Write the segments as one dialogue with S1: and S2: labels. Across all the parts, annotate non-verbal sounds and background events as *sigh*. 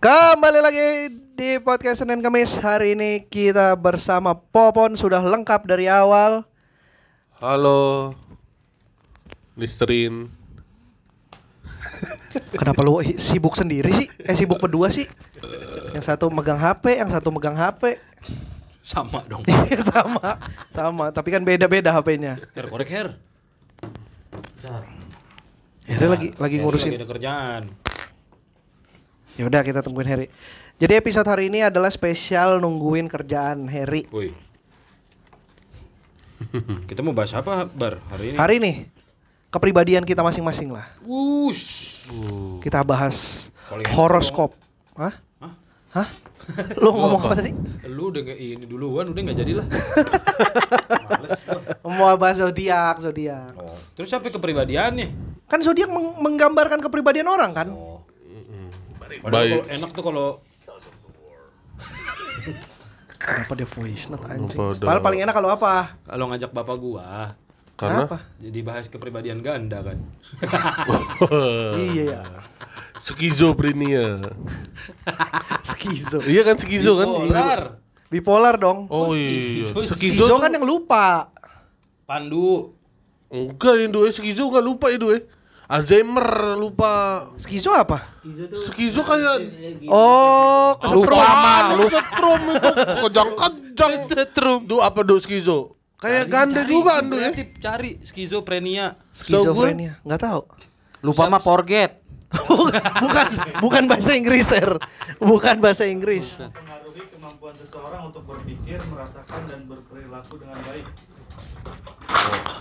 S1: Kembali lagi di podcast Senin Kamis Hari ini kita bersama Popon Sudah lengkap dari awal
S2: Halo Listerin
S1: Kenapa lu hi- sibuk sendiri sih? Eh sibuk berdua sih? Yang satu megang HP, yang satu megang HP
S3: Sama dong.
S1: *laughs* Iya, Sama, sama Tapi kan beda-beda HP-nya
S3: Her, korek her.
S1: Dia lagi, lagi
S3: Heri
S1: ngurusin
S3: Lagi ada kerjaan.
S1: Ya udah kita tungguin Harry. Jadi episode hari ini adalah spesial nungguin kerjaan Harry.
S3: Woi. Kita mau bahas apa, Bar, hari ini?
S1: Hari ini kepribadian kita masing-masing lah.
S3: Wush.
S1: Kita bahas
S3: Paling enak
S1: horoskop. Hah?
S3: Hah?
S1: Hah? Lu ngomong apa tadi?
S3: Lu udah nggak ini duluan, udah nggak jadilah. Males gua.
S1: Mau bahas zodiak, zodiak.
S3: Oh. Terus apa kepribadiannya?
S1: Kan zodiak meng- menggambarkan kepribadian orang kan?
S3: Oh. Padahal
S2: Baik
S3: kalau enak tuh kalau
S1: Kenapa dia voice note anjing?
S2: Kenapa ada-
S1: Padahal paling enak kalau apa?
S3: kalau ngajak bapak gua
S2: Karena
S1: Kenapa?
S3: jadi bahas kepribadian ganda kan.
S1: Iya ya.
S2: *laughs* Skizofrenia
S1: *laughs* Skizo.
S2: Iya kan skizo kan
S3: Bipolar.
S1: Bipolar dong.
S2: Oh iya
S3: Oh, skizo.
S2: Skizo
S1: Skizo
S2: tuh-
S1: kan yang lupa.
S3: Pandu.
S2: Enggak yang dua skizo gak lupa itu eh Alzheimer lupa
S1: Skizo apa?
S2: Skizo kayak
S1: Oh, kesetrum.
S2: Lupa Setrum itu Kejang kejang Setrum Du apa du skizo Kayak ganda juga Andu ya
S3: Kreatif, cari skizofrenia.
S1: Skizofrenia, nggak tahu. *laughs*
S4: Lupa mah Forget.
S1: bukan bukan bahasa Inggris, Sir. Bukan bahasa Inggris.
S5: mempengaruhi kemampuan seseorang untuk berpikir, merasakan, dan berperilaku dengan baik.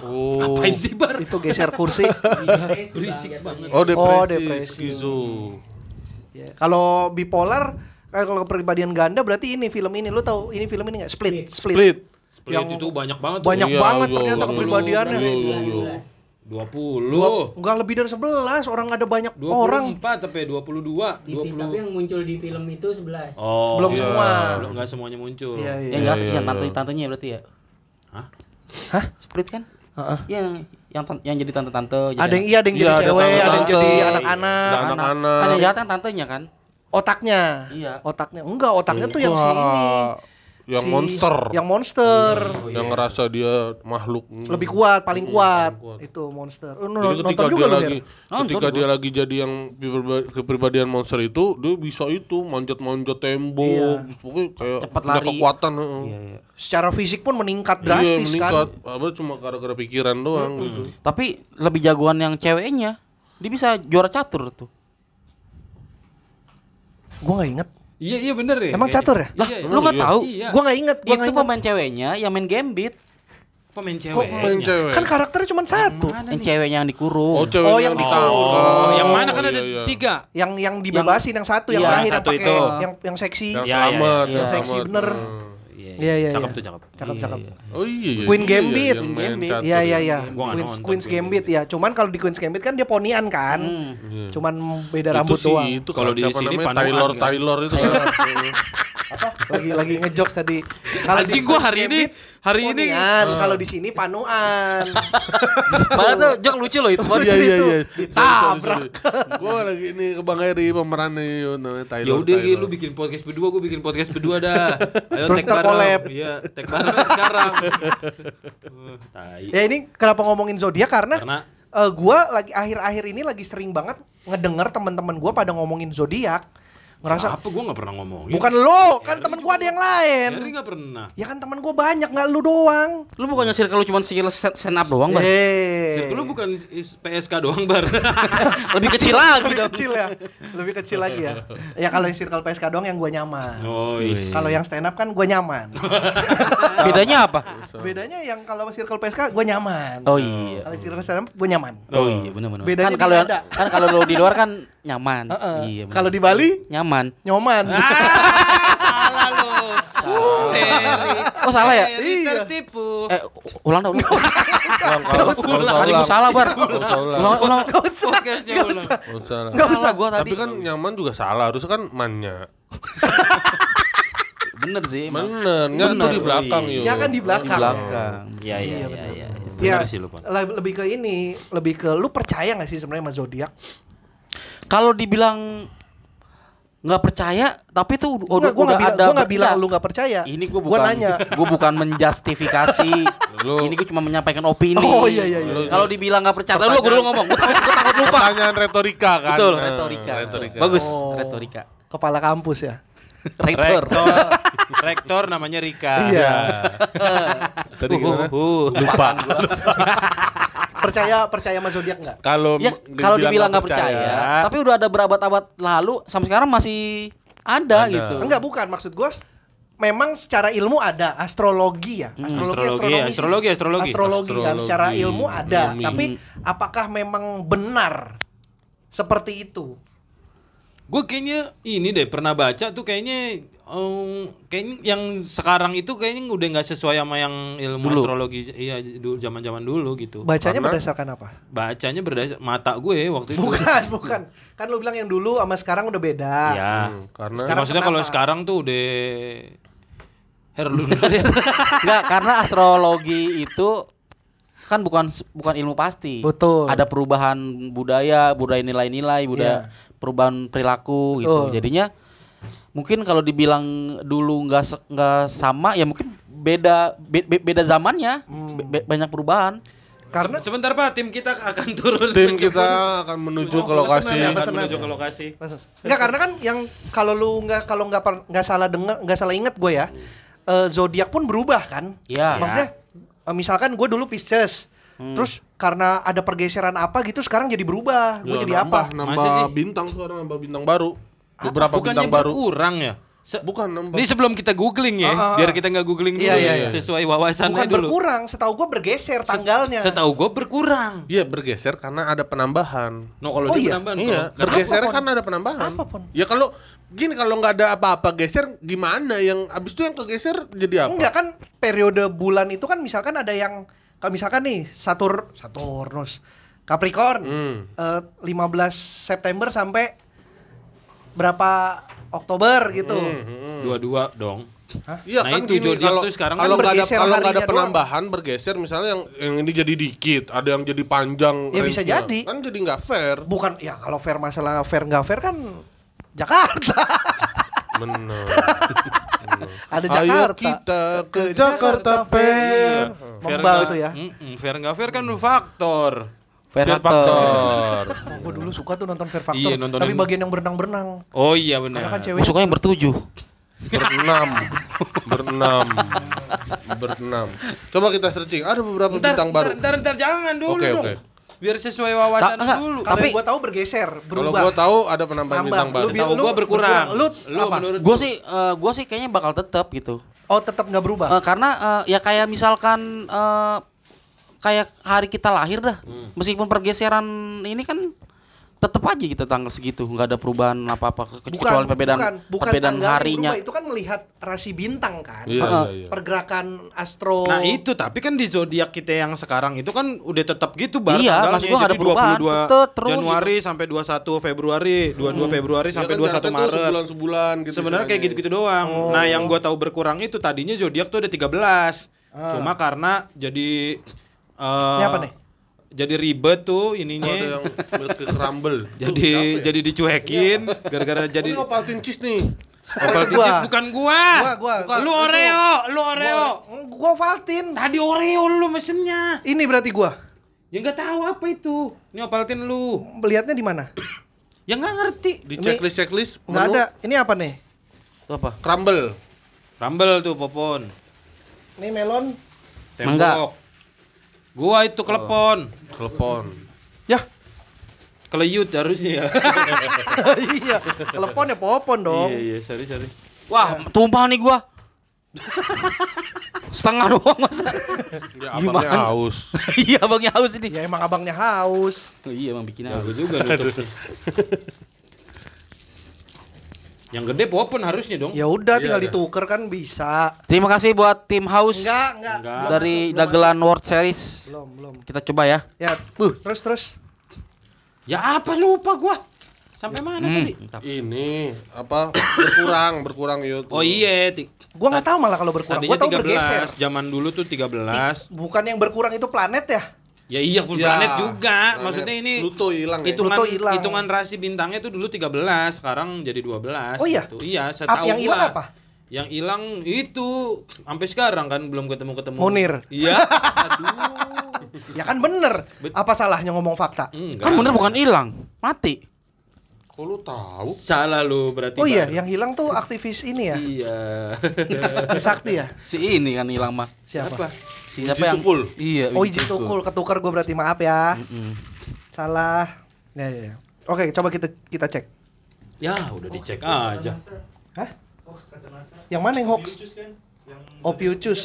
S2: Oh
S3: Apain sih,
S1: *laughs*
S3: Bar?
S1: Itu geser kursi.
S3: Berisik banget.
S1: Oh,
S2: Oh depresi
S1: depresi.
S2: Skizo
S1: Ya, Kalau bipolar kayak kalau kepribadian ganda berarti ini film ini lu tahu ini film ini nggak split split,
S2: Split
S3: Split
S1: Yang-
S3: itu banyak banget. tuh.
S1: banyak
S2: Iya,
S1: banget
S2: iya,
S1: ternyata
S2: iya,
S1: kepribadiannya
S2: iya, iya, iya.
S3: 20
S1: nggak lebih dari 11 orang ada banyak
S3: 24
S1: orang
S3: tapi 22
S6: Di, fi- tapi
S3: 20
S6: yang muncul di film itu 11
S3: Oh,
S1: Belum
S3: iya.
S1: semua.
S3: Belum enggak semuanya muncul.
S1: iya iya
S4: Ya enggak ya, tante tantenya berarti ya.
S3: Hah?
S1: Hah?
S4: Split kan?
S1: Heeh.
S4: Iya, yang yang, tan- yang jadi tante-tante. jadi
S1: ada yang
S4: anak-
S1: iya ada yang jadi
S2: Iya, ada
S1: cewek ada yang
S2: tante-tante. Iya.
S1: jadi anak-anak
S2: Ada anak-anak.
S4: Kan yang jahat kan tantenya kan?
S1: otaknya
S4: Iya.
S1: otaknya enggak otaknya tuh yang si
S2: Enggak.
S1: ini
S2: Yang
S1: Si-
S2: monster
S1: yang monster
S3: Oh, iya.
S2: yang ngerasa dia makhluk
S1: lebih kuat paling kuat,
S2: Iya. kuat.
S1: itu monster Oh,
S2: Jadi
S1: nonton
S2: ketika
S1: juga ya?
S2: dia
S1: lu
S2: lagi
S1: Ger?
S4: Nonton
S2: ketika
S4: gua.
S2: dia lagi jadi yang kepriba- kepribadian monster itu dia bisa itu manjat-manjat tembok
S1: Iya.
S2: pokoknya kayak
S4: Cepat
S2: punya
S4: lari.
S2: kekuatan heeh.
S4: Iya, iya.
S1: secara fisik pun meningkat
S2: Iya,
S1: drastis
S2: meningkat.
S1: kan
S2: Apa cuma gara-gara pikiran doang gitu.
S4: Tapi lebih jagoan yang ceweknya. Dia bisa juara catur tuh.
S1: gua nggak inget
S3: Iya, iya bener ya.
S1: Emang catur ya?
S4: Lah,
S3: Iya,
S2: emang
S4: lu enggak
S2: iya.
S4: tahu?
S3: Iya.
S1: gua nggak inget gua nggak
S4: Itu
S1: inget
S4: pemain ceweknya yang main gambit.
S3: pemain cewek.
S2: Kok main cewek?
S1: kan karakternya cuma satu
S4: Yang ceweknya yang dikurung.
S2: oh, cewek
S1: Oh, yang
S2: yang ditangkap.
S3: Oh, yang mana kan ada
S2: iya, iya.
S3: tiga.
S1: yang yang dibebasin yang, satu yang
S4: Iya,
S1: terakhir yang
S3: satu
S1: pakai
S3: itu.
S1: yang yang seksi
S2: Yang
S3: Iya, iya,
S2: selamat,
S4: iya.
S2: yang
S1: Seksi
S2: selamat.
S1: bener.
S2: Hmm.
S1: Iya, iya,
S3: Cakep
S1: iya.
S3: tuh, cakep.
S1: cakep cakep
S2: Oh iya, iya.
S1: Queen
S2: iya,
S1: Gambit.
S2: yang
S4: Queen
S2: main
S4: Gambit.
S2: catur
S1: Iya iya
S2: ya.
S1: iya.
S3: Gua nggak
S1: Queens,
S3: nonton
S1: Queens
S3: Queen
S1: Gambit ya. Cuman kalau di Queens Gambit kan dia ponian kan.
S4: Hmm.
S1: Cuman beda
S2: Iya. Itu
S1: rambut
S2: sih
S1: doang.
S2: itu
S3: Kalau
S2: kalau
S3: di
S2: di
S3: sini
S2: namanya
S3: panuan,
S2: Taylor
S3: kan?
S2: Taylor itu kan.
S3: *laughs*
S1: Lagi lagi ngejokes tadi. Kalau di
S3: Anjing gua
S1: Queens
S3: hari ini
S1: Gambit,
S3: hari ini
S1: ponian.
S2: Ah.
S1: kalau di sini panuan.
S4: Padahal tuh jok lucu loh itu.
S2: *laughs* Iya iya iya.
S1: Ditabrak.
S2: Gue lagi ini ke Bang Eri pemerannya yuk, namanya Ah, Taylor.
S3: Ya udah Gi,
S2: Taylor.
S3: lu bikin podcast berdua, gua bikin podcast berdua
S1: *laughs*
S3: dah. Ayo
S1: Terus
S3: tag
S1: kita
S3: bareng.
S1: collab.
S3: Iya, tag bareng sekarang.
S1: *laughs*
S3: Eh, tai.
S1: Ya ini kenapa ngomongin zodiak karena,
S3: Karena
S1: eh, gua lagi akhir-akhir ini lagi sering banget ngedengar teman-teman gua pada ngomongin zodiak. Ngerasa
S3: apa gua nggak pernah ngomongin.
S1: bukan lo, kan teman gua ada yang lain.
S3: Harry nggak pernah.
S1: Ya kan teman gua banyak nggak lu doang.
S4: Lu bukannya circle lu cuma circle stand stand up doang, Bang?
S1: Eh.
S3: Circle lu bukan is- is- PSK doang
S1: *laughs*
S3: bar.
S4: Lebih kecil lagi
S1: lebih
S4: dong.
S1: kecil ya lebih kecil lagi ya ya kalau yang circle PSK doang yang gue nyaman
S4: Oh, iya.
S3: Noise.
S1: kalau yang stand up kan gue
S4: *laughs*
S1: nyaman
S4: Bedanya apa?
S1: bedanya yang kalau circle PSK gue nyaman
S4: Oh iya.
S1: kalau circle stand up gue nyaman
S4: Oh iya benar-benar.
S1: Bedanya
S4: Kan kalau
S1: di
S4: yang-
S1: dada.
S4: kan kalau lu di luar kan nyaman.
S1: Heeh.
S4: Iya. bener. Ah.
S1: kalau di Bali
S4: nyaman.
S1: nyoman
S3: Salah lu. Harry.
S4: Oh salah ya?
S3: Harry
S1: *laughs* Iya.
S3: tertipu.
S4: Eh u- ulang
S2: *laughs*
S4: dong.
S2: Ulang, kalau- kalau salah,
S4: Tadi gua salah bar.
S2: Kalau salah.
S4: Ulang ulang.
S1: *laughs* Gak usah,
S3: Podcastnya
S1: gak
S3: ulang.
S1: usah.
S2: Kalau salah.
S1: Gak usah
S4: kan Salah gua tadi.
S2: Tapi kan nyaman juga salah, harusnya kan mannya.
S4: Bener sih. emang.
S2: Bener, nggak tuh di belakang
S4: Iya.
S2: yuk.
S1: Ya kan di
S4: Di
S1: belakang.
S4: belakang. Iya iya
S1: Iya,
S4: iya.
S1: bener.
S4: iya.
S1: Ya,
S4: Bener sih lu, Pan.
S1: le- lebih ke ini, lebih ke lu percaya nggak sih sebenarnya sama zodiak?
S4: Kalau dibilang nggak percaya, tapi tuh
S1: Nggak,
S4: udah
S1: gua nggak
S4: udah
S1: bilang,
S4: ada. iya.
S1: gua nggak bilang
S4: Nggak.
S1: lu nggak percaya.
S4: Ini gue
S1: Gua
S4: bukan, *laughs*
S1: nanya.
S4: gue bukan menjustifikasi.
S2: Lu-
S4: ini gue cuma menyampaikan opini.
S1: Oh, iya, iya, iya.
S4: Kalau dibilang nggak percaya, lu gue dulu
S2: Pertanyaan-
S4: *laughs* ngomong. Gue takut, gua takut lupa.
S2: Pertanyaan retorika kan.
S4: Betul,
S2: Nah,
S4: retorika.
S2: retorika.
S4: Bagus,
S1: Oh.
S4: retorika.
S1: Kepala kampus ya.
S4: Rektor.
S3: Rektor namanya Rika.
S1: Iya.
S2: Nah, ya. Tadi gimana?
S3: Uhuhu.
S2: Lupa.
S1: Percaya percaya sama zodiak nggak?
S2: Kalau
S4: Ya, kalau dibilang nggak percaya, tapi udah ada berabad-abad lalu sampai sekarang masih ada,
S2: Ada.
S4: gitu.
S1: Enggak bukan maksud gua memang secara ilmu ada astrologi ya. Astrologi,
S3: astrologi,
S1: astronomi sih.
S3: astrologi,
S1: kan
S3: astrologi.
S2: Astrologi,
S1: secara ilmu ada,
S2: ilmi.
S1: tapi apakah memang benar seperti itu?
S3: Gue kayaknya ini deh pernah baca tuh kayaknya em, kayaknya yang sekarang itu kayaknya udah nggak sesuai sama yang ilmu
S4: Dulu.
S3: astrologi iya dulu zaman-zaman dulu gitu.
S1: Bacanya
S2: Karena-
S1: berdasarkan apa?
S3: Bacanya berdasar mata gue waktu itu.
S1: Bukan, bukan. Kan lu bilang yang dulu sama sekarang udah beda.
S2: Iya.
S4: Iya.
S3: Ya.
S2: hmm, karena
S1: Sekarang
S3: Maksudnya kalau
S1: kenapa?
S3: sekarang tuh udah Her *laughs* lu Her.
S4: Enggak, karena astrologi itu kan bukan bukan ilmu pasti.
S1: Betul. Iya.
S4: Ada perubahan budaya, budaya nilai-nilai, budaya perubahan perilaku gitu.
S1: Betul.
S4: Jadinya mungkin kalau dibilang dulu nggak se- nggak sama ya mungkin beda be- be- beda zamannya
S1: Hmm.
S4: Be- be- banyak perubahan.
S1: Karena
S3: Se- sebentar Pak, tim kita akan turun.
S2: tim kita akan menuju ke lokasi.
S4: ya,
S5: Akan menuju ke lokasi.
S1: Enggak karena kan yang kalau lu nggak kalau nggak per- nggak salah dengar nggak salah inget gue ya eh, zodiak pun berubah kan?
S4: Iya.
S1: Maksudnya eh, misalkan gue dulu Pisces, terus karena ada pergeseran apa gitu sekarang jadi berubah. Gue
S2: Ya,
S1: jadi
S2: nambah,
S1: apa?
S2: Nambah
S3: Masa sih?
S2: bintang sekarang nambah bintang baru. Beberapa
S3: Bukannya
S2: bintang baru.
S3: berkurang ya? Se-
S2: Bukan nambah.
S3: Ini sebelum kita googling
S1: Ah,
S3: ya,
S1: ah, ah.
S3: biar kita nggak googling dulu
S1: Iya, iya,
S3: ya,
S1: iya.
S3: sesuai wawasan
S1: Bukan
S3: dulu.
S1: berkurang, setahu gue bergeser tanggalnya.
S3: Setahu gue berkurang.
S2: Iya bergeser karena ada penambahan.
S3: No kalau
S1: Oh
S3: dia
S1: iya,
S3: penambahan,
S2: Iya,
S3: kalau-
S2: bergeser
S1: Apa, Pon?
S2: kan ada penambahan.
S1: Apa, Pon?
S2: Ya kalau gini kalau nggak ada apa-apa geser gimana yang abis itu yang kegeser jadi apa?
S1: Enggak kan periode bulan itu kan misalkan ada yang kalau misalkan nih Satur Saturnus Capricorn
S2: Hmm.
S1: eh, 15 September sampai berapa Oktober gitu.
S2: Hmm, hmm, hmm.
S3: dua-dua dong.
S2: Iya
S3: Nah,
S2: kan
S3: itu
S2: gini,
S3: zodiak
S2: kalau
S3: tuh sekarang
S2: kalau
S1: kan
S2: nggak ada
S1: bergeser
S2: kalau nggak ada
S1: harinya doang.
S2: penambahan bergeser misalnya yang yang ini jadi dikit, ada yang jadi panjang.
S1: Ya, bisa
S2: range-nya.
S1: jadi.
S2: Kan jadi nggak
S1: *laughs*
S2: fair.
S1: Bukan ya kalau fair masalah fair nggak fair kan Jakarta. *laughs*
S2: Benar.
S1: ada
S2: Ayo
S1: Jakarta.
S2: kita ke Jakarta Fair.
S1: Membal
S3: nggak-
S1: tuh ya.
S3: Mm-mm, Iya. fair nggak fair kan faktor.
S4: Fair
S3: Fair
S4: factor.
S1: Oh, gue dulu suka tuh nonton Fair Factor,
S3: Iya, nontonin.
S1: tapi bagian yang berenang-berenang.
S3: Oh iya
S1: Karena
S3: benar.
S1: kan cewek
S4: Gue suka yang bertujuh.
S2: Berenam. Berenam. Berenam. Coba kita searching. Ada beberapa
S3: Ntar,
S2: bintang
S3: ntar,
S2: baru.
S3: ntar, ntar, jangan dulu
S2: Oke,
S3: dong.
S2: oke.
S3: Biar sesuai wawasan
S4: Ta- enggak,
S3: dulu.
S1: Kalau
S4: Tapi-
S1: yang gua tahu bergeser,
S2: Kalau
S1: berubah.
S2: gua tahu ada penambahan
S1: Nambah.
S2: bintang baru.
S1: Lu bi-
S3: Tahu gue berkurang.
S1: Lu-
S3: lu
S1: apa?
S3: menurut
S4: Gue sih eh, gua sih kayaknya bakal tetap gitu.
S1: Oh, tetap nggak berubah.
S4: Eh, karena eh, ya kayak misalkan eh, kayak hari kita lahir dah, meskipun pergeseran ini kan tetap aja gitu tanggal segitu, nggak ada perubahan apa-apa ke- kecuali perbedaan perbedaan
S1: tanggalnya yang
S4: harinya.
S1: berubah, itu kan melihat rasi bintang kan
S2: Iya,
S4: Heeh.
S2: iya, iya.
S1: pergerakan astro
S3: Nah itu tapi kan di zodiak kita yang sekarang itu kan udah tetap gitu bar
S4: Iya,
S3: tanggalnya.
S4: maksud gua nggak ada
S3: Jadi
S4: perubahan.
S3: 22
S4: Tetep terus gitu. Hmm.
S3: Januari sampai 21 Februari 22 Februari
S2: Iya
S3: sampai
S2: kan,
S3: 21
S2: jaraknya tuh
S3: Maret
S2: Sebulan-sebulan gitu.
S3: Sebenarnya kayak
S2: istilahnya.
S3: gitu-gitu doang
S1: Oh.
S3: Nah yang gua tahu berkurang itu tadinya zodiak tuh ada 13 Cuma karena jadi eh,
S1: Ah. Ini apa nih?
S3: Jadi ribet tuh
S2: Oh, Ada
S3: ininya
S2: yang ya? milky
S3: *laughs*
S2: crumble.
S3: Jadi jadi dicuekin
S1: *laughs*
S3: Gara-gara
S2: jadi
S3: jadi
S2: ngopalin cheese nih.
S1: Iya.
S3: Opal
S1: Gua.
S3: Titis bukan gua
S1: Gua, gua.
S3: Bukan. Lu
S1: Itu.
S3: Oreo Lu Oreo
S1: Gua- Oh, gua Valtin
S3: Tadi Oreo lu mesennya
S1: ini berarti gua
S3: Ya nggak tahu apa itu. Ini opaltin lu.
S1: melihatnya di mana
S3: Ya nggak ngerti.
S2: Di checklist checklist
S1: nggak ada ini apa nih
S4: Itu apa?
S2: crumble.
S3: Rambel tuh popon.
S1: ini melon
S3: Tembok.
S4: Mangga.
S3: Gua itu klepon.
S2: Telepon.
S1: ya
S3: Keleyut harusnya ya.
S1: *laughs* iya telepon ya popon dong
S3: Iya iya, sorry sorry.
S4: Wah, tumpah nih gua. *laughs* Setengah doang masa. *laughs*
S2: Ya,
S4: Gimana?
S2: abangnya haus.
S4: iya, Bang Yaus ini.
S1: ya emang abangnya haus
S4: Oh, iya, Bang bikin
S3: Jago
S4: haus.
S3: juga nutup. *laughs* Yang gede popon harusnya dong.
S1: ya udah tinggal
S2: Iya, iya.
S1: dituker kan bisa
S4: Terima kasih buat tim Haus
S1: enggak enggak
S3: Enggak.
S1: Belum
S4: dari
S1: masuk, belum
S4: Dagelan World
S1: masuk.
S4: Series.
S1: belum belum
S4: Kita coba ya.
S1: ya uh terus terus
S3: Ya apa lupa gua. Sampai mana tadi?
S4: Hmm,
S2: Ini apa berkurang berkurang yud.
S3: Oh iya, ti-
S1: Gua nggak tahu malah kalau berkurang. Gua tahu
S3: tadinya
S1: bergeser.
S3: 13, zaman dulu tuh 13.
S1: Bukan yang berkurang itu planet ya?
S3: Ya iya, full
S2: Ya,
S3: planet juga.
S2: planet.
S3: Maksudnya ini
S2: Pluto hilang ya?
S3: hitungan
S1: Pluto hilang.
S3: hitungan rasi bintangnya tuh dulu 13, sekarang jadi 12
S1: Oh iya?
S3: gitu. Iya,
S1: Apa
S3: setahu
S1: yang hilang
S3: gua.
S1: apa?
S3: Yang hilang itu sampai sekarang kan belum ketemu-ketemu.
S1: Munir.
S3: Iya.
S1: *laughs*
S3: Aduh.
S1: Ya kan bener.
S3: Bet- Hmm,
S1: Apa salahnya ngomong fakta?
S3: Enggak.
S4: Kan bener bukan hilang, mati.
S2: Kok lu tahu?
S3: Salah lu berarti.
S1: Oh iya, yang
S3: Bang.
S1: hilang tuh aktivis ini ya,
S3: Iya.
S1: *laughs* Sakti ya.
S4: Si ini kan hilang mah.
S1: Siapa?
S4: Si
S2: Uji Tukul.
S4: Iya,
S1: Oh
S4: Hmm.
S1: Iji Tukul, ketukar gue berarti maaf ya.
S4: Mm-mm.
S1: Salah. Ya, ya, ya. Oke, coba kita kita cek.
S3: Ya, udah dicek aja.
S1: Hah?
S5: Hoax kata NASA.
S1: Yang mana yang hoax?
S5: Opioids kan? Yang
S1: Oh, Opiucus.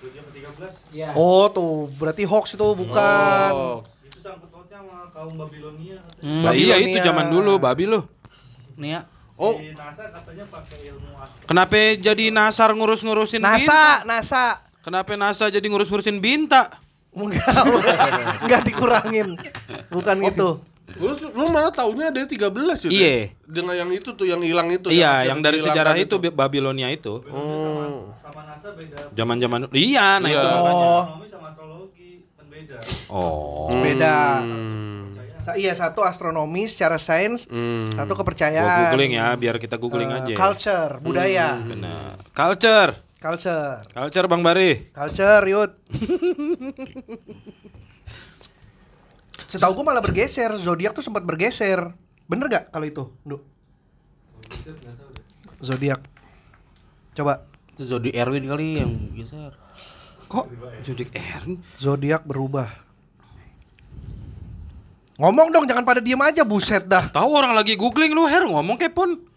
S5: dua jam ke 13.
S6: Ya.
S1: Oh tuh, berarti hoax itu
S2: Oh,
S1: bukan.
S5: Itu sangkut pautnya sama kaum Babilonia katanya.
S1: Mm.
S4: Hmm.
S3: Lah iya
S1: Babilonia.
S3: itu zaman dulu, babi lu.
S4: Nih ya.
S3: Oh.
S5: Si NASA katanya pakai ilmu astro.
S3: Kenapa jadi nasar ngurus-ngurusin bintang?
S1: NASA, NASA.
S3: Kenapa NASA jadi ngurus-ngurusin binta?
S1: Enggak, *laughs* enggak dikurangin. Bukan gitu.
S2: Lu, lu malah taunya ada 13 ya?
S3: Iya.
S2: Dengan yang itu tuh yang hilang itu.
S3: Iya,
S2: akhirnya
S3: yang dari
S2: dihilangkan
S3: sejarah itu, Bi- Babilonia itu.
S5: Babilonia sama, sama NASA beda.
S3: Oh. Zaman-zaman Iya, nah
S2: Iya.
S3: itu makanya.
S5: Astronomi sama astrologi kan beda.
S3: Oh.
S2: Hmm.
S1: Beda.
S5: Percaya.
S1: Sa- iya, satu astronomi secara sains,
S2: Hmm.
S1: satu
S3: Gua
S1: kepercayaan.
S3: googling ya, Hmm, biar kita googling
S1: Eh,
S3: aja.
S1: Culture, budaya.
S3: Benar. Culture.
S1: Culture.
S3: Culture Bang Bari.
S1: Culture, Yud. *laughs* Setahu gue malah bergeser, zodiak tuh sempat bergeser. Bener gak kalau itu, Du? Zodiak. Coba.
S4: Itu Zodi Erwin kali yang geser.
S3: Kok Judik Erwin?
S1: Zodiak berubah. Ngomong dong, jangan pada diem aja, buset dah.
S3: Tahu orang lagi googling lu Her ngomong kepun.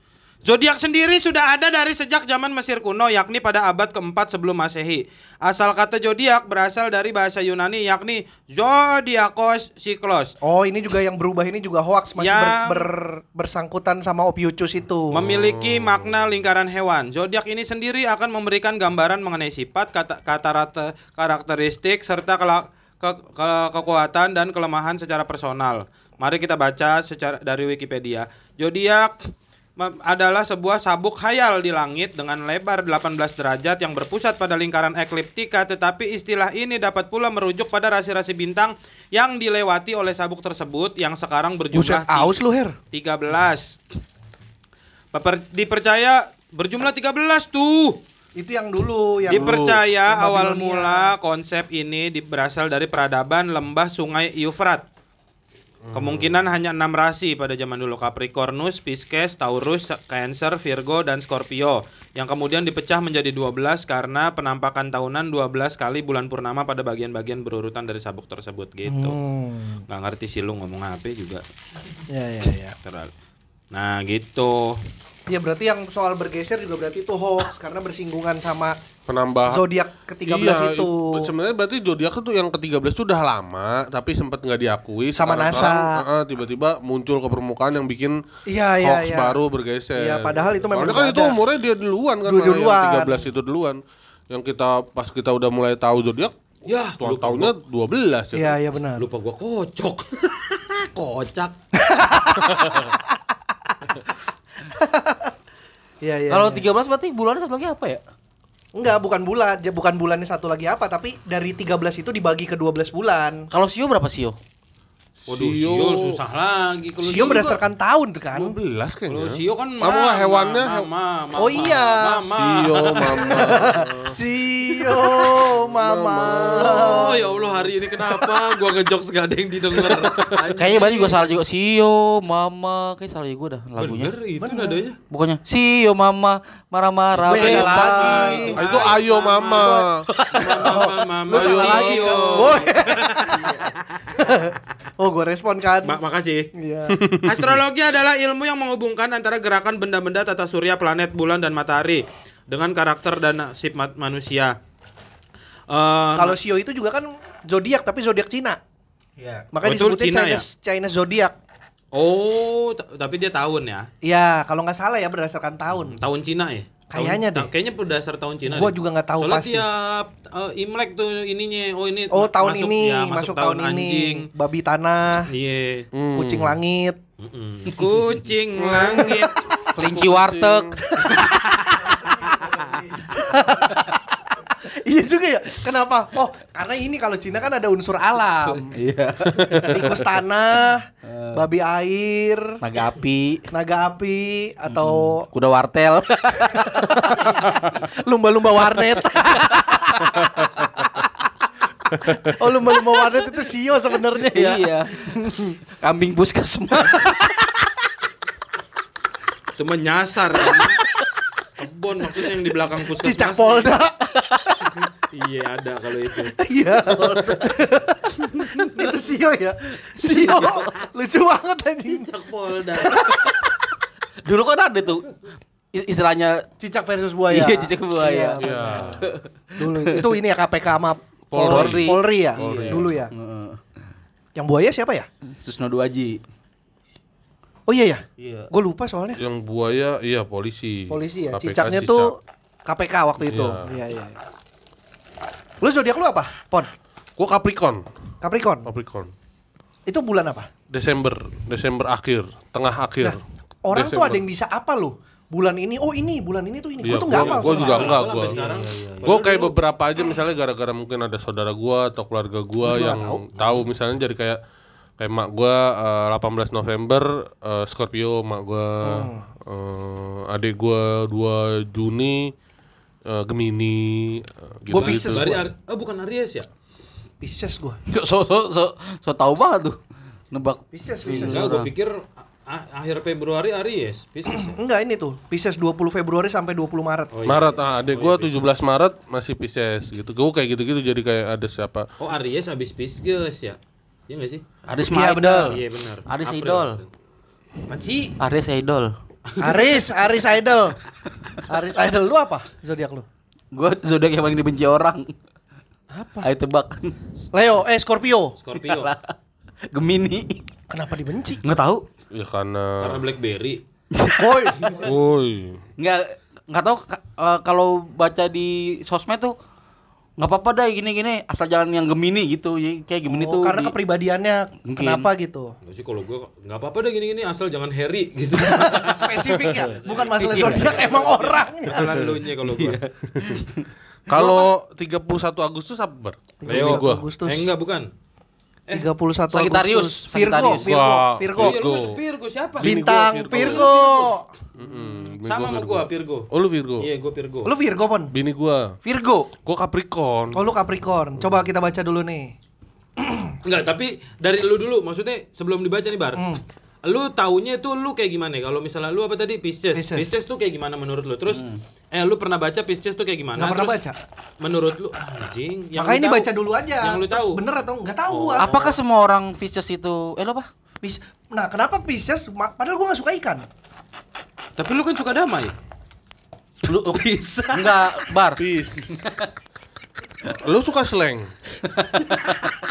S3: Zodiak sendiri sudah ada dari sejak zaman Mesir kuno yakni pada abad keempat sebelum Masehi. Asal kata zodiak berasal dari bahasa Yunani yakni zodiakos siklos.
S1: Oh, ini juga yang berubah ini juga hoax masih ber-
S3: Yang-
S1: ber- bersangkutan sama Opiucus itu.
S3: Memiliki makna lingkaran hewan. Zodiak ini sendiri akan memberikan gambaran mengenai sifat, kata, kata rata, karakteristik serta kela- ke- ke- kekuatan dan kelemahan secara personal. Mari kita baca secara dari Wikipedia. Zodiak mem- adalah sebuah sabuk khayal di langit dengan lebar 18 derajat yang berpusat pada lingkaran ekliptika tetapi istilah ini dapat pula merujuk pada rasi-rasi bintang yang dilewati oleh sabuk tersebut yang sekarang
S1: Buset,
S3: berjumlah
S1: aus lu, Her.
S3: 13. Peper- dipercaya berjumlah 13 tuh.
S1: Itu yang dulu yang
S3: dipercaya
S1: yang
S3: awal
S1: Babilonia.
S3: mula konsep ini di- berasal dari peradaban lembah sungai Yufrat. Kemungkinan hanya enam rasi pada zaman dulu Capricornus, Pisces, Taurus, Cancer, Virgo, dan Scorpio Yang kemudian dipecah menjadi 12 karena penampakan tahunan 12 kali bulan purnama pada bagian-bagian berurutan dari sabuk tersebut gitu
S1: Hmm.
S3: Nggak ngerti sih lu ngomong apa juga
S1: Ya ya ya.
S3: Terlalu. Nah gitu
S1: Ya berarti yang soal bergeser juga berarti itu hoax karena bersinggungan sama
S2: Penambahan.
S1: zodiak ke-13
S2: Iya,
S1: itu.
S2: Sebenarnya berarti zodiak itu yang ke-13 itu udah lama tapi sempat nggak diakui
S1: Sama
S2: Sekarang-
S1: NASA.
S2: sekarang, eh, eh, tiba-tiba muncul ke permukaan yang bikin
S1: Iya iya
S2: hoax
S1: iya.
S2: baru bergeser.
S1: Iya, padahal itu memang
S2: Soalnya kan
S1: udah
S2: itu
S1: ada.
S2: umurnya dia duluan kan
S1: Dulu
S2: malah yang
S1: duluan.
S2: 13 itu duluan. Yang kita pas kita udah mulai tahu zodiak
S3: Yah,
S2: tuan
S3: lupa
S2: tahunnya 12 ya.
S1: Iya iya benar.
S3: Lupa gua kocok. Kocak.
S1: Iya iya.
S4: Kalau
S1: iya.
S4: 13 berarti bulannya satu lagi apa ya?
S1: enggak bukan bulan, Ja- bukan bulannya satu lagi apa tapi dari 13 itu dibagi ke 12 bulan.
S4: Kalau Sio berapa Sio?
S3: Waduh, Sio, susah lagi kalau
S1: Sio berdasarkan tahun kan.
S2: 12 kayaknya.
S3: Kalau Sio kan
S2: Apa, ya. hewannya?
S3: mama, mama,
S1: Oh iya.
S3: Mama.
S2: Sio
S1: *laughs*
S2: mama.
S1: Sio mama.
S3: Oh ya Allah hari ini kenapa gua ngejok segala yang didengar.
S4: Kayaknya berarti gua salah juga. Sio, Mama, kayak salah juga dah lagunya.
S3: Bener itu nadanya.
S4: Bukannya Sio, Mama, marah-marah.
S1: Beda
S4: beta."
S1: lagi.
S2: Ah, itu ayo mama.
S3: Mama, mama,
S1: Lu salah lagi
S3: Sio.
S1: dong. Woy. Oh, gue respon kan.
S3: *laughs* Ma- makasih.
S1: Iya.
S3: Astrologi adalah ilmu yang menghubungkan antara gerakan benda-benda tata surya, planet, bulan, dan matahari dengan karakter dan nasib mat- manusia. Eh,
S1: Kalau Sio itu juga kan zodiak tapi zodiak Cina.
S6: Iya.
S1: Makanya
S3: Oh, itu
S1: disebutnya
S3: Cina
S1: Chinese, Chinese zodiak.
S3: Oh, ta- tapi dia tahun ya?
S1: Ya, kalau nggak salah ya berdasarkan tahun.
S3: Tahun Cina ya?
S1: Kayaknya deh.
S3: Tahun- Kayaknya berdasar tahun Cina.
S1: Gua
S3: deh.
S1: juga nggak tahu
S3: Soalnya
S1: pasti.
S3: tiap eh, Imlek tuh ininya, oh ini
S1: Oh
S3: ma-
S1: tahun ini
S3: ya,
S1: masuk, tahun, ini Ah. babi tanah,
S3: Iya.
S1: kucing langit.
S3: Mm-mm. Kucing langit.
S4: kelinci warteg
S1: *laughs* iya juga ya. Kenapa? Oh karena ini kalau Cina kan ada unsur
S4: *laughs*
S1: alam.
S4: Iya.
S1: Tikus tanah,
S4: Eh.
S1: babi air,
S4: naga api
S1: naga api atau
S4: kuda wartel
S1: lumba-lumba warnet. oh lumba-lumba warnet itu sio sebenarnya ya.
S4: *laughs* iya kambing puskesmas
S3: Itu mah nyasar. Kebon maksudnya yang di belakang puskesmas.
S1: Cicak
S4: *laughs*
S1: Polda.
S3: Iya ada kalau itu.
S1: Iya. *laughs* itu sio ya. Sio.
S4: Iya.
S1: Lucu banget anjing.
S3: Cicak Polda.
S4: dulu kan ada tuh i- istilahnya
S1: Cicak versus buaya.
S4: Iya, cicak buaya.
S1: Iya.
S7: Ya.
S1: Dulu itu ini ya KPK sama
S4: Polri.
S1: Polri ya.
S7: Polri.
S1: Dulu ya.
S4: Heeh.
S1: Yang buaya siapa ya?
S4: Susno Duaji
S1: Oh iya ya.
S4: iya
S1: Gue lupa soalnya.
S2: Yang buaya iya polisi.
S1: Polisi ya.
S2: KPK
S1: Cicaknya
S2: cicak.
S1: tuh KPK waktu itu. Iya
S2: Iya.
S1: iya. Lu zodiak lu apa? Pon.
S2: Gua Capricorn.
S1: Capricorn.
S2: Capricorn.
S1: Itu bulan apa?
S2: Desember, Desember akhir, tengah akhir.
S1: Nah, orang tuh ada yang bisa apa lu? Bulan ini, oh ini, bulan ini tuh ini. Gua
S2: Iya,
S1: tuh nggak
S2: gua-
S1: apa.
S2: gua juga enggak
S3: Sampai
S2: gua. Iya,
S3: sekarang.
S2: Gue kayak beberapa aja misalnya gara-gara mungkin ada saudara gua atau keluarga gua yang tahu. misalnya jadi kayak kayak mak gua eh, 18 November eh, Scorpio mak gua
S3: Hmm.
S2: eh, adik gua 2 Juni eh, Gemini eh,
S1: Gua
S2: gitu-gitu.
S1: Pisces.
S3: Dari Ar- oh, bukan Aries ya?
S1: Pisces gue.
S4: so so so so tahu banget tuh nebak Iya,
S1: Pisces,
S2: Iya.
S1: Pisces.
S3: Enggak, gue pikir a- akhir Februari Aries. Pisces. ya?
S1: Enggak ini tuh, Pisces 20 Februari sampai 20 Maret.
S3: Oh, iya.
S2: Maret ah adik gua 17 Maret masih Pisces gitu. Gua kayak gitu-gitu jadi kayak ada siapa
S3: Oh Aries habis Pisces ya? Iya nggak sih?
S4: Aris
S1: Iya,
S4: mah
S1: benar.
S4: idol
S3: Iya benar.
S4: Aries
S3: April.
S4: idol
S3: Apaan sih?
S4: Aris idol
S1: Aris, Aris Idol. Aris Idol lu apa? Zodiak lu?
S4: gue zodiak yang paling dibenci orang
S1: Apa?
S4: ayo tebak
S1: Leo, eh Scorpio.
S3: Scorpio.
S4: Gemini
S1: Kenapa dibenci?
S4: nggak tahu
S2: ya karena
S3: Karena Blackberry.
S1: Boy,
S3: kan?
S2: Woi.
S4: nggak nggak tahu ka- eh, kalau baca di sosmed tuh nggak apa-apa dah gini-gini asal jangan yang gemini gitu ya, kayak gemini
S1: Oh,
S4: tuh
S1: karena
S4: di-
S1: kepribadiannya
S4: Mungkin.
S1: kenapa gitu?
S3: Nggak sih kalau gue nggak apa-apa deh gini-gini asal jangan Harry gitu.
S1: *laughs* Spesifik ya, *laughs* bukan masalah zodiak emang orang.
S3: Kesalahan lu nya kalau gue.
S2: Kalau 31 Agustus apa? Bar?
S3: kan Leo.
S2: Gua.
S1: Agustus.
S3: Eh enggak bukan.
S1: 31
S4: Sagittarius,
S1: Agustus. Virgo,
S4: Sagittarius.
S1: Virgo,
S2: Wah.
S1: Virgo.
S2: Virgo.
S3: Oh, iya, lu masuk Virgo siapa?
S2: Bini
S1: Bintang
S2: gua Virgo.
S1: Virgo.
S2: Mm-mm, bini
S3: Sama sama gue Virgo.
S2: Oh lu Virgo.
S3: Iya gue Virgo.
S1: Lu Virgo pon?
S2: Bini gua.
S4: Virgo
S2: Gua Capricorn.
S1: Oh lu Capricorn. Coba kita baca dulu nih.
S3: Enggak, tapi dari lu dulu maksudnya sebelum dibaca nih Bar.
S1: Hmm.
S3: Lu taunya tuh lu kayak gimana? ya? Kalau misalnya lu apa tadi Pisces.
S1: Pisces.
S3: Pisces, tuh kayak gimana menurut lu? Terus eh lu pernah baca Pisces tuh kayak gimana?
S1: Hmm. Nggak pernah
S3: Terus,
S1: baca.
S3: Menurut lu anjing
S1: Makanya
S3: lu
S1: ini
S3: tahu.
S1: baca dulu aja.
S3: Yang lu
S1: Terus
S3: tahu.
S1: Bener atau nggak tahu?
S3: Oh.
S1: aku.
S4: apakah semua orang Pisces itu eh lo apa
S1: Pis- Nah, kenapa Pisces? Ma- Padahal gua nggak suka ikan.
S3: Tapi lu kan suka damai.
S4: lu
S3: oh,
S4: bisa nggak
S2: *laughs*
S4: bar
S2: Peace. lu suka slang?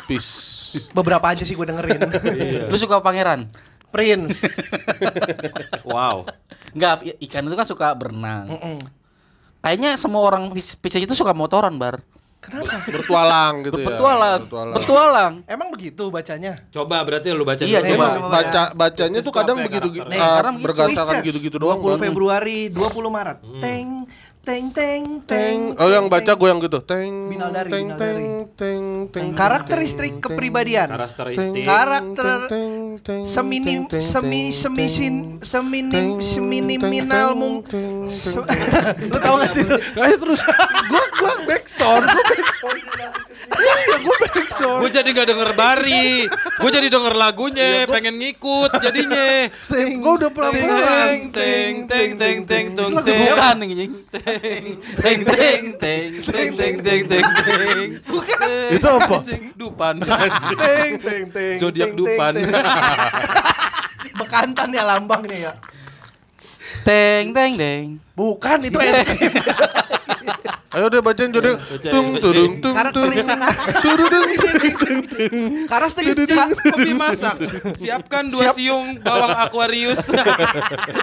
S2: Peace.
S1: Beberapa aja sih gue
S3: *laughs*
S1: dengerin. Iya.
S4: lu suka pangeran
S1: Prince.
S3: Wow.
S4: nggak i- ikan itu kan suka berenang
S1: Mm-mm.
S4: kayaknya semua orang Pis- Pisces itu suka motoran bar
S1: Kenapa?
S2: Bertualang gitu
S4: berpetualang
S2: ya. Bertualang.
S4: bertualang
S1: Emang begitu bacanya?
S3: Coba berarti lu baca
S4: Iya,
S3: dulu.
S1: coba.
S2: Cuma baca bacanya tuh kadang
S3: Karakter.
S2: begitu
S3: Nih,
S2: ah,
S4: sekarang gitu.
S2: bergantakan
S1: Pisces,
S2: gitu-gitu doang. kan?
S1: 20
S2: Bang.
S1: Februari, 20 Maret. Teng teng teng teng.
S2: Oh yang
S1: teng,
S2: baca
S1: teng.
S2: gue yang gitu. Teng
S1: Binaldari,
S2: teng teng
S1: Binaldari.
S2: teng teng.
S1: Karakteristik kepribadian.
S3: Karakteristik.
S1: Karakter Seminim semi semisin seminim seminiminal mung. Se- *laughs* Lu tahu gak sih?
S2: Kayak terus gua gua backsound, gua backsound. Iya, gua backsound.
S3: Gue jadi gak denger Bari. Gue jadi denger lagunya, pengen ngikut jadinya.
S2: Gua udah pelan-pelan.
S3: Teng teng teng teng teng teng
S4: Lagu
S3: teng.
S4: bukan anjing teng teng teng teng teng teng teng teng
S2: Itu apa?
S4: dupan
S2: *laughs*
S1: Teng teng teng.
S3: Zodiak
S1: teng,
S3: Dupan.
S1: teng, teng. Bekantan ya lambangnya ya.
S4: teng teng teng
S2: *laughs*
S1: Bukan itu es krim.
S2: Ayo deh bacain judul. Tung tudung tung tung.
S1: Karakteristik.
S2: Tudung tung tung.
S1: Karena
S3: Kak,
S2: *laughs*
S3: kopi masak. Siapkan dua
S1: Siap.
S3: siung bawang
S2: *laughs*
S3: Aquarius.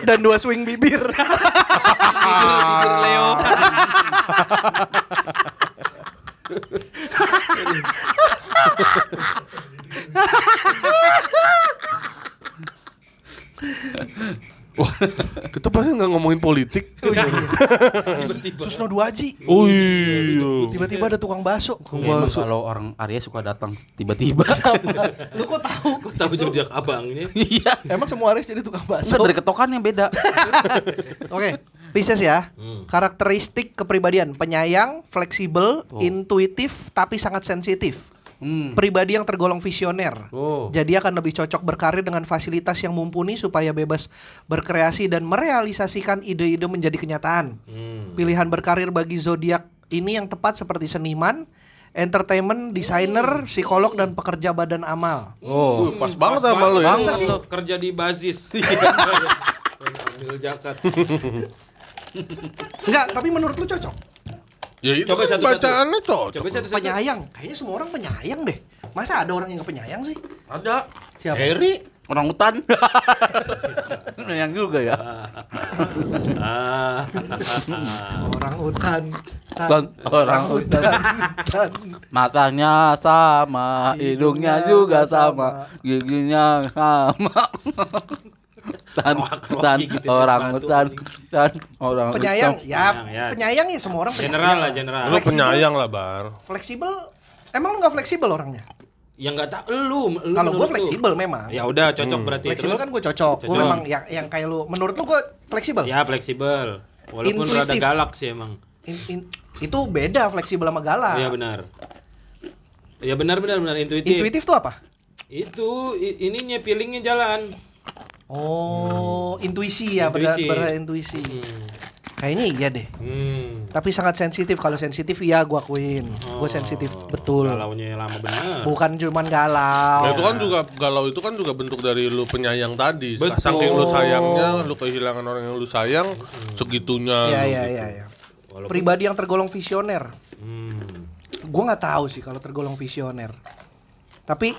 S1: dan dua swing bibir.
S3: Bibir Leo.
S2: Wah, kita pasti nggak ngomongin politik.
S7: Tiba-tiba.
S1: Susno dua aji.
S2: Oh iya.
S1: Tiba-tiba ada tukang bakso.
S4: Emang kalau orang Arya suka datang tiba-tiba.
S1: Lu kok tahu?
S7: Kok tahu zodiak abangnya?
S4: Iya.
S1: Emang semua Aries jadi tukang bakso?
S4: Enggak dari ketokannya beda.
S1: Oke, Pisces ya.
S7: Hmm.
S1: Karakteristik kepribadian penyayang, fleksibel,
S4: Tuh.
S7: Oh.
S1: intuitif tapi sangat sensitif.
S4: Hmm.
S1: Pribadi yang tergolong visioner.
S4: Oh.
S1: Jadi akan lebih cocok berkarir dengan fasilitas yang mumpuni supaya bebas berkreasi dan merealisasikan ide-ide menjadi kenyataan.
S7: Hmm.
S1: Pilihan berkarir bagi zodiak ini yang tepat seperti seniman, entertainment, desainer, psikolog dan pekerja badan amal.
S2: Oh, pas banget
S3: Pas
S2: sama lu ya. Iya.
S3: banget
S4: Bangsa
S3: lu
S4: sih.
S3: Kerja di
S2: *laughs*
S3: Bazis.
S7: Ambil jaket.
S1: Enggak, tapi menurut lu cocok?
S2: Ya itu
S7: Coba
S2: kan
S7: satu-satu.
S2: bacaannya cocok.
S7: Coba satu-satu.
S1: Penyayang. Kayaknya semua orang penyayang deh. Masa ada orang yang gak penyayang sih?
S4: Ada.
S1: Siapa?
S2: Harry.
S4: Orang hutan. Yang juga ya.
S7: Ah.
S1: Orang hutan. Tan,
S4: Bang, orang hutan.
S1: tan.
S4: Matanya sama, hidungnya juga sama, giginya sama. Dan,
S7: Roak-roak
S4: dan
S7: gitu,
S4: orang
S7: sepatu.
S4: hutan, dan orang hutan.
S1: Penyayang, ya,
S3: Penyayang, ya.
S1: penyayang ya semua orang penyayang.
S3: *laughs* General lah, general.
S2: Lu penyayang lah, Bar.
S1: Fleksibel, emang lu gak fleksibel orangnya?
S7: Yang nggak tahu lu, lu
S1: Kalau gue
S7: menurut lu.
S1: fleksibel memang.
S3: Ya udah cocok
S2: Hmm.
S3: berarti.
S1: fleksibel
S3: Terus?
S1: kan gue cocok. Gue
S3: Cocok.
S1: memang yang, yang kayak lu. Menurut lu gue fleksibel?
S3: Ya fleksibel. Walaupun
S1: Intuitif.
S3: rada galak sih emang.
S1: In- in- itu beda fleksibel sama galak.
S3: Iya benar. Ya benar benar benar intuitif.
S1: Intuitif tuh apa?
S3: Itu i- ininya feelingnya jalan.
S1: Oh, intuisi ya, benar
S3: Intuisi.
S1: benar intuisi.
S3: Hmm.
S1: Kayaknya iya deh.
S3: Hmm.
S1: Tapi sangat sensitif. Kalau sensitif iya gua akuin. Gue sensitif betul.
S3: Oh, Galaunya lama benar.
S1: Bukan cuman
S2: Ya,
S1: galau. Iya,
S2: itu kan juga galau itu kan juga bentuk dari lu penyayang tadi.
S3: Betul.
S2: Saking lu sayangnya, lu kehilangan orang yang lu sayang, segitunya.
S1: Iya
S2: lu
S1: iya
S2: gitu.
S1: iya iya.
S3: Walaupun-
S1: Pribadi yang tergolong visioner.
S3: Hmm.
S1: Gua nggak tahu sih kalau tergolong visioner. Tapi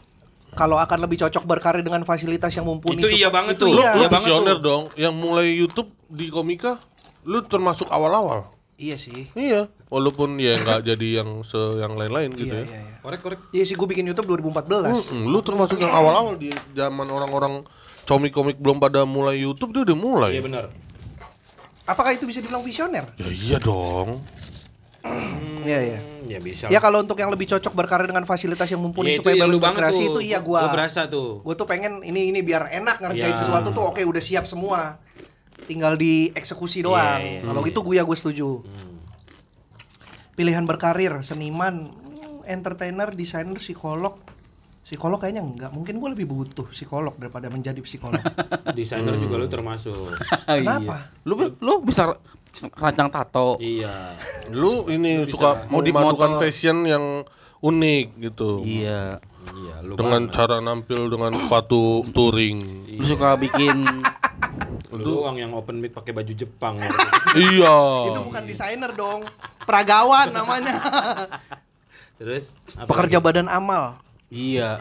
S1: kalau akan lebih cocok berkarir dengan fasilitas yang mumpuni.
S3: Itu
S1: sup-
S3: iya banget tuh.
S2: Lu
S1: Iya.
S3: Iya banget
S2: visioner
S3: tuh.
S2: dong, yang mulai YouTube di Komika, lu termasuk awal-awal.
S1: Iya sih.
S2: Iya, walaupun ya nggak *laughs* jadi yang se yang lain-lain gitu
S1: Iya
S2: ya.
S1: iya iya.
S3: Korek korek.
S1: Iya sih gue bikin YouTube
S3: Hmm.
S1: 2014.
S2: Mm, lu termasuk yang awal-awal di zaman orang-orang komik-komik belum pada mulai YouTube dia udah mulai.
S3: Iya benar.
S1: Apakah itu bisa dibilang visioner?
S2: Ya iya dong.
S1: Iya iya.
S3: Hmm, ya bisa.
S1: Ya kalau untuk yang lebih cocok berkarir dengan fasilitas yang mumpuni
S3: Ya,
S1: supaya
S3: ya
S1: bebas
S3: lu banget
S1: berkreasi
S3: tuh.
S1: itu iya gua.
S3: Gua berasa tuh.
S1: Gue tuh pengen ini ini biar enak ngerjain
S3: Ya.
S1: sesuatu tuh oke udah siap semua. Tinggal dieksekusi doang.
S3: Iya, Hmm. iya,
S1: kalau gitu gue ya gue setuju. Pilihan berkarir seniman, hmm, entertainer, desainer, psikolog. Psikolog kayaknya enggak. Mungkin gue lebih butuh psikolog daripada menjadi psikolog.
S3: *laughs* Desainer juga
S1: Hmm.
S3: lu termasuk.
S1: Kenapa?
S4: Iya. Lu lu bisa rancang tato.
S3: iya.
S2: Lu ini suka mau
S4: Mau di-
S2: memadukan
S4: mau-
S2: fashion yang unik gitu.
S4: Iya.
S3: Iya, lu
S2: Dengan
S3: banget.
S2: cara nampil dengan sepatu touring.
S4: Lu suka bikin *laughs*
S3: lu doang yang open mic pakai baju
S1: *laughs*
S3: Jepang.
S2: iya.
S3: Oh,
S1: Itu bukan desainer dong. Peragawan namanya.
S3: Terus *laughs* apa
S1: Pekerja
S3: lagi?
S1: badan amal.
S4: Iya,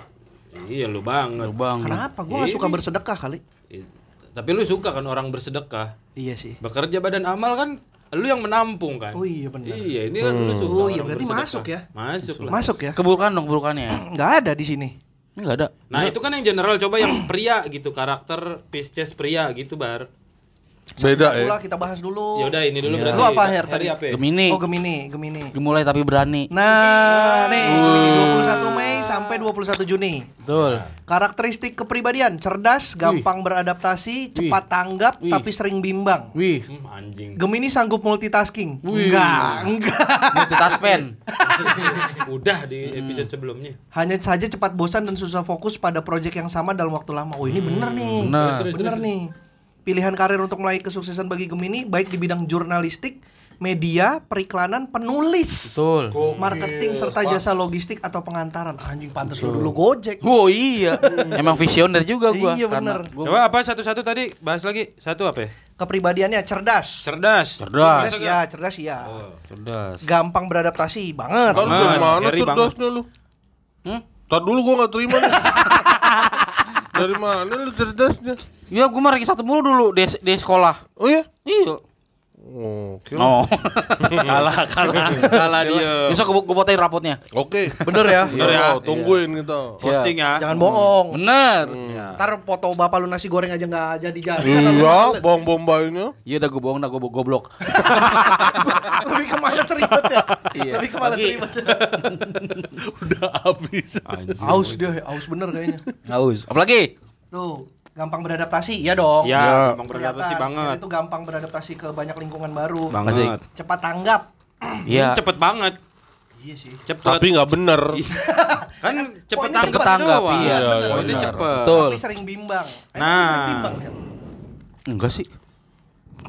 S3: Iya, lu banget.
S4: lu bang.
S1: Kenapa? Gue gak suka
S3: Ini.
S1: bersedekah kali.
S3: I- Tapi lu suka kan orang bersedekah.
S1: Iya sih.
S3: Bekerja badan amal kan lu yang menampung kan.
S1: Oh iya benar.
S3: Iya, ini kan lu suka.
S1: Oh
S3: orang
S1: iya, berarti
S3: bersedekah.
S1: masuk ya?
S3: Masuk lah.
S1: Masuk ya?
S4: Keburukan dong keburukannya.
S1: Nggak ada di sini.
S4: Ini enggak ada.
S3: Nah, itu kan yang general coba yang pria gitu, karakter Pisces pria gitu, Bar.
S2: Beda ya.
S1: Ulah kita bahas dulu.
S3: Ya udah ini dulu
S4: eh. Iya.
S3: berarti.
S1: Oh. Lu apa, Her,
S3: Heri
S1: tadi?
S3: apa? ya?
S4: Gemini.
S1: Oh Gemini, Gemini.
S4: Gemulai tapi berani.
S1: Nah, nih 21 Mei sampai 21 Juni. *laughs*
S4: Betul.
S1: Karakteristik kepribadian cerdas, gampang beradaptasi, cepat tanggap tapi sering bimbang.
S4: Wih,
S3: Hmm, anjing. *laughs*
S1: Gemini sanggup multitasking. Enggak, enggak.
S4: multitaspen.
S3: Udah di episode sebelumnya.
S1: Hanya saja cepat bosan dan susah fokus pada proyek yang sama dalam waktu lama. Oh, ini bener nih.
S4: Hmm. Bener.
S1: bener nih. Pilihan karir untuk meraih kesuksesan bagi Gemini baik di bidang jurnalistik, media, periklanan, penulis,
S4: Betul. Iya,
S1: marketing serta jasa logistik atau pengantaran. Anjing pantas lu dulu Gojek.
S4: Oh iya. Emang visioner juga gua.
S1: Iya,
S4: karena
S1: bener.
S4: gua-
S3: Coba apa satu-satu tadi bahas lagi satu apa ya?
S1: Kepribadiannya cerdas.
S3: Cerdas.
S2: Cerdas.
S1: ya, cerdas ya.
S4: Oh. Cerdas.
S1: Gampang beradaptasi banget.
S2: Ntar lu
S3: Banget,
S2: gimana
S3: Gary
S2: cerdasnya lu?
S4: Hmm?
S2: Ntar dulu gua gak terima
S1: *laughs*
S2: nih. Dari mana lu cerdasnya?
S4: Ya gua mah ranking satu mulu dulu di, di sekolah.
S2: Oh iya?
S4: Iya.
S2: Oke. lah.
S4: Oh. *laughs* kalah, kalah, kalah dia. Besok gua, gua botain rapotnya.
S2: Oke.
S1: *laughs* Bener ya?
S2: Bener ya, tungguin kita.
S3: Posting ya.
S1: Jangan bohong.
S4: Iya. Bener.
S1: Ntar foto bapak lu nasi goreng aja nggak jadi jadi.
S2: Iya, bong bombaynya.
S4: Iya udah gua bohong dah gua bo- goblok.
S1: *laughs* Lebih kemana seribet ya?
S4: Iya.
S1: Lebih kemana
S4: Lagi.
S1: seribet?
S4: *laughs* udah habis.
S1: Aus deh, aus bener kayaknya.
S4: Haus. Apalagi?
S1: Tuh, gampang beradaptasi, ya dong.
S3: Ya,
S4: Iya,
S2: Ya.
S3: gampang beradaptasi
S1: Kelihatan,
S3: banget.
S1: Itu gampang beradaptasi ke banyak lingkungan baru.
S4: Banget sih.
S3: Banget.
S1: Cepat tanggap.
S4: Iya.
S3: Hmm, Cepet banget.
S1: Iya sih.
S3: Cepet.
S2: Tapi nggak bener.
S1: Iya.
S3: kan cepet
S1: Poinnya
S3: tanggap
S1: cepet
S4: tanggap,
S3: doang.
S4: iya,
S2: bener.
S3: Poinnya
S2: Bener.
S3: Oh, cepet.
S4: Betul.
S1: Tapi sering bimbang. Emang lu
S3: Nah.
S1: sering bimbang, ya. Nen?
S4: Enggak sih.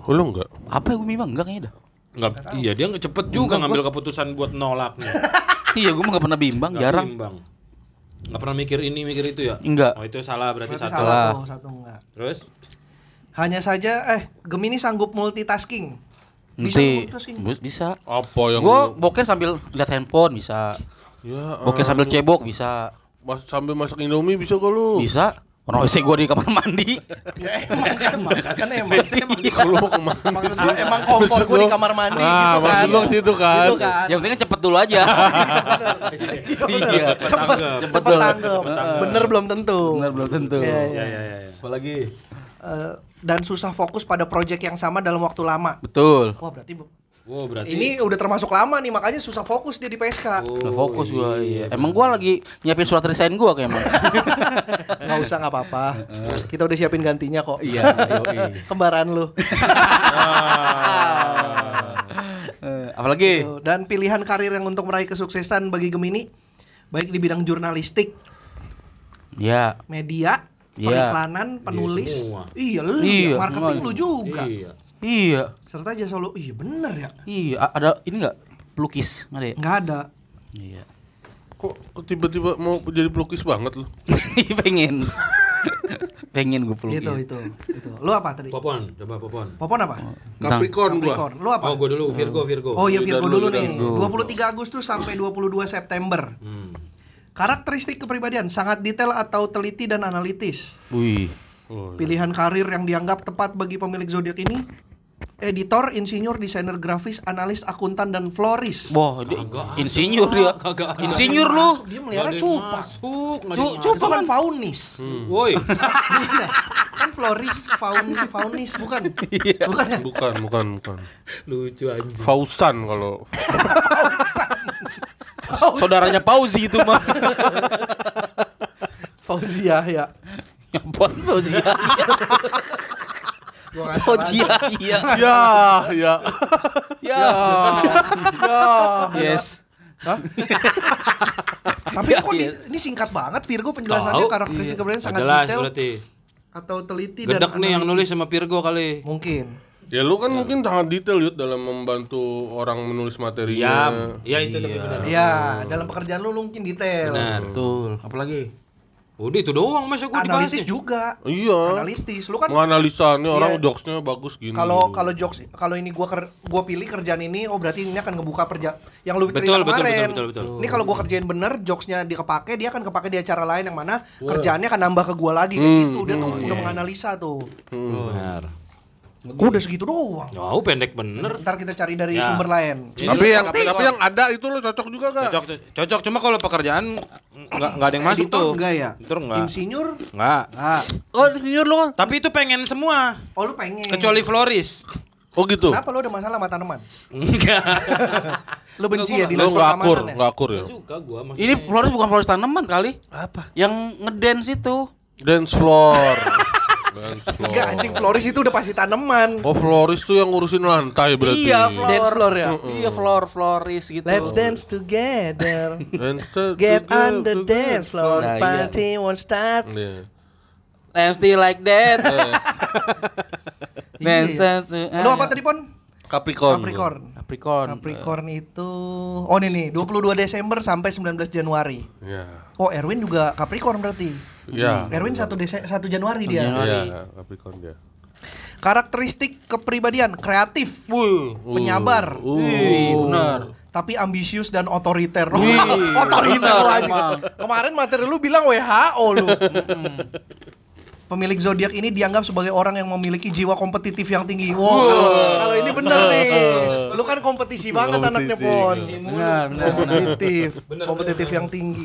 S2: Oh, lu nggak?
S4: Apa ya gua bimbang enggak kayaknya dah.
S3: Nggak, iya dia nggak cepet juga ngambil keputusan buat nolaknya.
S4: *laughs* Iya, gua mah enggak pernah bimbang,
S3: Nggak
S4: jarang.
S3: bimbang. Nggak pernah mikir ini mikir itu ya?
S4: Enggak.
S3: Oh itu salah berarti,
S1: Berarti
S3: satu.
S1: salah
S4: lah.
S1: tuh, satu enggak.
S3: Terus?
S1: Hanya saja eh Gemini sanggup multitasking. Bisa
S4: Nanti
S1: multitasking. *laughs*
S4: Bu- bisa.
S2: Apa yang
S4: Gua
S2: lu-
S4: boker sambil lihat handphone bisa.
S2: Ya,
S4: Boker sambil cebok bisa.
S2: mas- sambil masak Indomie bisa gak lu?
S4: Bisa. Orang *laughs* WC gua di kamar mandi.
S1: Ya emang kan emang kan emang.
S2: *laughs* Kalau mau kemana?
S1: Maksud lu emang kompor gua di kamar mandi
S2: Ah,
S1: gitu kan.
S2: maksud lu ke situ kan?
S1: Gitu kan.
S4: Yang penting kan cepet dulu aja. Iya.
S1: Cepet,
S3: tanggap.
S1: cepet tanggap. Bener belum tentu.
S4: Benar belum tentu.
S1: Iya, iya.
S3: Ya ya ya. ya.
S4: Apalagi.
S1: Eh, dan susah fokus pada proyek yang sama dalam waktu lama.
S4: Betul.
S1: Wah berarti bu-
S3: Wow berarti.
S1: ini udah termasuk lama nih makanya susah fokus dia di PSK.
S3: Oh,
S4: Nggak fokus gua iya.
S3: bener.
S4: Emang gua lagi nyiapin surat resign gua kayak emang.
S1: Nggak usah nggak apa-apa. Kita udah siapin gantinya kok.
S4: Iya,
S1: *laughs* Kembaran lu.
S3: Ah.
S4: Apalagi?
S1: Dan pilihan karir yang untuk meraih kesuksesan bagi Gemini baik di bidang jurnalistik,
S4: Ya,
S1: media,
S4: Iya.
S1: periklanan, penulis.
S3: semua.
S1: Iya, lu
S4: Iya,
S1: ya, marketing
S4: semua.
S1: lu juga.
S3: Iya.
S4: iya,
S1: Serta jasa lu. Iya, bener ya.
S4: iya. A- Ada ini nggak pelukis nggak ada? ya?
S1: Nggak ada.
S4: *laughs* Iya.
S2: Kok tiba-tiba mau jadi pelukis banget lu?
S4: pengen, pengen gue pelukis.
S1: Gitu, Itu itu itu. Lu apa tadi?
S3: Popon, coba Popon.
S1: Popon apa?
S4: Tentang-
S2: Capricorn gua.
S1: Capricorn. Lu apa?
S3: Oh, gue dulu Virgo, Virgo.
S1: Oh iya
S2: Dari
S1: Virgo
S2: dulu,
S1: dulu
S2: dari
S1: nih. 23 Agustus sampai 22 September.
S3: Hmm.
S1: Karakteristik kepribadian sangat detail atau teliti dan analitis.
S4: Wih,
S2: Oh,
S1: Pilihan karir yang dianggap tepat bagi pemilik zodiak ini editor, insinyur, desainer grafis, analis, akuntan dan floris.
S4: wah dia insinyur dia,
S3: Ah, Kagak ada.
S4: insinyur lu.
S1: Masuk, dia melihara cupak.
S3: Masuk, nggak
S4: Cu-
S3: ada yang
S1: Itu
S4: cupak
S1: kan
S4: kan?
S1: faunis.
S3: masuk.
S1: *laughs*
S3: Woi,
S1: Iya. kan floris, faun, faunis bukan?
S3: Iya.
S1: Bukan ya?
S2: Bukan, bukan, bukan.
S3: lucu anjing.
S2: Fausan kalau
S4: Saudaranya Pauzi itu mah. *laughs*
S1: Fauzi ya, ya.
S4: Apa Pauzi? ya?
S1: Gua nggak
S4: Pauzi ya, iya.
S2: ya, *laughs* ya.
S4: Ya.
S1: salah.
S4: Yes.
S1: Tapi
S4: Ya,
S1: kok di-
S4: iya.
S1: ini singkat banget Virgo penjelasannya
S3: Tahu. Iya.
S1: karakteristik kepribadian sangat
S3: jelas
S1: detail
S3: berarti.
S1: atau teliti dan
S3: Gedek nih yang
S1: analitis.
S3: nulis sama Virgo kali.
S1: Mungkin.
S2: Ya lu kan mungkin sangat detail yud dalam membantu orang menulis
S3: Iya,
S2: materinya.
S3: iya itu tapi benar.
S1: Iya, dalam pekerjaan lu lu mungkin detail.
S3: Benar.
S4: Betul. Apalagi?
S3: Udah itu doang masa gue dibahas. ya?
S1: Analitis
S3: nih.
S1: juga.
S2: Iya.
S1: Analitis. Lu Ya, kan
S2: Menganalisa nih orang
S1: Iya.
S2: jokesnya bagus gini.
S1: kalau kalau jokes kalau ini gua ker- gua pilih kerjaan ini oh berarti ini akan ngebuka perja yang lu cerita
S3: Betul, betul,
S1: kemarin.
S3: betul, betul, betul.
S1: Ini kalau gua kerjain bener jokesnya dia kepake dia akan kepake di acara lain yang mana kerjaannya akan nambah ke gua lagi kayak
S2: Hmm,
S1: gitu. Dia tuh
S3: iya,
S1: udah menganalisa tuh.
S3: Benar.
S1: Gua udah segitu doang.
S3: Oh. Jauh pendek bener.
S1: Ntar kita cari dari
S3: Ya.
S1: sumber lain.
S3: Ini
S2: tapi yang
S3: Capricorn.
S2: tapi yang ada itu lo cocok juga gak?
S3: cocok cocok cuma kalau pekerjaan nggak nggak ada yang masuk
S1: Editor
S3: tuh.
S1: enggak ya?
S3: Editor enggak.
S1: Insinyur?
S3: Nggak.
S1: Enggak.
S4: Oh, insinyur lu kan?
S3: Tapi itu pengen semua
S1: Oh lu pengen.
S3: kecuali Floris.
S2: Oh gitu.
S1: Kenapa lu ada masalah sama tanaman?
S3: Enggak.
S1: Lu benci ya dinas
S2: Lo
S3: Enggak, gua
S2: nggak akur,
S1: pertamanan ya?
S2: nggak akur ya.
S3: Suka gua maksudnya.
S4: Ini Flores bukan Flores tanaman kali.
S1: Apa?
S4: Yang ngedance itu.
S2: Dance
S1: *laughs*
S2: floor. Dance floor.
S1: Enggak
S3: Oh.
S1: anjing floris itu udah pasti tanaman.
S2: Oh floris tuh yang ngurusin lantai berarti.
S4: Iya, floor.
S1: Dance floor ya?
S4: Iya, floor floris gitu.
S1: Let's dance
S3: *laughs*
S1: together.
S2: Dance
S1: Get on
S2: together,
S1: the dance floor.
S4: Nah, iya.
S1: Party won't start.
S2: Iya.
S4: I'm still like that. dance, dance,
S1: Lu Iya. apa tadi pon?
S2: Capricorn.
S1: Capricorn.
S3: Capricorn.
S1: Capricorn itu oh ini nih 22 Desember sampai 19 Januari.
S2: Ya.
S1: Oh Erwin juga Capricorn berarti.
S2: Ya.
S1: Erwin 1 Dese 1 Januari dia.
S2: Iya, Capricorn dia.
S1: Karakteristik kepribadian kreatif, penyabar,
S2: Uh,
S3: benar.
S1: tapi ambisius dan otoriter. *laughs* otoriter lu anjing. Iya, Kemarin materi lu bilang WHO
S3: *laughs*
S1: lu. Pemilik zodiak ini dianggap sebagai orang yang memiliki jiwa kompetitif yang tinggi. Wow, kalau- kalau ini
S3: *laughs*
S1: bener nih. Lu kan kompetisi banget anaknya Pon.
S3: Benar, benar. *laughs*
S1: Kompetitif, kompetitif yang tinggi.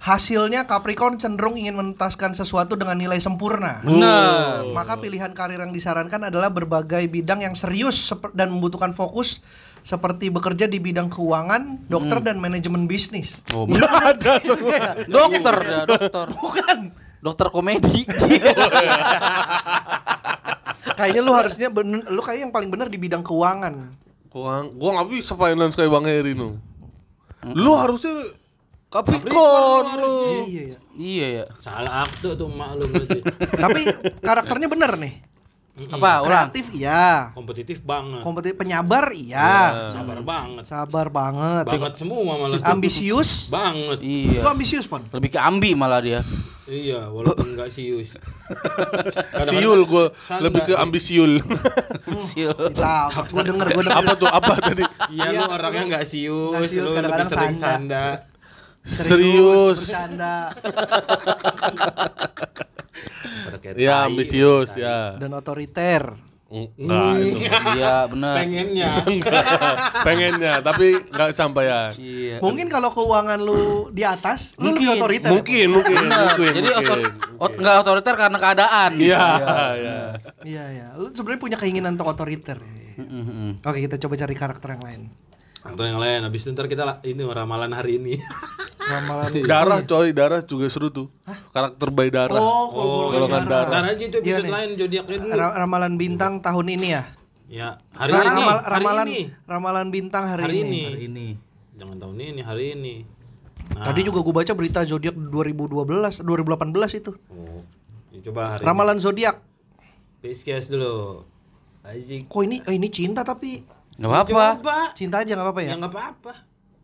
S1: Hasilnya Capricorn cenderung ingin menuntaskan sesuatu dengan nilai sempurna.
S3: Benar.
S1: Maka pilihan karir yang disarankan adalah berbagai bidang yang serius seper- dan membutuhkan fokus seperti bekerja di bidang keuangan, dokter
S3: Hmm.
S1: dan manajemen bisnis.
S4: Oh, bener. dokter, ya, dokter.
S1: Bukan.
S4: Dokter komedi.
S1: Kayaknya lu harusnya bener, lu kayaknya yang paling benar di bidang keuangan.
S2: Gua gua nggak bisa finance kayak Bang Eri nu. Lu harusnya Capricorn
S1: Hmm. Iya,
S2: lu.
S1: iya.
S4: *laughs* iya ya.
S7: Salah akte tuh emak lu berarti.
S1: Tapi karakternya bener nih.
S4: Apa ulang?
S1: Kreatif iya.
S7: Kompetitif banget.
S1: Kompetitif penyabar iya.
S7: Sabar banget.
S1: Sabar banget.
S7: Banget semua malah.
S1: Ambisius.
S7: banget.
S1: Lu
S4: Iya.
S1: ambisius, Pon.
S4: Lebih ke ambi malah dia.
S7: Iya, walaupun enggak sius. Kadang-kadang
S2: Siul gua
S7: Santai.
S2: lebih ke ambisiul.
S4: Sil.
S1: Nah, gua denger, gua denger.
S2: *laughs* apa tuh? Apa tadi?
S7: Iya, lu orangnya enggak sius,
S1: Nggak sius,
S7: lu lebih
S1: kadang-kadang
S7: sering
S1: sanda.
S7: sanda.
S2: Serius.
S1: bercanda
S2: Ya ambisius ya.
S1: dan otoriter.
S2: Enggak itu.
S4: Iya, benar.
S7: Pengennya.
S2: *laughs* Pengennya tapi nggak kesampaian.
S4: Iya.
S1: Mungkin kalau keuangan lu di atas, lu lebih
S4: Mungkin,
S1: otoriter.
S2: Mungkin, mungkin, mungkin.
S4: Jadi otor
S2: mungkin.
S4: ot- nggak otoriter karena keadaan.
S2: Iya, iya.
S1: Iya, iya. Lu sebenarnya punya keinginan untuk otoriter.
S4: Mm-mm.
S1: Oke, kita coba cari karakter yang lain.
S7: Atau yang lain, habis itu ntar kita la- ini ramalan hari ini.
S1: Ramalan.
S2: iya. Darah coy, darah juga seru tuh. Karakter by darah.
S1: Oh,
S2: golongan
S1: golongan darah.
S7: iya. Ntar aja itu
S1: Iya
S7: episode
S1: nih.
S7: lain zodiaknya dulu.
S1: Ra- ramalan bintang tahun ini ya.
S7: Ya, hari
S1: Sekarang
S7: ini,
S1: ramal-
S7: hari
S1: ramalan
S7: ini.
S1: ramalan bintang hari,
S7: Hari
S1: ini.
S7: ini.
S4: Ini.
S7: Jangan tahun ini, hari ini. Nah,
S1: Tadi juga gue baca berita zodiak 2012, 2018 itu.
S7: oh, ya coba hari
S1: Ramalan zodiak.
S7: ini. Pisces dulu. Azik.
S1: Kok ini eh, ini cinta tapi
S4: Nggak apa-apa.
S7: Coba.
S1: cinta aja nggak apa-apa ya?
S7: Ya nggak apa-apa.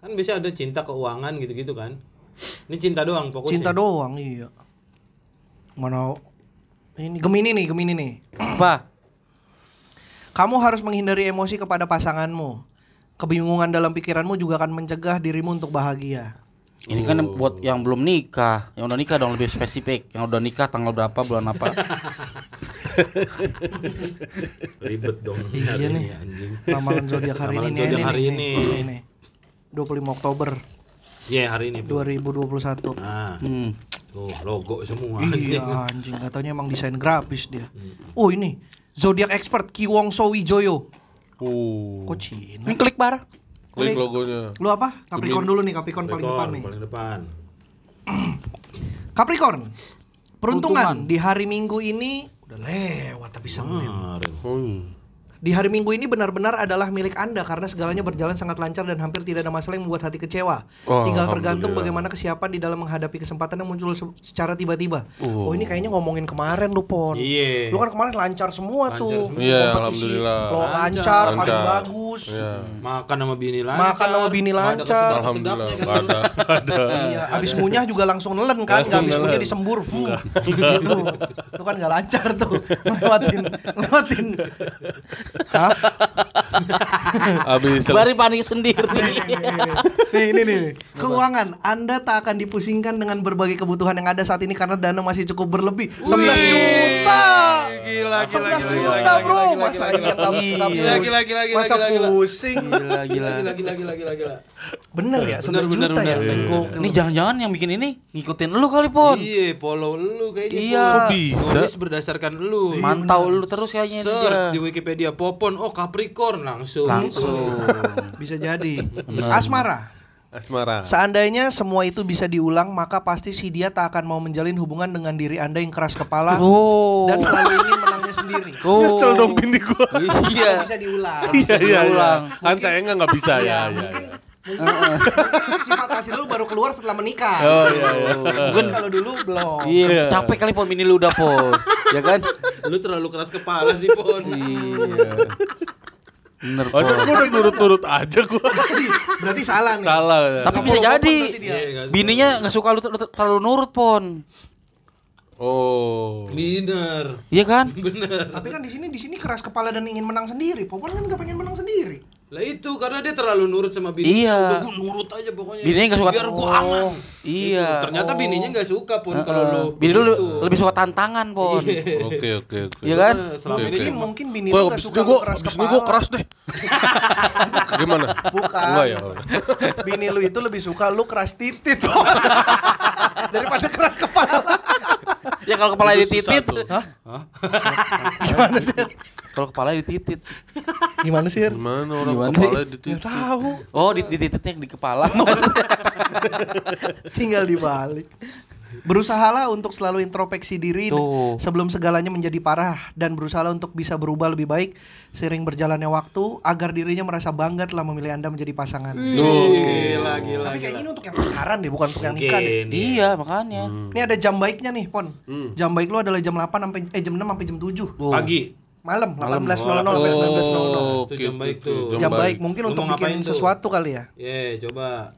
S7: Kan biasa ada cinta keuangan gitu-gitu kan. Ini cinta doang fokusnya.
S1: Cinta doang iya. Mana ini Gemini nih, Gemini nih.
S4: Apa?
S1: Kamu harus menghindari emosi kepada pasanganmu. Kebingungan dalam pikiranmu juga akan mencegah dirimu untuk bahagia.
S4: Ini kan buat yang belum nikah, yang udah nikah dong lebih spesifik. Yang udah nikah tanggal berapa, bulan apa?
S7: Ribet dong.
S1: Iya
S7: hari
S1: nih.
S7: ini, anjing.
S1: Ramalan zodiak hari
S7: *laughs* Ramalan
S1: ini.
S7: zodiak
S1: nih,
S7: hari
S1: nih,
S7: ini.
S1: nih, nih, nih. 25 Oktober
S7: Iya, hari ini. Bu.
S1: 2021.
S7: Nah,
S4: Hmm.
S7: tuh logo semua.
S1: Iya anjing, katanya emang desain grafis dia. Oh ini, zodiak expert Ki Wongso Wijoyo.
S2: Oh.
S1: Kok Cina?
S4: Ini klik bar.
S2: Klik logonya.
S1: Lu apa? Capricorn dulu nih, Capricorn paling depan
S7: Rekor
S1: nih.
S7: paling depan.
S1: Capricorn. Peruntungan Hmm. di hari Minggu ini udah lewat tapi semen.
S7: Kemarin.
S2: Oh.
S1: Di hari Minggu ini benar-benar adalah milik Anda karena segalanya berjalan sangat lancar dan hampir tidak ada masalah yang membuat hati kecewa.
S2: Oh,
S1: Tinggal tergantung bagaimana
S2: alhamdulillah.
S1: kesiapan di dalam menghadapi kesempatan yang muncul se- secara tiba-tiba. Oh,
S2: Uh.
S1: ini kayaknya ngomongin kemarin lu Pon.
S7: Iya.
S1: Lu kan kemarin lancar semua
S7: Lancar
S1: tuh.
S7: semua.
S2: Iya,
S1: Kompetisi,
S2: alhamdulillah.
S1: Lo lancar,
S7: Lancar.
S1: paling
S2: Lancar.
S1: bagus.
S2: Iya.
S7: Makan sama bini lancar.
S1: Makan sama bini
S7: Nggak ada
S1: lancar.
S7: kesedap-
S2: Alhamdulillah
S7: kesedapnya
S2: nggak
S7: kan.
S2: ada. nggak ada.
S1: Iya, abis ngunyah juga langsung nelen kan,
S2: Langsung
S1: nggak abis ngunyah
S2: nelen.
S1: disembur. Hmm. *laughs* Itu, itu kan nggak lancar
S2: *laughs*
S1: tuh, lewatin, lewatin. Hah?
S2: *laughs* Habis
S4: Bari panik sendiri.
S1: iya, Nih, ini nih. *laughs* Keuangan, Anda tak akan dipusingkan dengan berbagai kebutuhan yang ada saat ini karena dana masih cukup berlebih. 11 juta.
S3: Gila, gila,
S1: 11
S3: gila,
S1: juta,
S3: gila,
S1: Bro.
S3: gila, gila,
S1: Masa
S3: gila,
S1: iya tak tak
S3: gila,
S1: pus-
S3: gila, gila, gila,
S1: Masa
S3: gila, gila.
S1: pusing.
S7: Gila, gila, gila, gila, gila, gila.
S1: Bener ya, 11
S7: bener,
S1: juta ya.
S7: bener, bener.
S1: Gokil.
S4: Ini jangan-jangan yang bikin ini ngikutin lu kali pun.
S7: Iya, follow lu kayaknya.
S4: Iya.
S7: Pol.
S4: Kok
S2: bisa?
S7: Nulis berdasarkan lu.
S4: Mantau lu terus kayaknya ini
S7: Search di
S4: dia.
S7: Wikipedia Popon, oh Capricorn langsung. *laughs*
S4: Langsung.
S1: Bisa jadi. Asmara.
S2: Asmara.
S1: Seandainya semua itu bisa diulang, maka pasti si dia tak akan mau menjalin hubungan dengan diri Anda yang keras kepala
S4: Oh.
S1: dan selalu ingin menangnya sendiri.
S4: Oh.
S2: Nyesel dong bini *laughs* gua.
S4: Iya.
S1: Nggak bisa diulang.
S2: Iya iya iya.
S4: Ulang.
S2: Kan saya enggak nggak bisa ya. Iya.
S1: mungkin,
S2: iya.
S1: mungkin sifat asli lu baru keluar setelah menikah.
S2: Oh iya iya.
S1: Mungkin kalau dulu belum.
S4: Iya, capek kali pon mini lu udah pon. ya kan? *laughs*
S7: Lu terlalu keras kepala sih, Pon.
S4: Iya. Bener.
S2: Oh, kan gue udah nurut-nurut aja *laughs* gue.
S1: Berarti salah nih.
S2: Salah. ya.
S4: Tapi
S1: Nggak
S4: bisa
S1: follow
S4: jadi.
S1: up berarti dia.
S7: Iya, kan?
S4: Bininya nggak suka lu, lu terlalu nurut pon.
S2: Oh.
S7: Bener.
S4: Iya kan?
S7: Bener.
S1: Tapi kan di sini di sini keras kepala dan ingin menang sendiri. Popon kan gak pengen menang sendiri.
S7: Lah itu karena dia terlalu nurut sama bininya.
S4: Iya.
S7: Udah gua nurut aja pokoknya.
S4: Bininya nggak suka.
S7: Biar gua
S4: Oh,
S7: aman.
S4: Iya.
S7: Gitu. Ternyata bininya nggak suka pun kalau
S4: Heeh.
S7: lu.
S4: Bini lu
S7: gitu.
S4: lebih suka tantangan pon.
S2: Oke oke oke.
S4: Iya kan?
S7: Nah, Selama
S2: Oke,
S7: ini
S2: oke.
S1: Mungkin
S7: kan
S1: mungkin bini
S2: Gue
S1: lu gak
S2: abis
S1: suka
S2: ini
S1: lu
S2: gue
S1: keras
S2: abis
S1: kepala.
S2: ini gue keras deh. *laughs* Gimana?
S1: Bukan.
S7: Oh,
S2: Enggak
S7: iya,
S2: ya.
S1: *laughs* Bini lu itu lebih suka lu keras titit. Pon. *laughs* Daripada keras kepala.
S4: Ya kalau kepala
S2: Itu susah
S4: dititit.
S2: tuh.
S4: Hah?
S1: Gimana sih?
S4: Kalau kepala dititit.
S1: Gimana sih?
S2: Gimana orang
S4: Gimana
S2: kepala
S4: sih?
S2: dititit?
S1: Tahu.
S4: Oh, di- ditititnya di kepala.
S1: tinggal dibalik. Berusahalah untuk selalu introspeksi diri
S4: Tuh.
S1: sebelum segalanya menjadi parah dan berusahalah untuk bisa berubah lebih baik sering berjalannya waktu agar dirinya merasa bangga telah memilih Anda menjadi pasangan.
S7: Gila, gila,
S1: Tapi kayaknya
S7: gila.
S1: ini untuk yang pacaran deh, bukan untuk yang nikah deh.
S7: Mungkin, iya.
S4: iya, makanya.
S1: Ini ada jam baiknya nih, Pon.
S7: Hmm.
S1: Jam baik lu adalah jam 8 sampai eh jam 6 sampai jam 7.
S4: Tuh.
S7: Pagi.
S1: Malam 18.00 sampai
S2: Oh,
S1: 19.00.
S2: oke,
S7: Itu jam
S2: oke,
S7: baik
S2: oke,
S7: tuh.
S1: Jam baik mungkin
S7: Lu
S1: untuk
S7: mau
S1: bikin
S7: ngapain tuh?
S1: sesuatu kali ya.
S7: Ye, coba.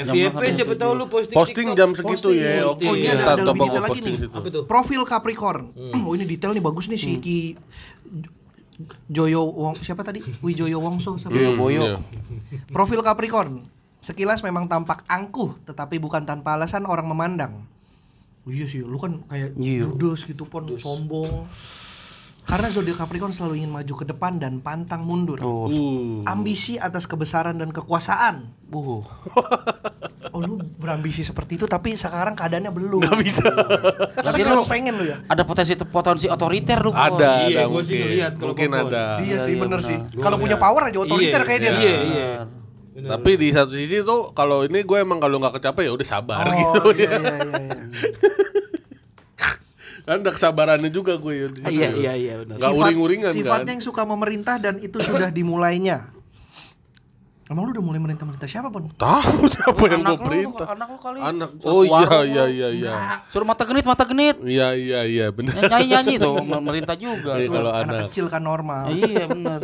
S4: Jam
S7: FYP
S4: makan
S7: siapa
S4: jam
S7: tahu
S4: tujuh.
S7: lu posting
S2: Posting
S7: TikTok.
S2: jam segitu
S7: Posting,
S2: ya. Oke.
S7: posting. Iya,
S1: Oh, ini ada-
S2: Ntar
S1: ada
S2: coba
S1: lebih
S2: gua
S1: detail lagi
S2: posting
S1: nih.
S2: situ.
S7: Apa tuh? Hmm.
S1: Profil Capricorn. *clears throat* Oh ini detail nih bagus nih si Ki Joyo Wong siapa tadi? Wijoyo Wongso sama
S2: Hmm, iya.
S1: Profil Capricorn. Sekilas memang tampak angkuh, tetapi bukan tanpa alasan orang memandang. Oh iya sih, lu kan kayak
S4: Iya.
S1: judes gitu pon, sombong. Karena zodiak Capricorn selalu ingin maju ke depan dan pantang mundur.
S4: Tuh.
S2: Uh.
S1: Ambisi atas kebesaran dan kekuasaan.
S4: Uh.
S1: Oh lu berambisi seperti itu tapi sekarang keadaannya belum. Gak bisa. tapi
S4: Tapi
S1: lu
S4: lu-
S1: pengen lu ya.
S4: Ada potensi potensi otoriter lu. Pon.
S2: Ada,
S7: Iya,
S2: ada
S7: gua sih
S2: mungkin.
S7: ngeliat kalau
S2: Mungkin
S7: popcorn.
S2: ada.
S1: Iya sih
S4: iya,
S1: bener
S4: benar.
S1: sih. Kalau punya power aja otoriter
S7: Iya,
S1: kayak dia.
S7: Iya, iya. Bener.
S2: Tapi di satu sisi tuh kalau ini gue emang kalau nggak kecapai ya udah sabar gitu.
S1: Oh, iya, iya, iya, iya.
S2: Kan ada kesabarannya juga gue ya.
S4: Ah,
S2: di situ.
S7: Iya, iya, iya benar.
S2: Nggak
S1: Sifat-
S2: uring-uringan kan.
S1: Sifatnya yang suka memerintah dan itu sudah dimulainya. Emang lu udah mulai merintah-merintah siapa, Pon?
S2: Tahu *laughs* siapa yang
S4: Anak
S2: gue
S4: lu,
S2: perintah?
S4: anak lu kali.
S2: Anak. Oh iya iya iya iya.
S4: Suruh mata genit, mata genit.
S2: Iya iya iya benar.
S4: Nyanyi-nyanyi tuh, merintah juga.
S2: Iya, kalau
S1: anak,
S2: anak.
S1: kecil kan normal.
S4: Iya, benar.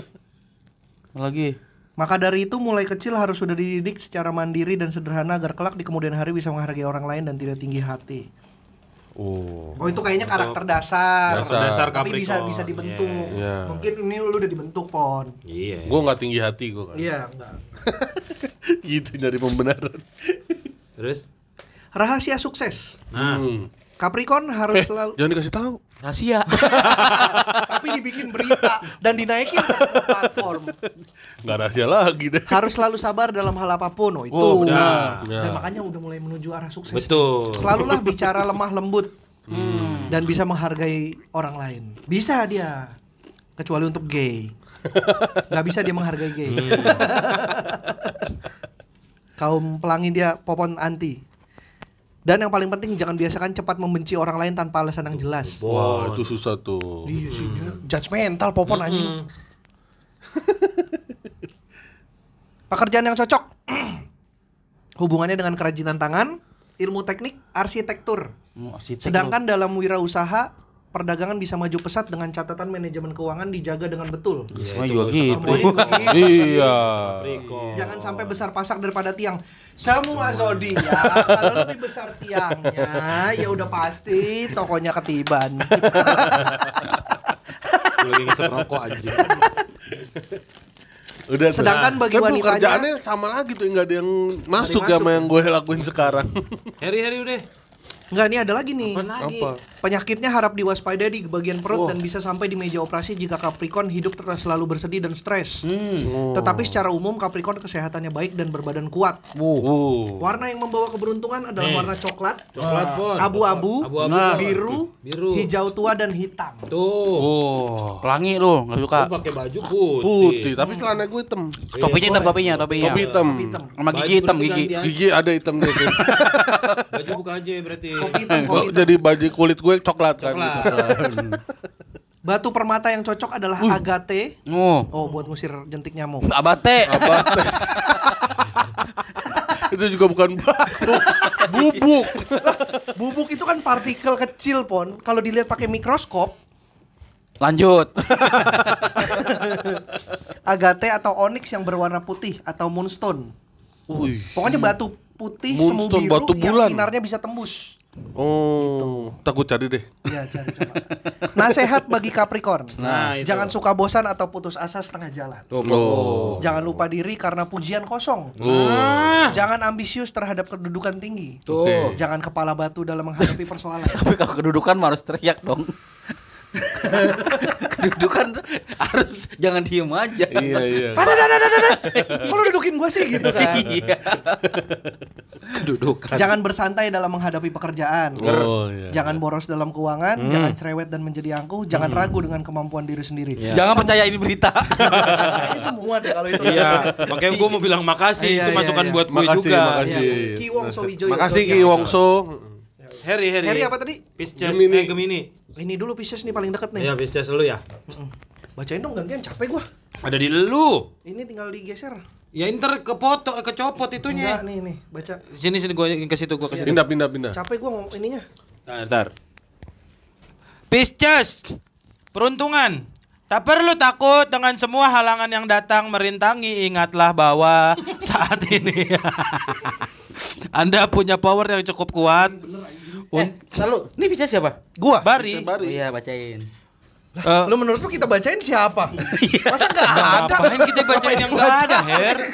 S4: Lagi.
S1: Maka dari itu mulai kecil harus sudah dididik secara mandiri dan sederhana agar kelak di kemudian hari bisa menghargai orang lain dan tidak tinggi hati.
S2: Oh.
S1: Oh itu kayaknya karakter dasar.
S2: Dasar. Dasar
S1: Tapi bisa
S7: Capricorn.
S1: bisa dibentuk.
S2: Iya.
S1: Mungkin ini lu udah dibentuk, Pon.
S7: Iya.
S2: Gue nggak tinggi hati gue kan.
S1: Iya, enggak.
S2: *laughs* gitu dari pembenaran.
S7: Terus?
S1: Rahasia sukses.
S7: Nah,
S2: Hmm.
S1: Capricorn harus
S2: Eh,
S1: selalu *laughs*
S2: jangan dikasih tahu.
S4: Rahasia.
S1: tapi dibikin berita dan dinaikin ke platform.
S2: Nggak rahasia lagi deh.
S1: harus selalu sabar dalam hal apapun oh itu Nah,
S4: Oh,
S7: benar.
S1: dan
S2: Benar.
S1: makanya udah mulai menuju arah sukses
S7: betul. Hmm.
S1: selalulah bicara lemah lembut dan bisa menghargai orang lain bisa dia kecuali untuk gay nggak bisa dia menghargai gay
S7: Hmm.
S1: kaum pelangi dia popon anti dan yang paling penting jangan biasakan cepat membenci orang lain tanpa alasan yang jelas
S2: Wah itu susah tuh.
S1: iya sih dia judgmental popon anjing
S7: Hmm.
S1: Pekerjaan yang cocok. *clears throat* Hubungannya dengan kerajinan tangan, ilmu teknik, arsitektur. Sedangkan dalam wirausaha, perdagangan bisa maju pesat dengan catatan manajemen keuangan dijaga dengan betul.
S3: Iya,
S7: Ya,
S4: Semua
S7: itu
S4: juga
S7: gua
S4: gitu.
S7: sama
S1: Semuanya juga
S7: Capricorn.
S1: gitu.
S2: Iya.
S7: Capricorn.
S1: Jangan sampai besar pasak daripada tiang. Semua zodiak kalau lebih besar tiangnya, ya udah pasti tokonya ketiban.
S7: Gua lagi ngisep rokok anjing.
S2: Udah tuh.
S1: Sedangkan bagi
S2: Kan
S1: wanitanya-
S2: pekerjaannya sama lagi tuh nggak ada yang masuk
S1: yang
S2: sama
S1: masuk.
S2: yang gue lakuin sekarang.
S7: Heri-heri udah.
S1: Enggak, ini ada lagi nih.
S7: lagi?
S1: Penyakitnya harap diwaspadai di bagian perut dan bisa sampai di meja operasi jika Capricorn hidup ter- selalu bersedih dan stres.
S7: Hmm.
S1: Tetapi secara umum Capricorn kesehatannya baik dan berbadan kuat.
S2: Wow.
S1: Warna yang membawa keberuntungan adalah warna coklat,
S7: Coklat pon.
S1: abu-abu,
S7: Abu-abu.
S4: Nah.
S1: biru,
S7: Biru.
S1: hijau tua dan hitam.
S7: Tuh.
S2: Oh.
S4: Pelangi lu, enggak suka.
S3: Iya,
S7: Gua pakai baju putih.
S2: Putih, tapi celana gue hitam.
S4: Topinya hitam, topinya, topinya.
S2: Topi hitam.
S1: Hitam.
S4: Sama
S7: Baju
S4: gigi Iya. hitam,
S7: berarti
S4: gigi.
S3: Iya.
S7: ganti aja.
S2: Gigi ada hitam deh. Tin.
S7: Baju buka aja berarti.
S1: Kopi hitam, kopi
S2: Kok
S1: hitam.
S2: Oh, jadi baju kulit gue coklat kan
S7: Coklat.
S2: gitu.
S1: Batu permata yang cocok adalah agate.
S4: Oh,
S1: Oh, buat ngusir jentik nyamuk.
S4: abate.
S2: Itu juga bukan batu. Bubuk.
S1: Bubuk itu kan partikel kecil, Pon. Kalau dilihat pakai mikroskop,
S4: *laughs* Lanjut. *laughs*
S1: Agate atau onyx yang berwarna putih atau moonstone.
S2: Wih.
S1: Pokoknya batu putih semu
S2: Moonstone,
S1: biru
S2: batu bulan.
S1: yang sinarnya bisa tembus.
S2: Oh, tak gue cari deh.
S1: Ya, cari coba. Nasehat bagi Capricorn.
S3: Nah, itu.
S1: jangan suka bosan atau putus asa setengah jalan.
S3: Tuh,
S2: Oh.
S1: Jangan lupa diri karena pujian kosong.
S3: Ah.
S1: Jangan ambisius terhadap kedudukan tinggi.
S8: Tuh.
S2: Oke.
S1: Jangan kepala batu dalam menghadapi persoalan.
S4: Tapi kalau kedudukan mah harus teriak dong. *laughs* kedudukan harus jangan diem aja. *laughs*
S2: Iya iya.
S1: Ada, ada, ada, ada, ada. Kalau dudukin gua sih gitu kan.
S4: *laughs* Iya.
S3: Kedudukan.
S1: Jangan bersantai dalam menghadapi pekerjaan.
S2: Oh iya.
S1: Jangan boros dalam keuangan,
S3: Hmm.
S1: jangan cerewet dan menjadi angkuh, jangan ragu dengan kemampuan diri sendiri.
S4: Jangan percaya ini berita.
S1: *laughs* Kayaknya semua deh kalau itu.
S3: Iya, makanya gue mau bilang makasih
S1: Iya,
S3: itu
S1: iya,
S3: masukan
S1: iya.
S3: buat gue
S2: Makasih,
S3: juga.
S2: makasih.
S1: Iya. Ki Wongso Wijoyo.
S2: Makasih Ki
S1: Yang-
S2: Wongso.
S3: Harry, Harry.
S1: Harry apa tadi?
S3: Pisces,
S2: Gemini.
S3: Gemini. Eh, Gemini.
S1: Ini dulu Pisces nih paling deket nih.
S3: Iya, Pisces lu ya.
S1: Bacain dong gantian capek gua.
S3: Ada di lu.
S1: Ini tinggal digeser.
S3: Ya inter kepoto, eh, kecopot itunya.
S1: Enggak nih nih baca.
S3: Sini sini gua ke situ gua ke situ.
S2: Pindah pindah pindah.
S1: Capek gua ngomong ininya.
S3: Ntar, ntar. Pisces, peruntungan. Tak perlu takut dengan semua halangan yang datang merintangi. Ingatlah bahwa *laughs* saat ini *laughs* Anda punya power yang cukup kuat.
S4: Eh,
S3: Un-
S4: lalu, ini bisa siapa?
S1: Gua.
S3: Bari,
S4: Oh iya, bacain.
S3: eh,
S1: Lu menurut lu kita bacain siapa?
S3: *laughs*
S1: Masa enggak ada?
S3: Iya. ngapain kita bacain yang gak ada, Her? Kan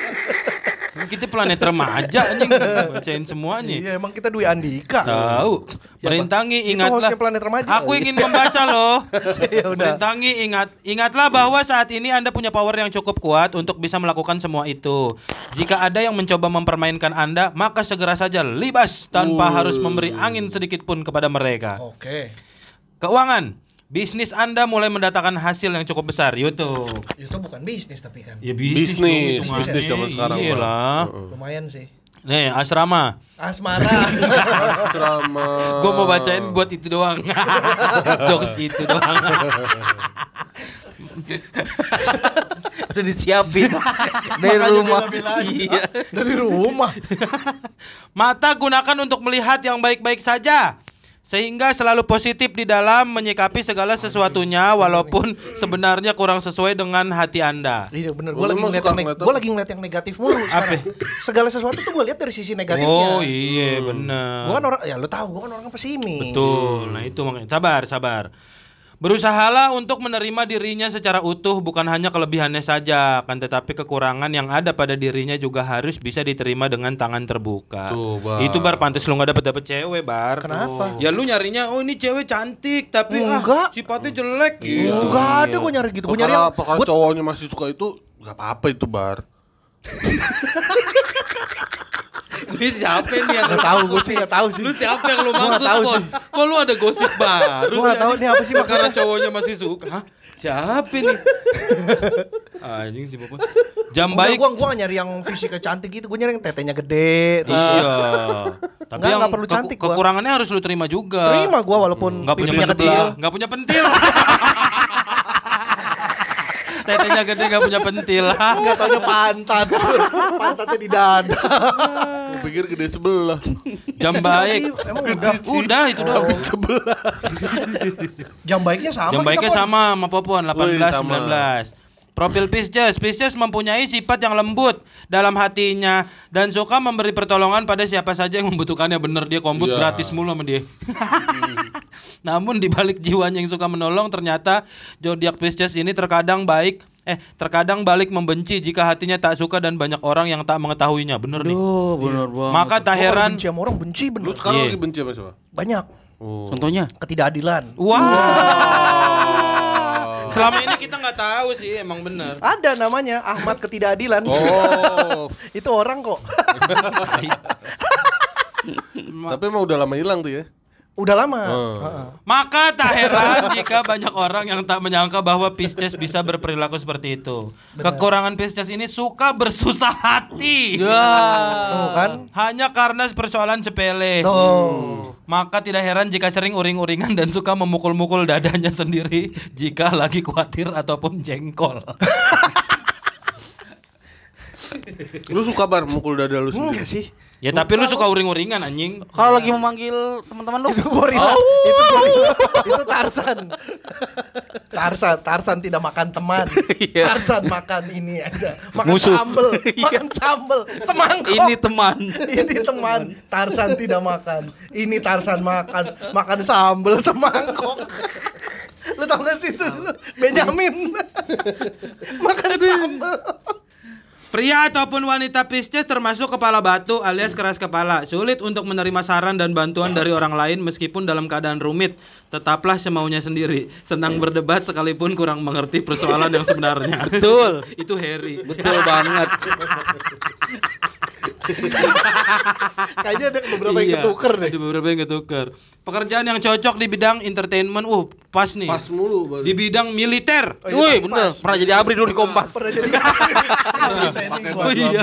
S3: Kita planet remaja anjing bacain semuanya.
S1: Iya, emang kita Dwi Andika.
S3: Tahu. Merintangi
S1: Itu hostnya
S3: ingatlah.
S1: Planet Remaja. Iya.
S3: Aku ingin membaca loh.
S1: *laughs* Ya udah.
S3: Merintangi ingat ingatlah bahwa saat ini Anda punya power yang cukup kuat untuk bisa melakukan semua itu. Jika ada yang mencoba mempermainkan Anda, maka segera saja libas tanpa harus memberi angin sedikit pun kepada mereka.
S8: Oke.
S3: Keuangan, bisnis Anda mulai mendatangkan hasil yang cukup besar. YouTube.
S8: Itu bukan bisnis tapi kan.
S3: Iya.
S7: Ya
S2: Bisnis,
S7: dong,
S2: bisnis
S7: hitungannya.
S2: zaman sekarang. Bang.
S3: Iyalah.
S2: Heeh.
S8: Lumayan sih.
S3: Iya Nih, asrama.
S8: Asmara.
S2: Asrama.
S3: Gue mau bacain buat itu doang. Jokes itu doang.
S4: Udah *laughs* disiapin dari rumah. Iya.
S1: *laughs* Dari rumah.
S3: Mata gunakan untuk melihat yang baik-baik saja. Sehingga selalu positif di dalam menyikapi segala sesuatunya walaupun sebenarnya kurang sesuai dengan hati Anda.
S1: Iya bener,
S2: Lu
S1: gue lagi
S2: emang
S1: ngeliat
S2: suka
S1: yang neg-
S2: ngeliat
S1: gua
S2: apa?
S1: lagi ngeliat yang negatif mulu sekarang. Segala sesuatu tuh gue lihat dari sisi negatifnya.
S3: Oh iya benar.
S1: Gue kan orang, ya lu tahu gue kan orang pesimis.
S3: Betul. Nah, itu makanya sabar, sabar. Berusahalah untuk menerima dirinya secara utuh bukan hanya kelebihannya saja, kan tetapi kekurangan yang ada pada dirinya juga harus bisa diterima dengan tangan terbuka.
S2: Tuh, Bar.
S3: Itu bar pantas lu nggak dapet dapet cewek, bar.
S1: Kenapa?
S3: Ya lu nyarinya oh ini cewek cantik tapi
S1: Enggak.
S3: ah sifatnya jelek gitu.
S1: Enggak Iya.
S2: Iya.
S1: ada gue nyari gitu. Gue nyari
S2: Perkara,
S1: yang
S2: perkara
S1: gua-
S2: cowoknya masih suka itu gak apa-apa itu bar.
S3: Ini siapa nih yang
S1: Nggak tahu, gua sih nggak tahu sih.
S3: Lu siapa yang lu
S1: Gua nggak
S3: maksud?
S1: tahu
S3: Kon?
S1: sih.
S3: Kok lu ada gosip baru?
S1: Gua nggak tahu nih apa sih
S3: Karena
S1: maksudnya.
S3: cowoknya masih suka. Hah? Siapa *laughs* nih? Ah, Anjing sih bapak. Jam
S1: Enggak,
S3: baik.
S1: gue gue nyari yang fisiknya cantik gitu. Gue nyari yang tetenya gede.
S3: Iya. Tapi
S1: Nggak,
S3: yang
S1: nggak perlu
S3: keku-
S1: cantik gua.
S3: kekurangannya harus lu terima juga.
S1: Terima gue walaupun
S3: Enggak punya
S1: pipinya
S3: pentil, enggak punya
S1: *laughs*
S3: pentil. Tetenya gede enggak punya pentil.
S1: Enggak taunya pantat. Pantatnya di dada.
S2: Gua pikir gede sebelah.
S3: Jam baik.
S1: Emang udah.
S3: Udah itu doang.
S2: Habis sebelah.
S1: Jam baiknya sama.
S3: Jam
S1: kita,
S3: baiknya
S1: Pon.
S3: sama sama Popon 18
S2: Wih, sama.
S3: 19. Profil Pisces, Pisces mempunyai sifat yang lembut dalam hatinya dan suka memberi pertolongan pada siapa saja yang membutuhkannya. Bener dia kombut
S2: Iya.
S3: gratis mulu sama dia. *laughs* Namun dibalik jiwanya yang suka menolong ternyata zodiak Pisces ini terkadang baik eh terkadang balik membenci jika hatinya tak suka dan banyak orang yang tak mengetahuinya. Bener nih.
S4: Duh, Oh, bener banget.
S3: Maka
S1: Gua
S3: tak
S1: kalau
S3: heran
S1: Benci sama orang benci bener.
S2: Lu sekarang
S3: Iya.
S2: lagi benci sama siapa?
S1: Banyak
S2: Oh.
S4: Contohnya?
S1: ketidakadilan.
S3: Wah. Selama ini kita nggak tahu sih emang bener.
S1: Ada namanya Ahmad ketidakadilan.
S2: Oh.
S1: *laughs* Itu orang kok. *laughs*
S2: Tapi emang udah lama hilang tuh ya.
S1: Udah lama.
S2: Oh.
S1: Heeh.
S3: Maka tak heran jika banyak orang yang tak menyangka bahwa Pisces bisa berperilaku seperti itu. Kekurangan Pisces ini suka bersusah hati.
S4: Ya.
S1: Tuh kan.
S3: Hanya karena persoalan sepele.
S1: Tuh.
S3: Maka tidak heran jika sering uring-uringan dan suka memukul-mukul dadanya sendiri jika lagi khawatir ataupun jengkol.
S2: Lu suka bar mukul dada lu sendiri.
S1: Enggak sih.
S3: Ya tapi lu suka uring-uringan anjing.
S4: Kalau lagi memanggil teman-teman lu. *laughs*
S1: Itu gorila. Itu gorila. Itu Tarsan. Tarsan, Tarsan tidak makan teman. Tarsan makan ini aja. Makan
S3: Musuh.
S1: sambel, makan sambel, semangkok.
S4: Ini teman.
S1: *laughs* ini teman. Tarsan tidak makan. Ini Tarsan makan, makan sambel semangkok. Lu tau gak sih itu lu? Benjamin *laughs* Makan sambel
S3: Pria ataupun wanita Pisces termasuk kepala batu alias keras kepala. Sulit untuk menerima saran dan bantuan dari orang lain meskipun dalam keadaan rumit. Tetaplah semaunya sendiri. Senang berdebat sekalipun kurang mengerti persoalan
S1: *laughs*
S3: yang sebenarnya. Betul. Itu Harry.
S4: Betul banget.
S1: Kayaknya ada beberapa yang
S3: Iya,
S1: ketuker deh
S3: Ada beberapa yang ketuker. Pekerjaan yang cocok di bidang entertainment. Uh, pas nih.
S2: Pas mulu. Bar.
S1: Iya.
S3: Di bidang militer.
S1: Oh, iya,
S4: Wih,
S1: pas.
S4: bener. Pernah jadi abri dulu di *laughs* Kompas.
S1: Pernah *laughs* jadi
S2: pakai batu
S1: Iya.
S2: abri, ya.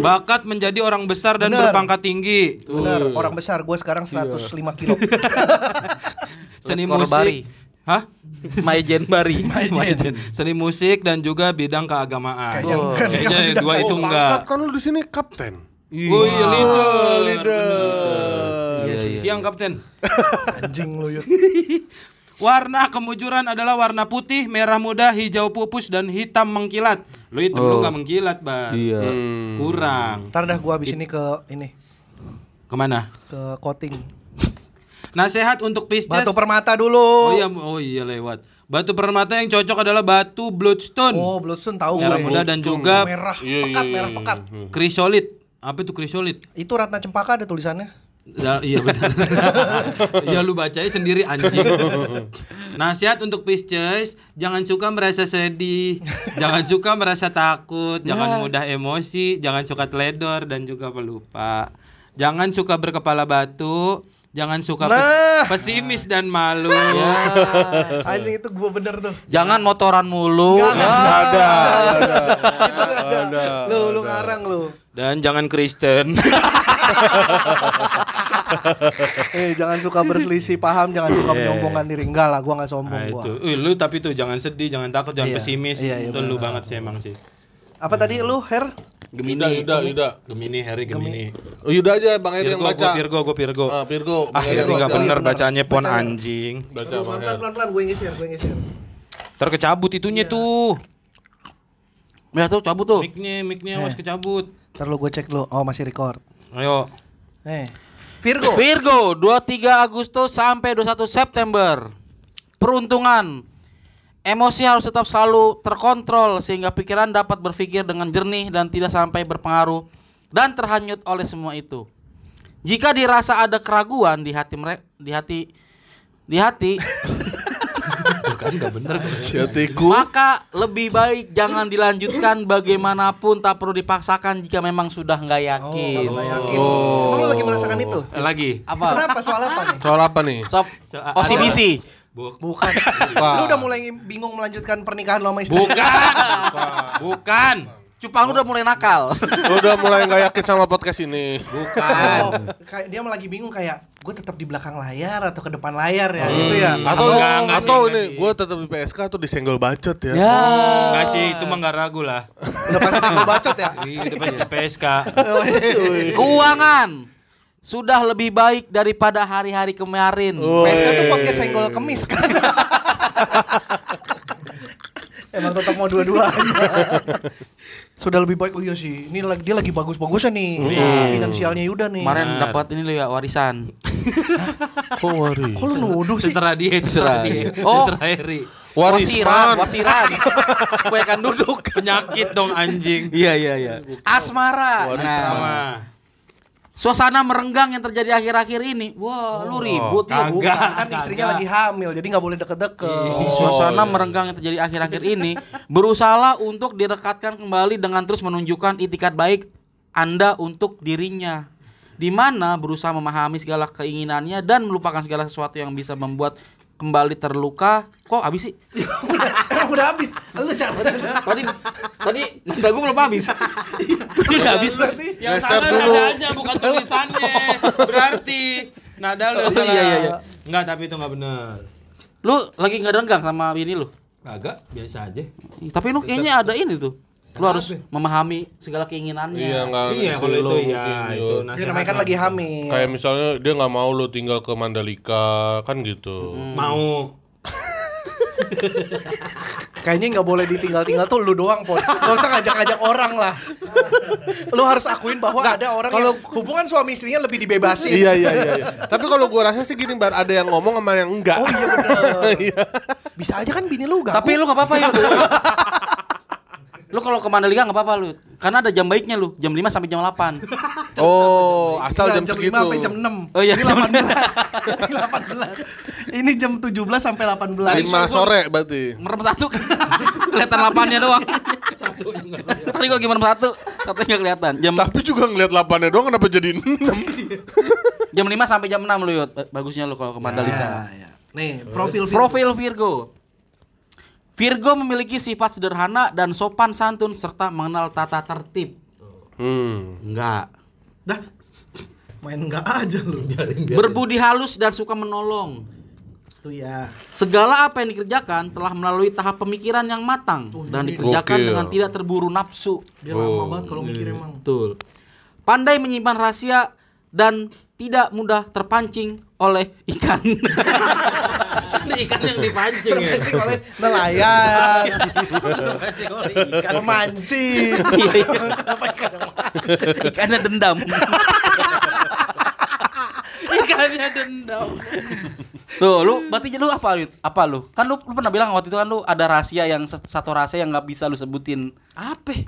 S3: Bakat menjadi orang besar dan
S1: Bener.
S3: berpangkat tinggi.
S1: Bener, orang besar gue sekarang 105 kilo
S3: Seni
S4: Lekor
S3: musik.
S4: Bari.
S3: Hah?
S4: Majen Bari. Majen.
S3: Seni musik dan juga bidang keagamaan.
S1: Kayaknya
S3: Oh.
S1: enggak deh,
S3: Kayaknya
S1: kalau bidang
S3: dua itu
S2: Oh,
S3: enggak.
S2: pangkat kan lu di sini kapten.
S3: Oh iya, leader.
S1: leader
S3: Iya, iya. Siang kapten.
S1: Anjing lu yuk
S3: Warna kemujuran adalah warna putih, merah muda, hijau pupus dan hitam mengkilat. Lu hitam lu
S4: Oh.
S3: nggak mengkilat, Bang.
S4: Iya.
S2: Hmm.
S3: Kurang.
S1: Ntar dah gue abis ini ke ini
S3: Kemana?
S1: Ke coating
S3: Nasehat untuk Pisces.
S1: Batu permata dulu
S3: Oh iya, oh iya lewat. Batu permata yang cocok adalah batu bloodstone.
S1: Oh Bloodstone tahu
S3: merah
S1: gue
S3: muda dan juga
S1: Merah
S2: Iya, iya,
S1: pekat,
S2: iya,
S1: merah
S2: iya.
S1: pekat
S3: krisolit. Apa itu krisolit?
S1: Itu Ratna Cempaka ada tulisannya
S3: Da-
S1: *laughs*
S3: iya benar. ya lu bacanya sendiri anjing. Nasihat untuk Pisces, jangan suka merasa sedih, jangan suka merasa takut,
S1: Iya.
S3: jangan mudah emosi, jangan suka teledor dan juga pelupa. Jangan suka berkepala batu, jangan suka pes-
S1: Nah.
S3: pesimis dan malu.
S1: Anjing itu gue bener tuh
S4: Jangan motoran mulu.
S1: Nggak, nggak.
S4: Ah.
S2: Ada, ada,
S1: Itu nggak ada.
S2: ada.
S1: Lu, lu ngarang lu
S3: Dan jangan Kristen.
S1: *laughs* Eh jangan suka berselisih paham Jangan suka menyombongkan diri Enggak lah gue gak sombong
S3: Nah,
S1: gua.
S3: itu. Uy, lu tapi tuh jangan sedih, jangan takut, jangan
S1: Iya.
S3: pesimis.
S1: Iya, iya,
S3: itu lu banget sih emang sih.
S1: Apa tadi lu Her?
S2: Yuda, Yuda, Yuda.
S3: Gemini Harry Gemini.
S2: Oh, Yuda aja Bang Eri yang
S3: Virgo, gua
S2: baca.
S3: Virgo, gua Virgo.
S2: Ah, Virgo. Bang
S3: Ah,
S2: Eri
S3: Harry nggak
S2: baca.
S3: bener
S1: Bener.
S3: bacanya pon
S1: Bacanya.
S3: anjing.
S2: Baca Bang
S1: Pelan-pelan,
S2: Eri.
S1: pelan-pelan gue ngeser, gue ngeser
S3: Ntar kecabut itunya tuh.
S4: Ya tuh cabut tuh.
S3: Mic-nya, mic-nya awas kecabut.
S1: Ntar lu gue cek dulu, oh masih record
S3: Ayo.
S1: Eh Virgo
S4: Virgo 23 Agustus sampai 21 September. Peruntungan. Emosi harus tetap selalu terkontrol sehingga pikiran dapat berpikir dengan jernih dan tidak sampai berpengaruh dan terhanyut oleh semua itu. Jika dirasa ada keraguan di hati mereka di hati di
S1: *laughs*
S4: hati
S2: Ya, Siatiku.
S4: maka lebih baik jangan dilanjutkan bagaimanapun tak perlu dipaksakan jika memang sudah nggak yakin.
S1: Oh, nggak ya. yakin. Emang lu lagi merasakan itu?
S3: Eh, lagi.
S4: Apa?
S1: Kenapa soal apa nih?
S2: Soal apa nih?
S4: Sob, OCBC.
S1: Bukan. Lu
S2: Wah.
S1: udah mulai bingung melanjutkan pernikahan lo sama istri.
S3: Bukan. *laughs* Bukan.
S4: Cupang udah mulai
S1: *laughs*
S4: nakal.
S2: Udah mulai nggak yakin sama podcast ini.
S3: Bukan.
S1: Oh, kayak dia lagi bingung kayak gue tetap di belakang layar atau ke depan layar ya gitu ya.
S2: Atau
S3: Enggak, enggak
S2: atau
S3: Hmm. sih,
S2: ini
S3: enggak sih.
S2: gue tetap di PSK atau disenggol bacot ya.
S3: Enggak sih, itu mah enggak ragu lah.
S1: Udah pasti sama bacot ya.
S3: Itu pasti PSK.
S4: Keuangan sudah lebih baik daripada hari-hari kemarin.
S2: Woi.
S1: PSK tuh podcast senggol kemis kan. *laughs* Emang tetap mau dua-duanya. *laughs* Sudah lebih baik. Oh iya sih. Ini lagi- dia lagi bagus-bagusnya nih. Finansialnya Yuda nih. Nah.
S4: Kemarin dapat ini loh ya warisan.
S2: Kok wari?
S1: Kok lu nuduh sih?
S3: Terserah dia, terserah dia.
S4: Oh.
S3: Terserah Harry.
S4: Wasiran, wasiran. Gue kan duduk.
S3: Penyakit dong anjing.
S4: Iya iya iya. Asmara. Nah,
S3: Sama.
S4: suasana merenggang yang terjadi akhir-akhir ini. Wah, lu ribut lu.
S3: kagak.
S1: Kan istrinya lagi hamil jadi nggak boleh
S4: Iya.
S1: deket-deket.
S4: Suasana merenggang yang terjadi akhir-akhir ini berusaha untuk direkatkan kembali dengan terus menunjukkan itikat baik Anda untuk dirinya. Di mana berusaha memahami segala keinginannya dan melupakan segala sesuatu yang bisa membuat kembali terluka. Kok habis sih?
S1: udah, emang *laughs* udah habis. Lu jangan.
S4: Tadi tadi manda gue belum habis. Ini udah habis.
S3: Yang
S2: Geser
S3: salah
S2: dulu.
S3: nadanya bukan tulisannya. Berarti nada lu yang
S4: Oh,
S3: salah.
S4: iya, iya, iya.
S3: Enggak, tapi itu enggak benar.
S4: Lu lagi nggak renggang sama bini lu?
S7: Kagak, biasa aja.
S4: Tapi lu kayaknya ada ini tuh. Lu harus memahami segala keinginannya.
S2: Iya nggak
S3: Iya,
S2: ngasih lu
S3: kalau itu ya
S2: mungkin,
S3: itu
S2: iya.
S1: Dia
S3: nasihat.
S1: namanya kan
S3: lah.
S1: lagi hamil.
S2: Kayak misalnya dia nggak mau lu tinggal ke Mandalika kan gitu.
S3: mau.
S1: Kayaknya nggak boleh ditinggal-tinggal tuh lu doang, Pon. Gak usah ngajak-ngajak orang lah. lu harus akuin bahwa ada orang yang hubungan suami istrinya lebih dibebasin.
S2: Iya iya iya. iya. Tapi kalau gua rasa sih gini bar ada yang ngomong sama yang enggak.
S1: Oh iya
S2: *laughs*
S1: bener. Bisa aja kan bini lu gak.
S4: Tapi lu nggak apa-apa ya. lu kalau ke Mandalika nggak apa-apa lu. Karena ada jam baiknya lu, jam 5 sampai jam 8.
S2: Oh, asal jam,
S1: jam 5
S2: segitu.
S1: sampai jam *laughs* 6.
S4: Oh iya.
S1: Ini 18. Ini 18. Ini jam 17 sampai 18.
S2: Lima sore berarti.
S4: Merem satu kelihatan 8-nya doang. Tadi gua lagi merem satu, satu nggak kelihatan. Jam
S2: Tapi juga ngeliat lapannya doang kenapa jadi *laughs* 6?
S4: jam 5 sampai jam 6 lu, Yud. Ba- Bagusnya lu kalau ke Mandalika.
S1: Nih, profil
S4: Profil Virgo. Virgo memiliki sifat sederhana dan sopan santun serta mengenal tata tertib.
S2: Hmm.
S4: Enggak.
S1: Dah. Main enggak aja lu.
S4: Berbudi halus dan suka menolong.
S1: Tuh ya.
S4: Segala apa yang dikerjakan telah melalui tahap pemikiran yang matang dan dikerjakan
S2: Gokil.
S4: dengan tidak terburu nafsu.
S1: Dia
S2: Oh.
S1: lama banget kalau
S4: iya.
S1: mikir emang.
S4: Betul. Pandai menyimpan rahasia dan tidak mudah terpancing oleh ikan.
S3: Ini ikan yang dipancing ya.
S1: Terpenting
S4: *laughs*
S1: oleh
S4: Iya,
S1: nelayan. Pemancing.
S4: Iya, iya. *laughs* Ikannya dendam.
S1: Ikannya dendam.
S4: Tuh, lu berarti lu apa Yud? Apa lu? Kan lu, lu pernah bilang waktu itu kan lu ada rahasia yang se- satu rahasia yang nggak bisa lu sebutin.
S3: Apa?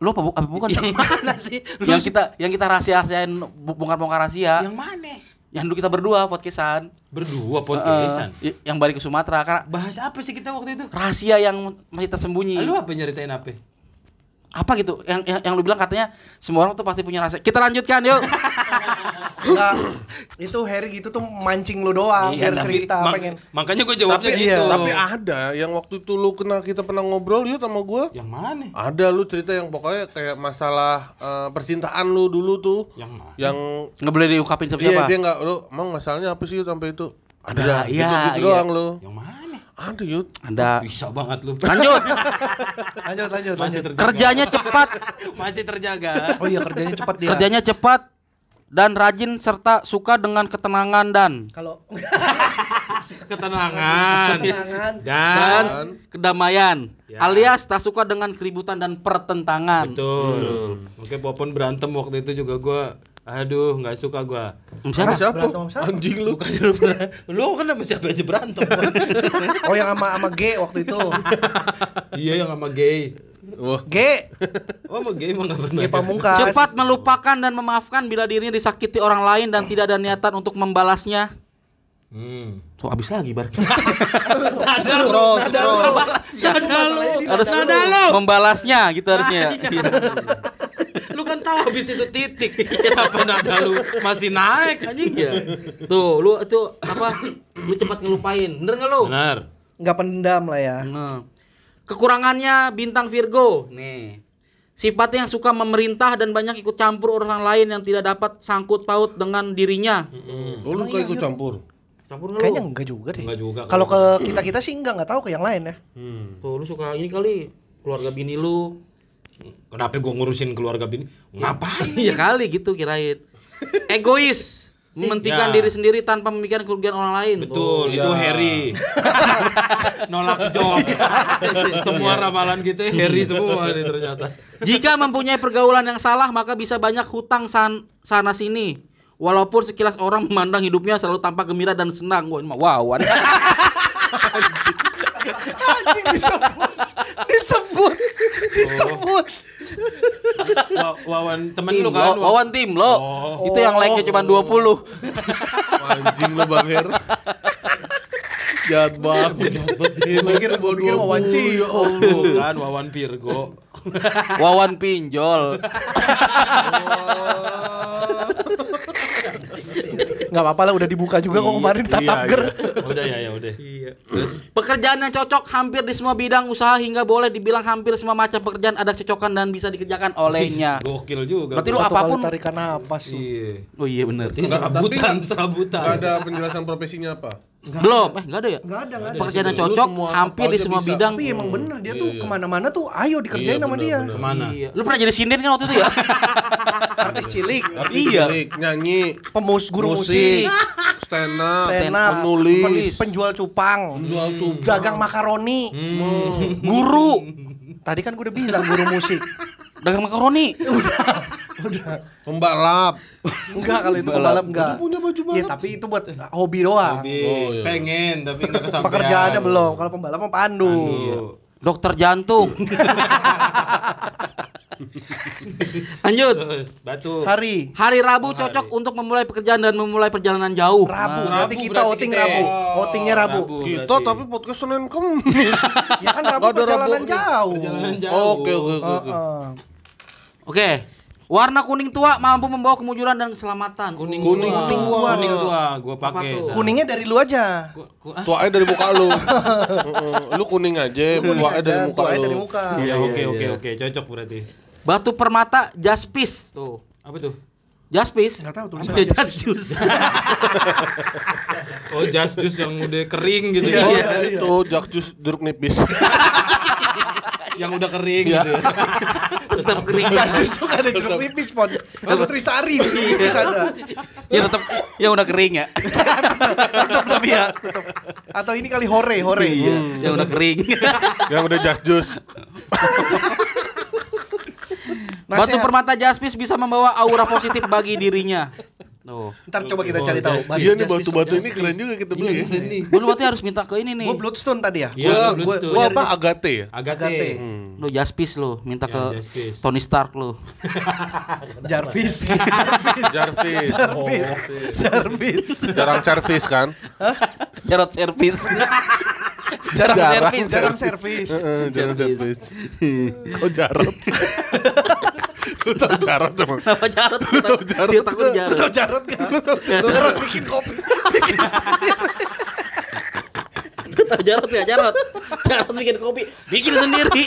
S4: Lu apa, bu- apa bukan?
S3: Yang mana sih? Lu
S4: *laughs* yang kita yang kita rahasia-rahasiain bu- bongkar-bongkar rahasia.
S3: yang mana?
S4: Yang dulu kita berdua podcastan.
S3: Berdua podcastan.
S4: Eh, y- yang balik ke Sumatera karena
S3: Bahas apa sih kita waktu itu?
S4: rahasia yang masih tersembunyi.
S3: Lu apa nyeritain apa?
S4: Apa gitu? Yang, yang yang lu bilang katanya semua orang tuh pasti punya rahasia. Kita lanjutkan yuk.
S1: Enggak. Itu Harry gitu tuh mancing lu doang biar cerita
S3: mak-
S1: pengen.
S3: Makanya gue jawabnya
S1: Tapi-
S3: gitu.
S1: iya.
S2: Tapi ada yang waktu itu lu kena kita pernah ngobrol yuk sama gua.
S3: yang mana?
S2: Ada lu cerita yang pokoknya kayak masalah eh, percintaan lu dulu tuh.
S3: Yang mana?
S2: Yang
S4: Nggak boleh diungkapin
S2: iya
S4: siapa-siapa.
S2: dia nggak lu emang masalahnya apa sih Yud, sampai itu?
S4: Ada,
S2: lah,
S4: iya,
S2: gitu-gitu
S4: iya.
S2: gitu doang lu.
S3: Yang mana?
S2: Ada yud.
S4: Anda
S3: Bisa banget lu.
S4: lanjut.
S1: Lanjut lanjut
S3: Masih
S1: lanjut.
S3: terjaga.
S4: Kerjanya cepat,
S3: Masih terjaga.
S1: Oh iya kerjanya cepat dia.
S4: kerjanya cepat dan rajin serta suka dengan ketenangan dan
S1: kalau
S3: Ketenangan.
S1: Ketenangan.
S3: Dan
S4: dan kedamaian
S3: Ya.
S4: alias tak suka dengan keributan dan pertentangan.
S3: betul. Oke, Popon berantem waktu itu juga gua aduh nggak suka gua.
S4: Hmm, Siapa?
S2: Siapa?
S1: berantem sama siapa?
S2: Anjing lu.
S3: Lu ber- Lu kan sama siapa aja berantem. Pon?
S1: Oh yang sama sama G waktu itu.
S3: iya yang sama gay.
S1: G,
S3: Oh, sama gay emang nggak pernah.
S1: G Pamungkas.
S4: Cepat melupakan dan memaafkan bila dirinya disakiti orang lain dan tidak ada niatan untuk membalasnya.
S3: Hmm.
S4: Tuh habis lagi bar.
S2: Scroll, scroll.
S4: Harus membalasnya gitu
S3: *laughs*
S4: harusnya.
S3: Iya. Lu kan tahu habis itu titik. Kenapa nada lu masih naik anjing?
S4: Iya. Tuh, lu itu apa? Lu cepat ngelupain. Bener nggak lu?
S3: Benar.
S1: Enggak pendam lah ya.
S4: Nah. Kekurangannya bintang Virgo. Nih. Sifatnya yang suka memerintah dan banyak ikut campur orang lain yang tidak dapat sangkut paut dengan dirinya.
S2: Oh, lu kayak ikut campur.
S4: Campur nggak lu?
S1: Kayaknya enggak juga deh.
S3: Enggak juga.
S1: Kalau ke kita-kita sih enggak, enggak tahu ke yang lain ya.
S4: Tuh, lu suka ini kali keluarga bini lu.
S3: Kenapa gua ngurusin keluarga bini? Ngapain?
S4: *laughs* Iya kali gitu kirain. Egois, mementingkan
S3: Ya.
S4: diri sendiri tanpa memikirkan kerugian orang lain.
S3: Betul, *laughs*
S2: Oh,
S3: itu
S2: iya.
S3: Harry. Nolak job. semua ramalan kita Harry semua nih ternyata.
S4: *laughs* Jika mempunyai pergaulan yang salah, maka bisa banyak hutang san sana sini. Walaupun sekilas orang memandang hidupnya selalu tampak gembira dan senang. Wah, ini mah wawan.
S1: Disebut. Disebut.
S3: Wa- Wawan *laughs* Oh. temen
S4: Tim,
S3: lu kan?
S4: lo, wawan tim lo. Itu yang like-nya cuma 20.
S2: Anjing lu Bang Her. Jahat banget.
S1: Mikir gua mikir mau
S2: Ya
S1: wanci.
S3: Oh, bukan Wawan Virgo.
S4: wawan pinjol.
S1: Enggak apa-apa lah udah dibuka juga kok kemarin tatap
S2: Iya,
S1: ger.
S2: iya.
S3: Udah ya ya udah.
S4: Pekerjaan yang cocok hampir di semua bidang usaha hingga boleh dibilang hampir semua macam pekerjaan ada kecocokan dan bisa dikerjakan olehnya.
S3: Gokil juga.
S4: Berarti lu
S1: Satu
S4: apapun-
S1: kali tarikan napas. lu.
S3: Iya.
S4: Oh iya bener.
S3: Ini serabutan, serabutan.
S2: Gak ada penjelasan profesinya apa?
S1: Nggak
S4: Belum, eh nggak ada ya?
S1: Nggak ada, nggak ada.
S4: Pekerjaan yang
S2: Lu
S4: cocok
S2: semua
S4: hampir
S2: apa
S4: di
S2: aja
S4: semua
S2: bisa.
S4: bidang.
S1: Tapi Iya, emang bener dia tuh
S2: Iya.
S1: kemana-mana tuh ayo dikerjain
S2: Iya,
S1: sama
S2: bener,
S1: dia.
S2: bener.
S3: Kemana?
S4: Iya. Lu pernah jadi sinden kan waktu itu ya?
S1: Artis cilik,
S4: iya.
S2: Klik, nyanyi,
S1: pemus guru musik,
S2: musik, stand up,
S1: stand up,
S2: penulis,
S1: penjual cupang,
S2: penjual cupang.
S1: dagang makaroni,
S4: Guru,
S1: Tadi kan gue udah bilang guru musik.
S4: dagang makaroni.
S2: pembalap.
S1: Enggak kali itu pembalap enggak.
S2: Punya baju
S1: Iya, tapi itu buat hobi doang.
S3: Hobi.
S2: Oh, iya.
S3: Pengen tapi nggak kesampaian.
S1: Ah.
S3: Iya.
S1: Pekerjaannya belum. Kalau pembalap mah pandu.
S4: Dokter jantung. Lanjut.
S3: Terus batu.
S1: Hari
S4: Hari Rabu cocok untuk memulai pekerjaan dan memulai perjalanan jauh.
S1: Rabu.
S3: Rabu
S1: Berarti kita
S3: berarti
S1: outing
S3: kita
S1: Rabu.
S3: ya.
S1: Outingnya Rabu.
S2: Kita tapi podcast Senin Kamis.
S1: Ya kan Rabu
S2: Nggak ada
S1: perjalanan
S2: Rabu.
S1: jauh. Ah,
S3: Perjalanan jauh.
S2: Oke, oke, oke, oke.
S1: Heeh.
S4: Oke. Warna kuning tua mampu membawa kemujuran dan keselamatan.
S3: Kuning
S2: Kuning
S3: tua.
S2: tua.
S3: Kuning tua gua pakai.
S4: tuh?
S1: Kuningnya dari lu aja.
S3: Ku- ku- ah,
S2: Tuanya dari muka lu. Heeh, lu kuning aja, tuanya dari muka
S1: Tuanya
S2: lu.
S1: dari muka.
S3: Iya, oke oke oke, cocok berarti.
S4: Batu permata jaspis tuh.
S3: Apa tuh?
S4: Jaspis.
S1: Nggak tahu tulisannya
S4: tulisannya. Jaspis.
S3: Oh, jas jus yang udah kering gitu
S2: Oh,
S4: Iya.
S3: ya.
S2: itu jak jus jeruk nipis. *laughs*
S3: yang udah kering
S4: Iya.
S3: gitu. ya.
S4: *laughs* tetap kering.
S1: Ya justru kan ada jeruk nipis pon. Ada Trisari di sana.
S4: ya tetap ya udah kering ya.
S1: Tetap tapi ya. tetap. Atau ini kali hore, hore.
S3: Iya. Hmm.
S4: ya udah kering.
S2: Yang udah jas jus.
S4: Batu
S1: Nasihat.
S4: permata jaspis bisa membawa aura positif bagi dirinya. Tuh.
S1: Ntar coba kita
S3: Oh,
S1: cari tahu. Batu
S2: Iya nih
S1: jasmine.
S2: batu-batu ini keren juga kita beli ya.
S4: Gua berarti harus minta ke ini nih.
S1: Gue Bloodstone tadi ya.
S3: Iya,
S2: Gua-
S3: lu
S2: gua-
S3: tuh.
S2: Gua apa agate ya?
S1: Agate.
S3: Agate.
S2: Hmm.
S4: Lo jaspis lo, minta
S3: Ya,
S4: ke
S3: jaspis.
S4: Tony Stark lo.
S1: Hmm. Jarvis.
S2: Jarvis.
S1: Jarvis. *laughs* Jarvis.
S2: *laughs* Jarang servis kan?
S4: Jarot servis.
S1: Jarang
S4: Jarang
S1: servis.
S4: servis.
S1: Jarang servis.
S2: Heeh, jarang servis. *laughs* Kok jarot? *laughs* Lu tau jarot emang?
S4: Kenapa Jarot?
S2: Jarot.
S4: Dia takut
S1: Lo
S4: Jarot.
S1: Jarot nggak?
S2: kan?
S1: Lo harus bikin kopi.
S4: Tahu Jarot ya Jarot. Jarot bikin kopi, bikin sendiri.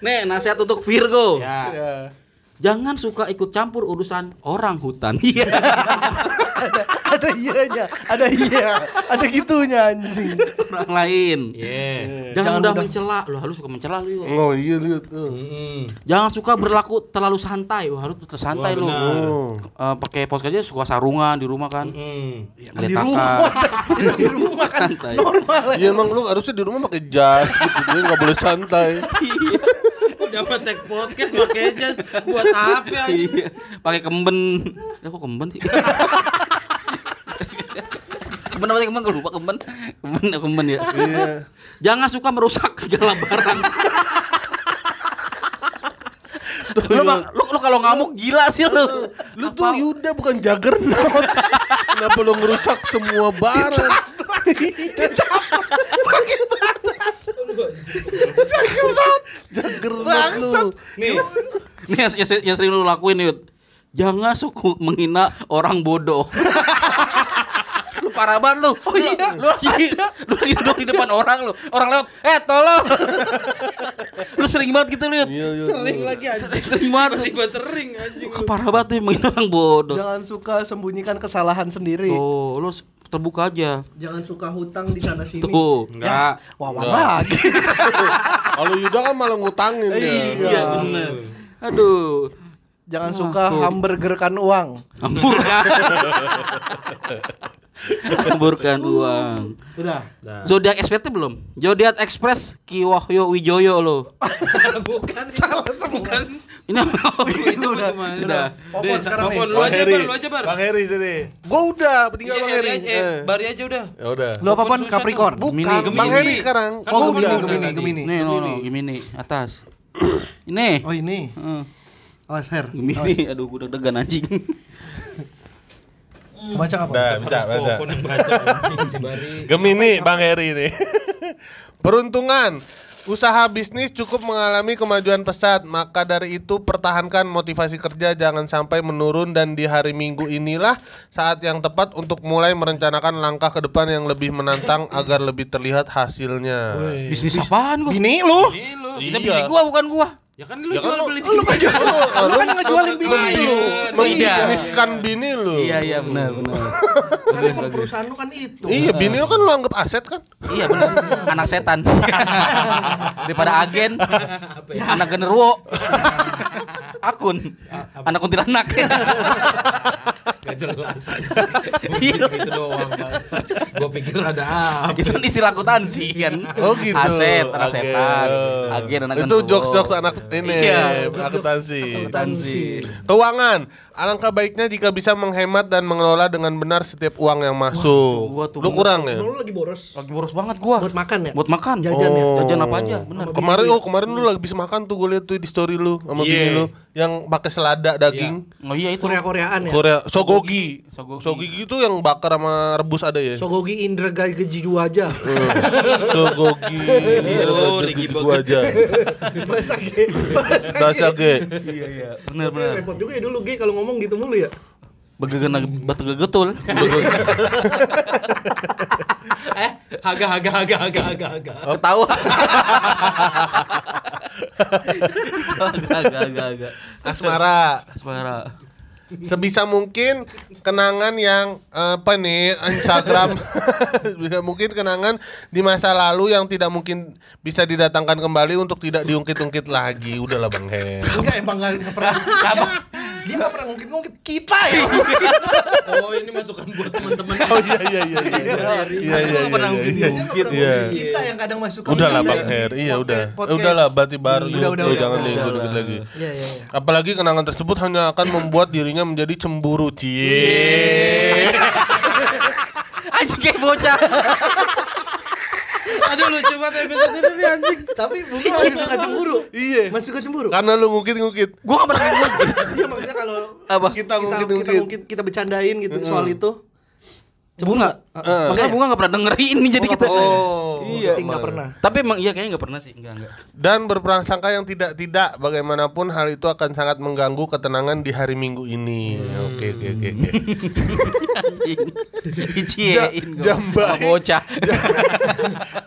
S4: Nih, nasihat untuk Virgo.
S3: Ya.
S4: Jangan suka ikut campur urusan orang hutan. *laughs* Iya.
S1: Ada iyanya, ada iya, ada gitunya anjing.
S4: orang lain.
S3: Iya. Yeah.
S4: Jangan, mudah mencela. Lo harus suka mencela lu. Yo.
S2: Oh iya lihat.
S3: Mm-mm.
S4: Jangan suka berlaku terlalu santai. Wah, harus
S3: Wah,
S4: santai lu.
S3: benar.
S4: Eh, pakai pos aja suka sarungan di rumah kan.
S3: Mm.
S1: Di rumah, di rumah kan normal. ya.
S2: Iya emang lu harusnya di rumah pakai jas gitu. Dia enggak boleh santai.
S3: Udah apa tag podcast pakai jas buat apa?
S4: Iya. Pakai kemben. Ya kok kemben sih? kemben apa sih kemben? Gue lupa kemben. Kemben ya kemben ya.
S2: Iya.
S4: Jangan suka merusak segala barang. *laughs* lu, bak- lu, lu kalau ngamuk gila sih lu.
S2: Lu tuh Yuda bukan juggernaut. Kenapa lu ngerusak semua barang? Juggernaut lu.
S3: Nih,
S4: Ini yang, yang, yang sering lu lakuin Yud. Jangan suka menghina orang bodoh. lu parah banget lu. Oh iya, lu, lagi lu lagi duduk di depan orang lu. Orang lewat, "Eh, tolong." lu sering banget gitu,
S2: Iya,
S4: Yud.
S2: iya.
S3: sering lagi anjing.
S4: Sering, sering banget.
S3: Tiba sering anjing.
S4: Wah, Parah banget nih menghina orang bodoh.
S1: Jangan suka sembunyikan kesalahan sendiri.
S4: Tuh, lu s- terbuka aja.
S1: Jangan suka hutang di sana sini. Ya.
S4: Tuh.
S3: Enggak.
S1: Wawan lagi.
S2: Kalau Yuda kan malah ngutangin dia.
S4: Iya, bener. Aduh.
S1: Jangan suka hamburgerkan uang.
S4: Hamburkan. Hamburkan uang.
S1: Udah.
S4: Zodiac Express belum? Zodiac Express Ki Wahyo Wijoyo lo.
S3: Bukan salah bukan.
S4: Ini
S3: Itu udah.
S4: Udah.
S1: Popon sekarang nih.
S3: Popon lu aja
S2: Heri.
S3: bar, lu aja bar.
S2: Bang Heri sini. Gua udah, tinggal
S3: Iya,
S2: Bang
S3: Heri
S2: Heri.
S3: aja, eh,
S2: Eh,
S3: Bari aja udah.
S2: Ya udah.
S1: Lu apa pon Capricorn?
S2: Bukan
S4: Gemini.
S2: Bang Heri sekarang.
S3: Kan
S1: Oh,
S3: Popon
S1: udah
S3: udah
S1: Gemini,
S3: tadi.
S1: Gemini.
S4: Nih no no Gemini atas. Ini.
S1: Oh, ini.
S4: Heeh.
S1: Awas, Her.
S4: Gemini, aduh gue deg-degan anjing.
S1: Baca apa?
S2: Udah, bisa,
S3: Harus
S2: bisa.
S3: Popon yang baca. anjing, Si Bari.
S2: Gemini Bang Heri ini. *laughs* Peruntungan Usaha bisnis cukup mengalami kemajuan pesat, maka dari itu pertahankan motivasi kerja jangan sampai menurun dan di hari Minggu inilah saat yang tepat untuk mulai merencanakan langkah ke depan yang lebih menantang agar lebih terlihat hasilnya.
S1: Kan
S2: Iya.
S4: Bisnis apaan gua?
S1: Bini lu.
S3: Ini lu.
S4: Ini bini gua bukan gua.
S7: Ya kan lu
S2: Ya
S7: Iya.
S2: kan
S7: jual
S2: lu-
S7: beli
S2: lu kan jual-
S1: Lu kan ngejualin bini lu. Iya.
S2: Mengbisniskan bini lu.
S4: Iya iya benar benar.
S1: Kan emang perusahaan lu kan itu.
S2: Iya, bini lu kan lu anggap aset kan?
S4: iya benar. Anak setan. Daripada agen. Anak genderuwo. *laughs* Akun. Anak kuntilanak.
S7: Gak jelas
S3: *laughs*
S7: aja.
S3: Iya. Gitu
S7: Itu doang bangsa. Gua pikir ada apa.
S4: Itu kan istilah akuntansi kan.
S2: Oh gitu.
S4: Aset, anak
S2: Agen.
S4: setan. Agen anak
S2: Itu
S4: genderuwo.
S2: jokes-jokes anak ini,
S4: Iya,
S2: akuntansi.
S4: akuntansi.
S2: Keuangan, alangkah baiknya jika bisa menghemat dan mengelola dengan benar setiap uang yang masuk.
S4: gua tuh-
S2: Lu kurang ya?
S1: Lu lagi boros.
S4: Lagi boros banget gua.
S1: Buat makan ya?
S4: Buat makan. Oh.
S1: Jajan ya?
S4: Jajan apa aja, benar.
S2: Kemarin oh kemarin lu lagi bisa makan tuh gue liat tuh di story lu sama bini
S3: Iya.
S2: lu yang pakai selada daging.
S4: Oh iya itu.
S1: Korea-Koreaan ya?
S2: Korea sogogi.
S4: Sogogi.
S2: Sogogi. itu yang bakar sama rebus ada ya.
S1: Sogogi Indra Gaji aja.
S2: sogogi.
S4: Iya,
S7: Oh, Ricky
S2: gua
S7: Bogit.
S2: aja.
S1: Bahasa G. Bahasa G.
S2: Dasar ge.
S4: Bener bener.
S1: Repot juga ya dulu G kalau ngomong gitu mulu ya.
S4: Begegan batu gegetul.
S7: Eh, haga haga haga haga haga haga.
S4: Ketawa. Agak agak agak.
S2: Asmara.
S4: Asmara.
S2: Sebisa mungkin kenangan yang apa nih Instagram bisa mungkin kenangan di masa lalu yang tidak mungkin bisa didatangkan kembali untuk tidak diungkit-ungkit lagi. Udahlah Bang Hen.
S1: Enggak emang enggak pernah. Kamu dia nggak pernah ngungkit-ngungkit kita ya.
S7: Oh, ini masukan buat teman-teman.
S2: Oh iya iya iya iya. Iya iya
S4: Lu pernah
S2: iya, iya.
S4: ngungkit-ngungkit.
S2: Iya.
S1: Kita yang kadang masuk ke
S2: Udahlah
S1: kita.
S2: Bang Her, iya udah.
S1: podcast.
S2: Udahlah berarti baru
S1: Udah, udah,
S2: Lu
S1: udah,
S2: jangan
S1: udah,
S2: nih
S1: udah,
S2: gue deket
S4: udah.
S2: lagi.
S1: Iya iya iya.
S2: Apalagi kenangan tersebut hanya akan membuat dirinya menjadi cemburu. Cie.
S4: Anjing kayak bocah.
S3: Aduh lucu banget episode ini nih, anjing.
S1: Tapi mungkin masih suka cemburu.
S2: Iya.
S1: Masih suka cemburu.
S2: Karena lu ngukit-ngukit.
S4: Gua nggak pernah
S2: *laughs*
S4: ngungkit.
S1: Iya maksudnya kalau
S4: Apa?
S1: kita kita
S2: ngungkit-ngungkit.
S1: kita mungkin kita bercandain gitu soal itu.
S4: Bunga. Makanya bunga nggak pernah denger ini jadi kita.
S2: Oh.
S1: Iya, enggak pernah.
S4: Tapi emang iya kayaknya nggak pernah sih. Enggak enggak.
S2: Dan berprasangka yang tidak-tidak bagaimanapun hal itu akan sangat mengganggu ketenangan di hari Minggu ini. Oke oke oke. oke.
S4: Diciein gua.
S2: jam
S4: Sama
S2: baik.
S4: bocah.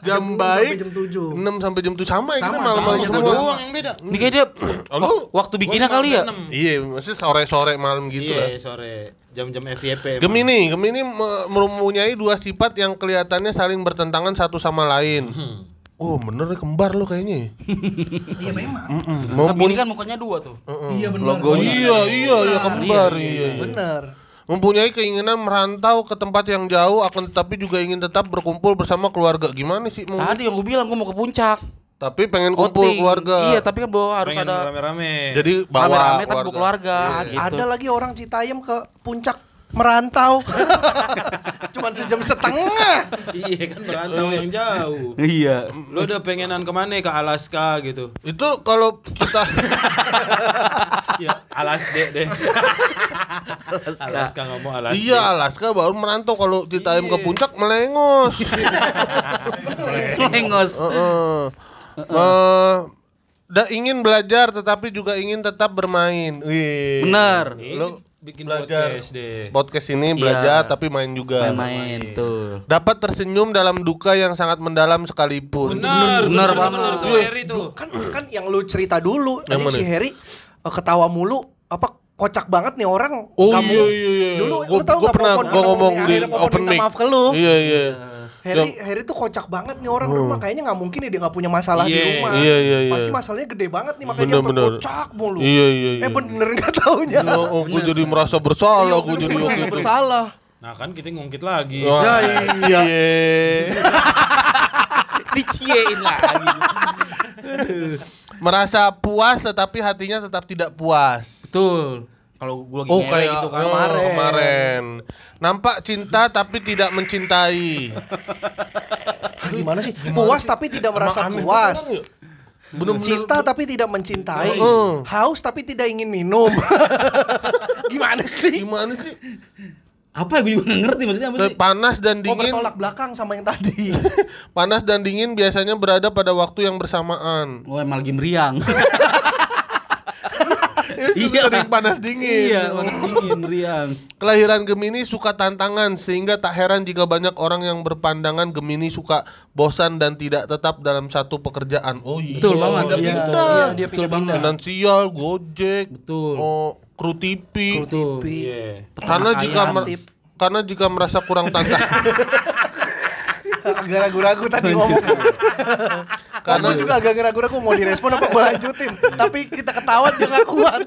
S2: Jam
S1: Sampai
S2: baik
S1: jam 7.
S2: 6 sampai jam 7 sama ya kita
S1: Sama,
S2: malam-malam
S1: sama,
S2: semua.
S1: sama.
S2: doang.
S8: yang beda.
S4: Ini kayak dia
S2: Halo?
S4: waktu bikinnya kali ya.
S2: Iya, maksudnya sore-sore malam gitu lah.
S8: Iya, sore jam-jam FYP. emang.
S2: Gemini, Gemini me- mempunyai dua sifat yang kelihatannya saling bertentangan satu sama lain. Oh bener nih, kembar lo kayaknya.
S1: Iya memang.
S2: Mm-mm.
S4: Kan Bini
S2: Mempuny-
S4: kan mukanya dua tuh.
S1: Iya benar.
S2: Oh iya iya iya kembar iya. iya.
S1: Benar.
S2: Mempunyai keinginan merantau ke tempat yang jauh, akan tetapi juga ingin tetap berkumpul bersama keluarga. Gimana sih? Mau?
S4: Tadi yang gue bilang gue mau ke puncak.
S2: Tapi pengen kumpul
S4: Outing.
S2: keluarga.
S4: Iya, tapi kan bawa harus
S3: Pengen
S4: ada
S3: rame-rame.
S2: Jadi bawa
S4: rame-rame tapi
S2: keluarga.
S4: bawa keluarga gitu.
S1: Ada lagi orang Citayam ke puncak merantau. *laughs* Cuman sejam setengah.
S3: Iya kan merantau yang jauh.
S4: Iya.
S3: Lu udah pengenan kemana ke Alaska gitu?
S2: Itu kalau kita
S3: Ya, Alasde deh. Alaska nggak mau Alaska.
S2: iya Alaska baru merantau kalau Citayam
S1: Iya.
S2: ke puncak
S1: *laughs*
S2: melengos.
S4: *laughs* Lengos.
S2: Oh, Heeh. Eh, da- ingin belajar tetapi juga ingin tetap bermain. Wih.
S4: Bener.
S2: iya. Lu
S3: bikin
S2: belajar.
S3: podcast deh.
S2: podcast ini belajar
S4: Iya.
S2: tapi main juga.
S4: Main-main tuh.
S2: Dapat tersenyum dalam duka yang sangat mendalam sekalipun.
S3: Bener,
S4: Bener banget.
S3: bener tuh Harry tuh.
S1: Kan kan yang lu cerita dulu
S2: Yang
S1: tadi
S2: mana?
S1: si Heri eh, ketawa mulu apa kocak banget nih orang.
S2: Oh
S1: Kamu-
S2: iya iya iya.
S1: Dulu
S2: gua,
S1: lu tau
S2: gua
S1: nggak
S2: pernah
S1: Popon
S2: gua
S1: ngomong
S2: ngomong
S1: ini?
S2: di
S1: Akhirnya Popon
S2: open
S1: minta
S2: mic.
S1: maaf ke lu.
S2: Iya iya.
S1: Heri Heri tuh kocak banget nih orang rumah kayaknya nggak mungkin ya dia nggak punya masalah di
S3: Iya,
S1: rumah.
S2: Oh. iya, iya, iya.
S1: Pasti masalahnya gede banget nih makanya
S2: Bener,
S1: dia
S2: bener.
S1: kocak mulu.
S2: Iya iya iya.
S1: Eh bener nggak taunya.
S2: Ya, oh, gua jadi merasa bersalah, gua jadi
S1: Merasa
S2: waktu itu.
S1: bersalah.
S3: Nah kan kita ngungkit lagi.
S2: Wah, iya.
S4: Diciein lagi.
S1: *laughs*
S2: Merasa puas tetapi hatinya tetap tidak puas.
S4: Betul. Kalau gue lagi
S2: Oh
S4: ngewe
S2: kayak
S4: gitu kan.
S2: oh, kemarin. Nampak cinta tapi tidak mencintai.
S1: Ah, Gimana sih? Puas tapi tidak merasa puas.
S2: iya.
S1: Cinta tapi tidak mencintai.
S2: Heeh.
S1: Haus tapi tidak ingin minum. *laughs* Gimana sih?
S2: Gimana sih?
S4: Apa ya gue juga nggak ngerti maksudnya apa sih?
S2: Panas dan
S1: Oh
S2: dingin.
S1: bertolak belakang sama yang tadi.
S2: *laughs* Panas dan dingin biasanya berada pada waktu yang bersamaan.
S4: Gue emang lagi meriang.
S2: Iya, sering panas dingin. Oh,
S4: Iya, panas dingin, Rian.
S2: Kelahiran Gemini suka tantangan sehingga tak heran jika banyak orang yang berpandangan Gemini suka bosan dan tidak tetap dalam satu pekerjaan. Oh iya.
S4: Betul banget.
S2: Dia
S4: Iya,
S2: pintar.
S4: iya, dia Betul pintar-pintar. banget.
S2: Finansial, Gojek,
S4: Betul.
S2: Oh, kru TV.
S4: Betul.
S2: Karena jika mer-
S1: aktif.
S2: karena jika merasa kurang tantangan *laughs*
S1: agak ragu-ragu tadi ngomong. Karena
S2: Karena-
S1: juga agak ragu-ragu mau direspon apa gua lanjutin. Tapi kita ketawa dia nggak kuat.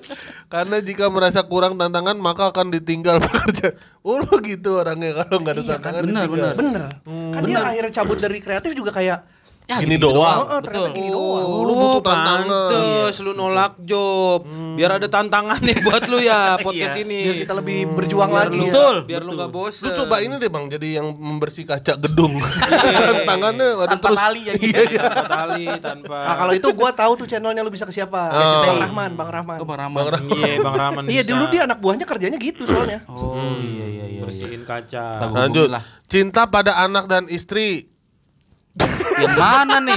S2: karena jika merasa kurang tantangan maka akan ditinggal *laughs* pekerjaan. Oh lo gitu orangnya kalau nggak ada
S4: Iya,
S2: tantangan
S4: bener,
S2: ditinggal.
S4: bener.
S1: Bener. Kan dia akhirnya cabut dari kreatif juga kayak
S4: Ya,
S2: Gini
S1: Oh,
S2: doang.
S1: oh, ternyata gini doang.
S2: lu butuh tantangan.
S3: pantes lu nolak job. Biar ada tantangan nih buat lu ya podcast ini.
S1: Biar kita lebih berjuang lagi.
S3: Lu-
S4: Betul.
S3: Biar lu gak
S2: Lu
S3: bosen.
S2: coba ini deh bang, jadi yang membersih kaca
S4: *laughs*
S2: gedung.
S4: Iya,
S2: Tantangannya ada
S4: *laughs* Tanpa
S2: terus.
S4: tali ya gitu.
S3: Iya, tanpa tali, tanpa.
S1: Nah, kalau itu gua tahu tuh channelnya lu bisa ke siapa.
S2: Oh.
S1: Bang Rahman, Bang Rahman.
S4: Oh, Bang Rahman.
S2: Bang Rahman.
S3: Iya, Bang Rahman.
S1: Iya,
S3: bisa.
S1: dulu dia anak buahnya kerjanya gitu soalnya.
S4: Oh, iya iya
S3: Hmm,
S4: iya. iya.
S3: bersihin kaca.
S4: Tahu.
S2: Lanjut.
S4: Hubungin lah.
S2: Cinta pada anak dan istri.
S4: Yang mana nih?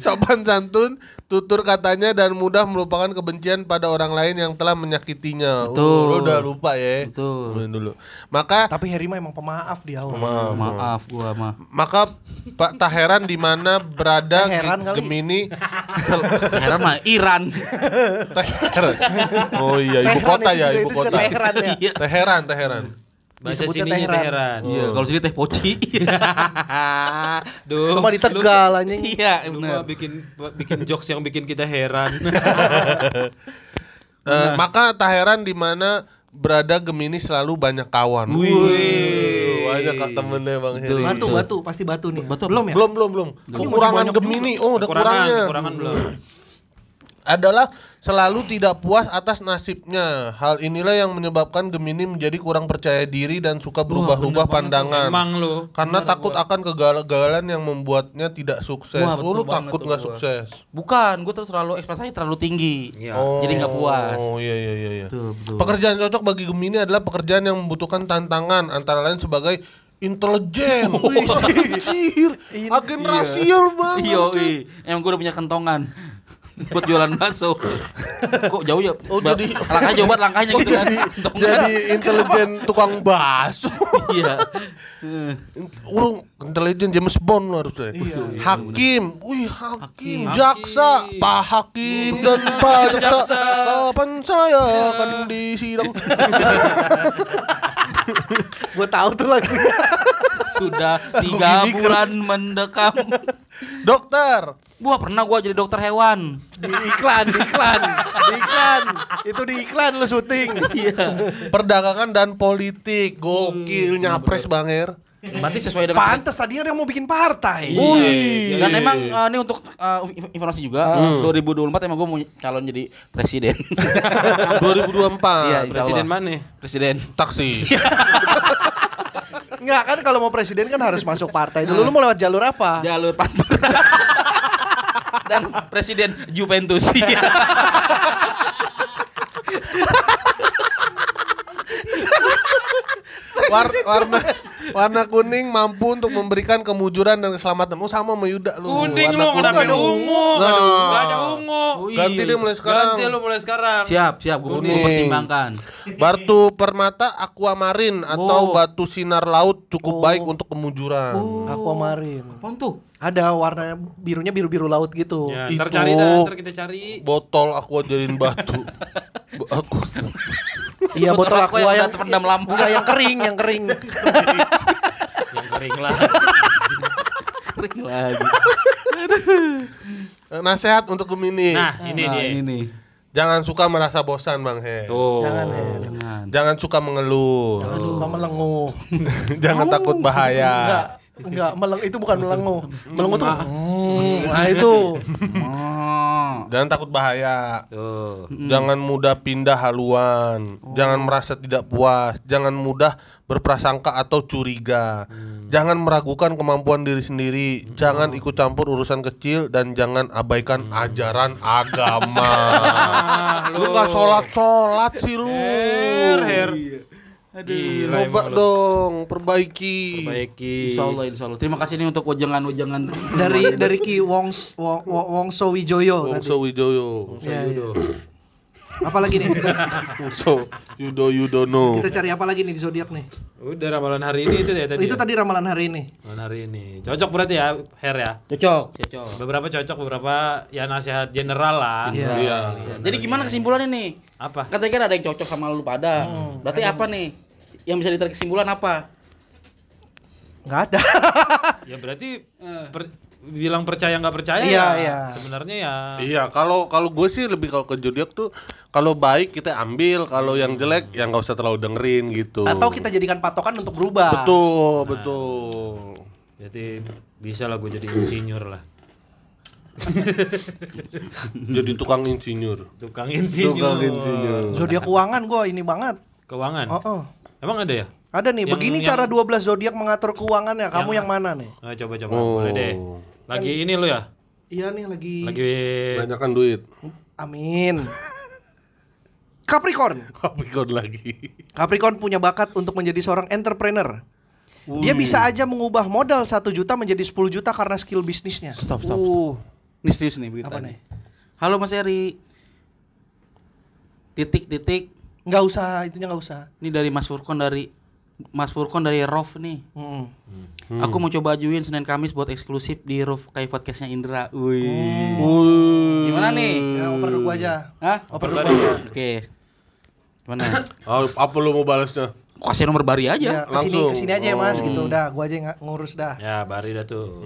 S2: Sopan santun, tutur katanya dan mudah melupakan kebencian pada orang lain yang telah menyakitinya. Oh,
S4: Betul.
S2: lu udah lupa ya.
S4: Betul.
S2: Lupain dulu. Maka
S1: Tapi Herima emang pemaaf dia. Om.
S2: Maaf.
S4: Maaf gua mah.
S2: Maka Pak tak heran di mana berada
S1: Tak heran kali.
S2: Gemini.
S4: Heran mah Iran.
S2: Tak heran. Oh iya, ibu
S1: Teheran
S2: kota
S1: itu
S2: ya,
S1: juga,
S2: ibu
S1: itu juga
S2: kota.
S1: Teheran ya.
S4: Iya.
S2: Tak heran, tak heran.
S3: Bahasa
S1: Disebutnya
S3: sininya
S1: Teheran.
S3: Teheran.
S4: Iya,
S3: *laughs*
S4: kalau sini teh poci.
S3: Duh.
S1: Lu mah di Tegal anjing.
S4: Iya,
S3: Lu
S4: benar.
S3: mah bikin bikin jokes yang bikin kita heran.
S2: Eh,
S4: Iya.
S2: maka tak heran di mana berada Gemini selalu banyak kawan. Wih, banyak ka- temennya Bang
S4: Betul.
S2: Heri.
S1: Batu, batu, pasti batu nih.
S4: Batu apa?
S1: Belum ya?
S2: Belum, belum, belum. Kekurangan Gemini. Oh, ada
S3: Kekurangan,
S2: kurangnya.
S3: kekurangan belum.
S2: Adalah selalu tidak puas atas nasibnya. Hal inilah yang menyebabkan Gemini menjadi kurang percaya diri dan suka berubah-ubah pandangan.
S3: Emang lu.
S2: Karena takut akan kegagalan yang membuatnya tidak sukses.
S4: Wah,
S2: Oh, lu
S4: betul banget
S2: takut
S4: tuh
S2: nggak
S4: gua.
S2: sukses?
S4: Bukan, gua terus terlalu ekspektasi terlalu tinggi. Iya, Jadi nggak puas.
S2: Iya. Oh iya iya iya. iya.
S4: Betul, betul.
S2: Pekerjaan cocok bagi Gemini adalah pekerjaan yang membutuhkan tantangan antara lain sebagai intelijen, Wih,
S4: *laughs*
S2: anjir, agen rasial banget.
S4: Iya,
S2: sih.
S4: emang gue udah punya kentongan buat jualan bakso. Kok jauh ya?
S2: Oh,
S4: Ba-
S2: jadi- Oh,
S4: langkahnya jauh banget langkahnya gitu kan.
S2: jadi
S4: Kentongan.
S2: jadi intelijen tukang bakso.
S4: iya.
S2: Urung intelijen James Bond lo harus deh. hakim, wih hakim, jaksa, Pak Hakim dan Pak Jaksa. Kapan saya akan disidang?
S1: Gua tahu tuh lagi.
S4: Sudah tiga bulan mendekam.
S2: Dokter,
S4: Gua pernah gua jadi dokter hewan.
S1: di iklan, di iklan, di iklan. Itu di iklan lu syuting.
S4: Iya.
S2: perdagangan dan politik. Gokil nyapres Bang Er.
S4: Berarti sesuai dengan Iya.
S1: Pantes tadi ada yang mau bikin partai.
S2: Wih. Iya,
S4: Dan emang eh, ini untuk eh, inf- informasi juga
S2: Hmm.
S4: 2024 emang gue mau calon jadi
S2: *laughs*
S4: presiden.
S2: 2024
S4: Iya.
S3: Presiden mana?
S4: presiden.
S2: taksi.
S1: Enggak kan kalau mau presiden kan harus masuk partai dulu. Lu mau lewat jalur apa?
S4: Jalur pantura. *laughs* Dan presiden *laughs* Juventus.
S2: War- warna warna kuning mampu untuk memberikan kemujuran dan keselamatan. Oh sama sama Yuda lu.
S3: Kuning
S2: Warna
S3: lu kenapa ada ungu?
S2: Nah. Oh, iya.
S3: Gak ada ungu.
S2: Ganti deh mulai sekarang.
S3: Ganti lu mulai sekarang.
S4: siap, siap. Gue
S2: Kuning.
S4: mempertimbangkan.
S2: Batu permata aquamarin atau
S4: Oh.
S2: batu sinar laut cukup baik untuk kemujuran.
S1: Aquamarine.
S4: Apaan tuh?
S1: Ada warna birunya biru-biru laut gitu.
S3: Ya,
S2: Itu.
S3: ntar cari dah, ntar kita cari. Nah,
S2: Botol aku jadiin *laughs* batu. Bo- aku
S1: Iya botol aqua yang
S4: terpendam lampu.
S1: Enggak yang kering, yang kering.
S3: Yang kering lah.
S4: *laughs* Kering lagi.
S2: Nasehat untuk Gemini.
S3: Nah, ini
S4: Nah,
S3: dia.
S4: ini nih.
S2: Jangan suka merasa bosan, Bang He.
S3: Tuh.
S1: Jangan ya.
S4: Jangan.
S2: Jangan suka mengeluh.
S1: Jangan suka melenguh.
S2: *laughs* Jangan takut
S1: Enggak,
S2: bahaya.
S1: enggak meleng itu bukan melenguh. Melenguh tuh. hmm, Nah itu.
S3: Oh.
S2: Jangan takut bahaya.
S3: Tuh.
S2: Jangan mudah pindah haluan.
S3: Oh.
S2: Jangan merasa tidak puas. Jangan mudah berprasangka atau curiga.
S3: Hmm.
S2: Jangan meragukan kemampuan diri sendiri. Jangan ikut campur urusan kecil dan jangan abaikan
S3: Mm. *laughs*
S2: ajaran
S3: Ah,
S2: agama. lu nggak sholat sholat sih lu.
S3: Her, her. Gila,
S2: Coba
S3: emang lu.
S2: dong, perbaiki.
S3: Perbaiki.
S4: Insya Allah, insya Allah. Terima kasih nih untuk wajangan-wajangan.
S1: dari dari Ki Wongs Wong, Wong- Wongso Wijoyo
S2: Wongso Wijoyo.
S1: tadi. Iya, iya. Apalagi nih?
S2: Wongso Yudo Yudono.
S1: Kita cari apa lagi nih di zodiak nih?
S3: Udah ramalan hari ini itu ya tadi.
S1: Itu
S3: ya?
S1: tadi ramalan hari ini.
S3: Ramalan hari ini. Cocok berarti ya, Her ya.
S4: Cocok, cocok.
S3: Beberapa cocok, beberapa ya nasihat general lah.
S2: Iya.
S4: Jadi gimana kesimpulannya nih?
S3: Apa?
S4: Katanya kan ada yang cocok sama lu pada. Berarti apa nih? Hmm. Yang bisa ditarik kesimpulan apa?
S1: Nggak ada.
S3: Ya berarti per- bilang percaya nggak percaya
S1: Iya,
S3: ya.
S1: iya.
S3: Sebenarnya ya.
S2: Iya, kalau kalau gue sih lebih kalau ke zodiak tuh kalau baik kita ambil, kalau yang jelek ya nggak usah terlalu dengerin gitu.
S1: Atau kita jadikan patokan untuk berubah.
S2: Betul, betul.
S3: Jadi bisa lah gue jadi insinyur lah.
S2: Jadi tukang insinyur.
S3: Tukang insinyur.
S2: Tukang insinyur.
S1: Zodiak keuangan gua ini banget.
S3: Keuangan.
S1: Oh, oh.
S3: Emang ada ya?
S1: Ada nih,
S3: Yang-
S1: begini
S3: yang-
S1: cara 12 zodiak mengatur keuangannya. Kamu yang, mana nih?
S3: Nah, coba coba
S2: Oh.
S3: boleh deh. Lagi ini lu ya?
S1: Iya nih lagi.
S3: Lagi
S2: Banyakan duit.
S1: *laughs* Amin. Capricorn.
S2: Capricorn lagi.
S1: Capricorn punya bakat untuk menjadi seorang entrepreneur. Dia bisa aja mengubah modal 1 juta menjadi 10 juta karena skill bisnisnya.
S4: Stop, stop,
S1: Uh,
S4: Ini serius nih berita.
S1: apa nih?
S4: nih? Halo Mas Eri. Titik titik.
S1: Nggak usah, itunya nggak usah.
S4: Ini dari Mas Furkon dari Mas Furkon dari Rof nih.
S1: Mm.
S4: Aku mau coba ajuin Senin Kamis buat eksklusif di Rof kayak podcastnya Indra. Wih. Oh. Gimana nih?
S1: Ya, oper ke gua aja.
S4: Hah?
S1: Oper ke gua.
S4: Oke. Gimana? *coughs*
S2: Ah, apa lu mau balasnya?
S4: Kasih nomor bari
S1: Ya,
S4: aja.
S1: kesini,
S2: langsung.
S1: kesini aja ya mas gitu. Udah, gua aja yang ngurus dah.
S8: Ya, Bari dah tuh.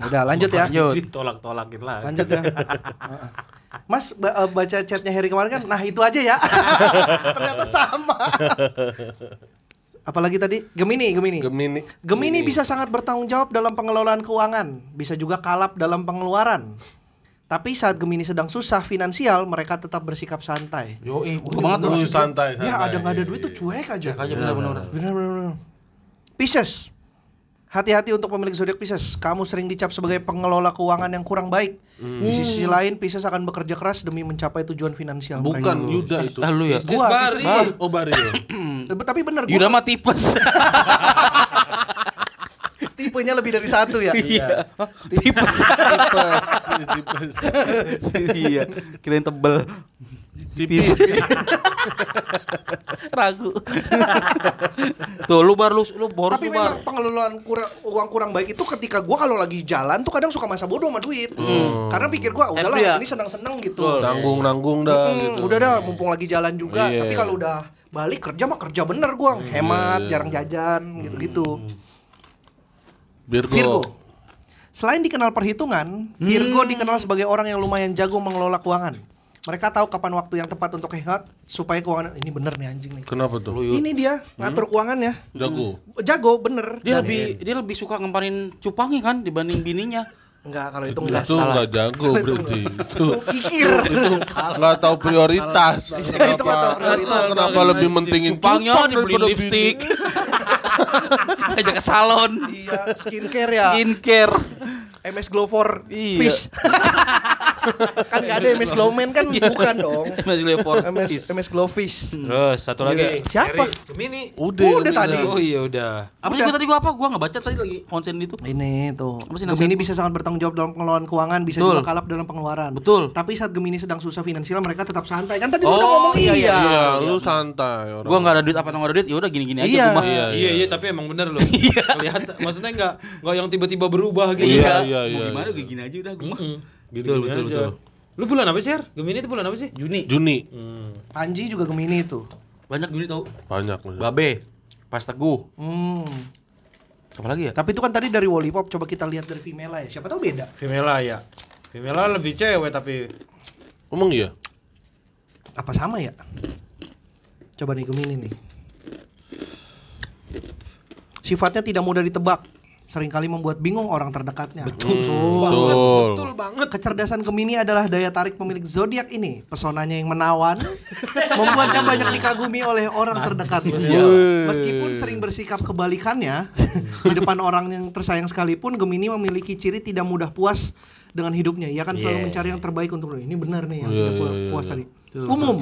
S1: Udah, lanjut ya.
S4: Lanjut.
S3: ditolak-tolakin lah.
S1: Lanjut *laughs* ya. Heeh. Mas ba- eh, baca chatnya Harry kemarin kan, nah itu *laughs* aja ya. Ternyata sama. Apalagi tadi Gemini, Gemini.
S2: Gemini.
S1: Gemini bisa sangat bertanggung jawab dalam pengelolaan keuangan, bisa juga kalap dalam pengeluaran. Tapi saat Gemini sedang susah finansial, mereka tetap bersikap santai.
S4: Yo, eh,
S2: Wih, wih, santai, santai. Iya,
S1: Ya ada nggak ada duit tuh cuek aja.
S4: Aja bener-bener.
S1: Benar benar benar. Pisces. Hati-hati untuk pemilik zodiak Pisces. Kamu sering dicap sebagai pengelola keuangan yang kurang baik.
S2: Hmm.
S1: Di sisi lain, Pisces akan bekerja keras demi mencapai tujuan finansial.
S2: Bukan
S1: mereka.
S2: Yuda itu.
S4: Ah, lu ya.
S1: Gua, Pisces gua.
S2: Oh, Bari. ya?
S1: Tapi- Tapi bener gua
S4: Yuda mah tipes.
S1: *laughs* tipenya lebih dari satu
S2: *laughs*
S1: ya.
S4: *laughs* Iya. Tipes.
S2: tipes,
S1: *laughs*
S2: tipes.
S4: *laughs* Iya. Kirain tebel. Iya. Tipis. *laughs* Ragu. *laughs* Tuh lu baru lu boros
S1: Tapi
S4: lu bar.
S1: memang pengelolaan kura- uang kurang baik itu ketika gua kalau lagi jalan tuh kadang suka masa bodoh sama duit.
S2: Hmm.
S1: Karena pikir gua udahlah
S4: Happy ya?
S1: ini senang-senang gitu.
S2: Tanggung nanggung dah
S1: Hmm,
S2: gitu.
S1: Udah dah mumpung lagi jalan juga.
S2: Iya.
S1: Tapi kalau udah balik kerja mah kerja bener gua, hemat, jarang jajan gitu-gitu.
S2: Virgo.
S1: Virgo. Selain dikenal perhitungan,
S2: Mm.
S1: Virgo dikenal sebagai orang yang lumayan jago mengelola keuangan. Mereka tahu kapan waktu yang tepat untuk hemat supaya keuangan ini bener nih anjing nih.
S2: Kenapa tuh?
S1: Ini
S2: Mm.
S1: dia ngatur keuangannya.
S2: Jago.
S1: Jago bener.
S4: Dia
S1: Dan-
S4: lebih dia lebih suka ngempanin cupangnya kan dibanding bininya.
S1: Enggak kalau itu enggak.
S2: Itu nggak jago berarti. Itu
S1: Kikir.
S2: itu nggak tahu prioritas.
S1: Itu nggak tahu
S2: Kenapa?
S1: prioritas.
S2: Kenapa lebih mentingin
S4: Cupangnya
S2: cupang
S4: dibeli
S2: daripada
S4: *laughs* lipstick.
S2: bini?
S4: Aja ke salon.
S1: Iya, skincare ya.
S4: Skincare.
S1: MS Glow for
S4: Iya.
S2: *laughs*
S1: Fish. kan enggak ada MS Glowman kan
S2: Iya.
S1: bukan dong.
S4: Masih level.
S1: MS MS Glow Fish.
S4: Hmm.
S3: Terus satu lagi.
S1: Siapa?
S3: Eri Gemini.
S2: Udah,
S1: Udah tadi.
S3: Oh iya udah.
S4: Apa sih gua tadi gua apa? Gua enggak baca tadi lagi konsen itu.
S1: Ini tuh.
S4: Apa sih
S1: Gemini bisa sangat bertanggung jawab dalam pengelolaan keuangan, bisa
S4: Betul.
S1: juga kalap dalam pengeluaran.
S4: Betul.
S1: Tapi saat Gemini sedang susah finansial, mereka tetap santai. Kan tadi lu
S4: Oh,
S1: udah ngomong
S4: iya,
S1: iya.
S4: iya.
S2: Iya, lu santai orang.
S4: Gua enggak ada duit apa enggak ada duit, ya udah gini-gini aja
S1: Iya.
S4: gua mah.
S2: Iya,
S3: Iya
S2: iya.
S3: iya tapi emang bener loh. Kelihatan maksudnya nggak nggak yang tiba-tiba berubah gitu.
S2: Iya, iya,
S3: ya.
S4: Mau
S2: iya.
S4: gimana gua gini aja udah gua mah.
S3: Betul betul betul. Lu bulan apa sih, Her? Gemini itu bulan apa sih?
S4: Juni.
S2: Juni
S1: Anji juga Gemini tuh.
S4: Banyak Juni tau.
S2: banyak.
S4: Babe. Pas Teguh.
S1: Hmm.
S4: Apa lagi ya?
S1: Tapi itu kan tadi dari Wallipop, coba kita lihat dari Vimela ya. Siapa tahu beda.
S3: Femela ya. Femela lebih cewek tapi
S2: Emang iya?
S1: Apa sama ya? Coba nih Gemini nih. Sifatnya tidak mudah ditebak, seringkali membuat bingung orang terdekatnya. Hmm. Betul.
S2: Betul.
S1: banget. Kecerdasan Gemini adalah daya tarik pemilik zodiak ini. Pesonanya yang menawan *laughs* membuatnya banyak dikagumi oleh orang terdekatnya.
S2: Wih.
S1: Meskipun sering bersikap kebalikannya *laughs* di depan orang yang tersayang sekalipun, Gemini memiliki ciri tidak mudah puas dengan hidupnya. Ia akan selalu mencari yang terbaik untuk diri. ini benar nih yang
S2: Iya,
S1: tidak pu-
S2: iya, iya,
S1: puas
S2: iya.
S1: tadi. Umum.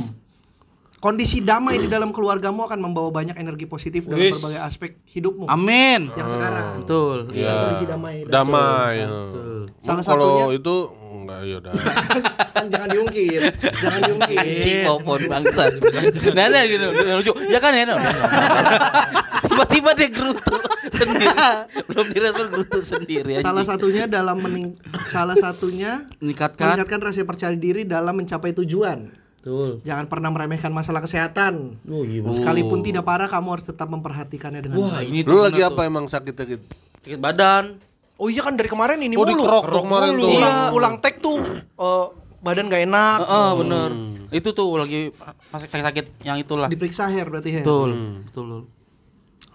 S1: Kondisi damai di dalam keluargamu akan membawa banyak energi positif dalam
S3: Wis.
S1: berbagai aspek hidupmu.
S4: Amin.
S1: Yang sekarang.
S4: Betul.
S1: Iya, kondisi damai.
S2: Ah, Damai. ya. Emang
S1: Salah
S2: kalau
S1: satunya-
S2: itu enggak ya udah.
S1: Kan jangan diungkit.
S2: Iya,
S1: jangan
S4: *laughs* Anjing
S1: diungkit.
S4: maupun bangsa. Nah, nah gitu. Nah, Lucu. Ya kan ya. nah. *laughs* Tiba-tiba dia gerutu sendiri. Belum direspon gerutu
S2: iya.
S4: sendiri.
S1: Salah satunya dalam mening salah satunya
S2: Kan?
S4: meningkatkan.
S1: meningkatkan rasa percaya diri dalam mencapai tujuan.
S4: Betul.
S1: Jangan pernah meremehkan masalah kesehatan.
S4: Oh, iya, bener.
S2: Uh.
S1: Sekalipun tidak parah, kamu harus tetap memperhatikannya dengan
S4: Wah,
S1: baik.
S4: ini
S2: Lu
S4: tuh
S2: lagi
S4: bener
S2: apa
S4: tuh.
S2: emang sakitnya gitu?
S4: Sakit badan.
S1: Oh iya kan dari kemarin ini
S2: Oh,
S1: mulu.
S2: dikerok tuh kemarin
S1: mulu.
S2: tuh.
S1: Pulang,
S4: Iya.
S1: pulang tek tuh eh, badan gak enak.
S4: Heeh, bener. Itu tuh lagi masih sakit-sakit yang itulah.
S1: Oh, Diperiksa hair berarti hair.
S4: Betul. Hmm, Betul.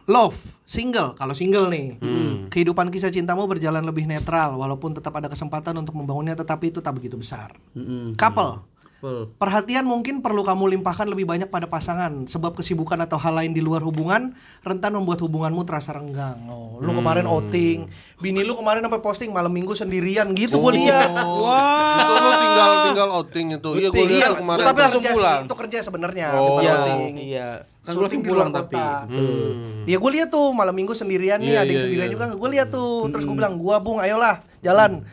S1: Love, single. Kalau single nih,
S4: Hmm.
S1: kehidupan kisah cintamu berjalan lebih netral walaupun tetap ada kesempatan untuk membangunnya tetapi itu tak begitu besar.
S4: Hmm.
S1: Couple, perhatian mungkin perlu kamu limpahkan lebih banyak pada pasangan sebab kesibukan atau hal lain di luar hubungan rentan membuat hubunganmu terasa renggang. Oh, lu kemarin
S4: Hmm.
S1: outing, bini lu kemarin sampai posting malam minggu sendirian gitu
S4: Oh.
S1: gua lihat.
S3: Wah.
S2: Oh. Itu lu tinggal tinggal outing itu. Iya gua lihat
S1: Iya,
S2: kemarin.
S1: tapi
S4: Tapi langsung
S1: langsung
S4: pulang.
S1: Itu kerja sebenarnya,
S2: Oh.
S1: bukan
S4: Iya,
S1: outing.
S4: iya.
S1: Syuting
S4: Kan gua langsung
S1: di
S4: pulang
S1: luar
S4: tapi.
S1: kota.
S2: Hmm.
S1: Ya gue lihat tuh malam minggu sendirian nih
S2: Iya,
S1: ada yang
S2: iya,
S1: sendirian
S2: iya.
S1: juga gue lihat tuh terus gue bilang gua bung ayolah jalan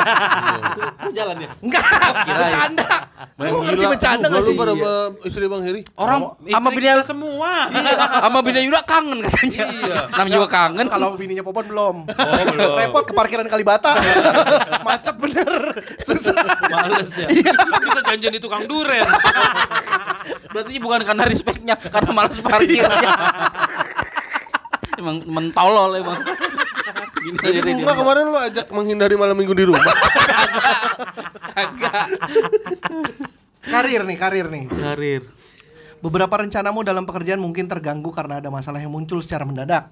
S1: *laughs*
S4: jalan ya.
S1: enggak bercanda lu ngerti bercanda
S2: gak
S1: gak sih Oh,
S2: Lu pada istri Bang Heri.
S4: Orang sama
S3: Istri
S4: bini
S3: kita semua.
S4: sama
S3: *laughs*
S4: bini Yuda kangen katanya. Iya. *laughs* Namanya juga kangen.
S1: kalau bininya popon belum repot ke parkiran Kalibata macet bener susah
S7: Males ya.
S3: Bisa janjian di tukang duren.
S4: Berarti bukan karena respectnya, karena malas parkirnya. emang mentolol emang. Gini
S2: Jadi
S4: sendiri
S2: rumah
S4: dia.
S2: kemarin lu ajak menghindari malam minggu di
S1: *laughs*
S2: rumah.
S1: karir nih karir nih
S4: Karir.
S1: beberapa rencanamu dalam pekerjaan mungkin terganggu karena ada masalah yang muncul secara mendadak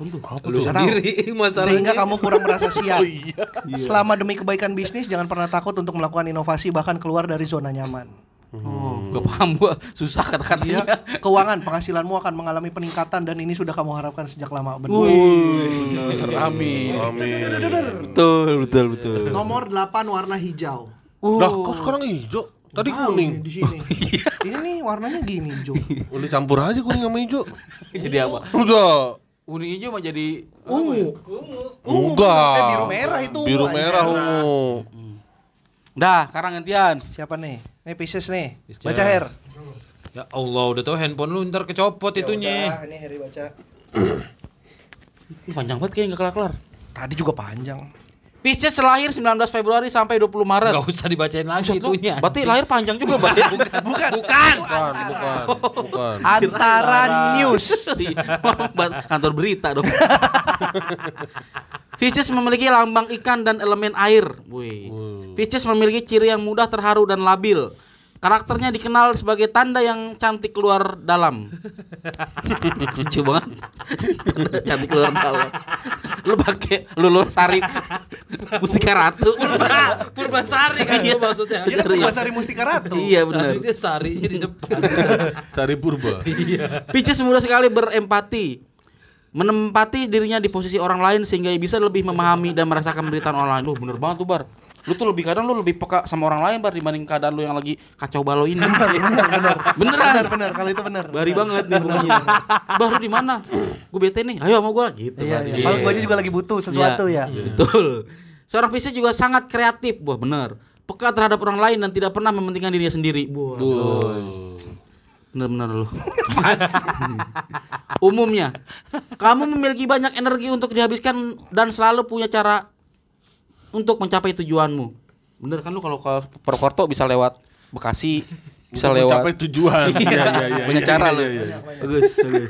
S7: Lu
S1: Nggak tahu.
S7: sendiri *laughs* masalahnya. Oh, iya.
S1: sehingga kamu kurang
S7: *laughs*
S1: merasa siap. Selama demi kebaikan bisnis jangan pernah takut untuk melakukan inovasi bahkan keluar dari zona nyaman. Iya.
S4: Oh, gak paham gua, susah kata-katanya.
S1: Keuangan penghasilanmu akan mengalami peningkatan dan ini sudah kamu harapkan sejak lama. Benar. Iya.
S4: Amin.
S2: Amin.
S4: Betul, betul, betul.
S1: Nomor 8 warna hijau.
S4: Uh.
S2: Dah, kok sekarang hijau? Tadi
S1: Tahu nih
S2: kuning.
S1: di
S7: Oh,
S1: sini.
S7: iya.
S1: ini nih warnanya gini, Jo.
S2: Udah campur aja kuning sama hijau.
S4: *laughs* Jadi apa?
S2: Udah.
S4: Kuning hijau mah jadi
S1: Ungu. Ungu,
S2: Enggak.
S1: eh, biru merah itu iya. ungu,
S2: Biru
S1: anjir.
S2: merah uh. ungu.
S4: Dah, sekarang gantian.
S1: Siapa nih? Nih Pisces nih.
S7: Pisces.
S1: Baca Her.
S7: Ya Allah, udah tahu handphone lu ntar kecopot itunya.
S1: Ini Heri baca.
S4: Ih, Panjang banget kayaknya gak kelar-kelar.
S1: Tadi juga panjang.
S4: Pisces lahir 19 Februari sampai 20 Maret.
S7: Gak usah dibacain
S4: Buset
S7: lagi
S4: lu,
S7: itunya.
S4: Berarti lahir panjang juga, Bang. *laughs*
S1: Bukan.
S2: Bukan, bukan, bukan.
S1: Antara news.
S4: Bat- kantor berita *laughs* dong. Pisces memiliki lambang ikan dan elemen air. Wih. Pisces memiliki ciri yang mudah terharu dan labil. Karakternya dikenal sebagai tanda yang cantik keluar dalam. *laughs* Lucu banget. Tanda cantik keluar dalam. Lu pakai lulur sari Mustika Ratu.
S7: Purbasari kan itu maksudnya.
S1: Iya kan bahasa Sari Mustika Ratu.
S4: Iya
S7: Tadi
S4: benar.
S7: dia sarinya di depan.
S2: Sari Purba.
S4: Pisces mudah sekali berempati. Menempati dirinya di posisi orang lain sehingga bisa lebih memahami dan merasakan penderitaan orang lain. Lu bener banget tuh, Bar. Lu tuh lebih kadang lu lebih peka sama orang lain, Bar, dibanding keadaan lu yang lagi kacau balau ini.
S1: Benar
S4: Beneran.
S1: benar kalau itu benar.
S4: Bari banget nih pokoknya. Baru di mana? Gue bete nih. Ayo sama gua gitu.
S1: Iya,
S4: Bar.
S1: iya.
S4: Iya.
S1: Kalau gua aja juga lagi butuh sesuatu
S4: Iya,
S1: ya.
S4: Betul. Seorang Pisces juga sangat kreatif, wah bener. Peka terhadap orang lain dan tidak pernah mementingkan dirinya sendiri. Wah. Bener-bener lu. *laughs* Umumnya, kamu memiliki banyak energi untuk dihabiskan dan selalu punya cara untuk mencapai tujuanmu. Bener kan lu kalau ke Purwokerto bisa lewat Bekasi, bisa
S2: Untuk
S4: lewat *laughs*
S2: mencapai tujuan. Iya, iya, iya.
S4: punya
S2: iya,
S4: cara
S2: iya,
S4: lu.
S2: iya, iya.
S4: Bagus, bagus.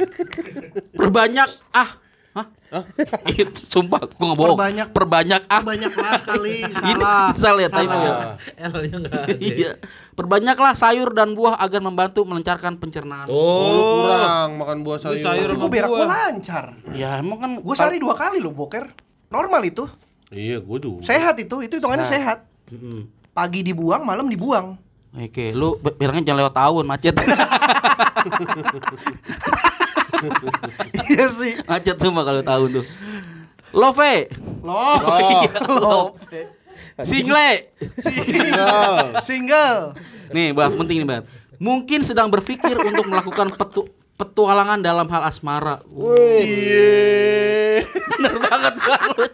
S4: Perbanyak ah. Hah? *laughs* Itu, Iya, Sumpah, gua nggak bohong.
S1: Perbanyak-
S4: perbanyak ah.
S1: Banyaklah kali
S4: Ini *laughs*
S1: salah.
S4: salah ya, typo
S2: *laughs*
S4: ya.
S7: L-nya enggak ada.
S4: Iya. Perbanyaklah sayur dan buah agar membantu melancarkan pencernaan.
S2: Oh, lu
S3: Oh.
S2: kurang makan buah sayur.
S3: sayur
S1: Gue berak gue lancar.
S4: Ya emang kan
S1: Gue sehari dua kali loh boker. Normal itu.
S2: Iya, gua juga.
S1: Sehat itu. Itu hitungannya
S4: Nah.
S1: sehat.
S4: Mm-mm.
S1: Pagi dibuang, malam
S4: *laughs*
S1: dibuang.
S4: Ah, Oke, lu be- berangnya jangan lewat tahun macet. *laughs*
S1: Iya sih.
S4: macet semua kalau tahun tuh. Love,
S1: Love.
S4: *laughs* Iya,
S1: Love.
S4: love. single.
S1: Single. Single.
S4: Nih, bah penting nih, Bang. mungkin sedang berpikir untuk melakukan petu petualangan dalam hal asmara. Wih. Bener banget Bang. lu.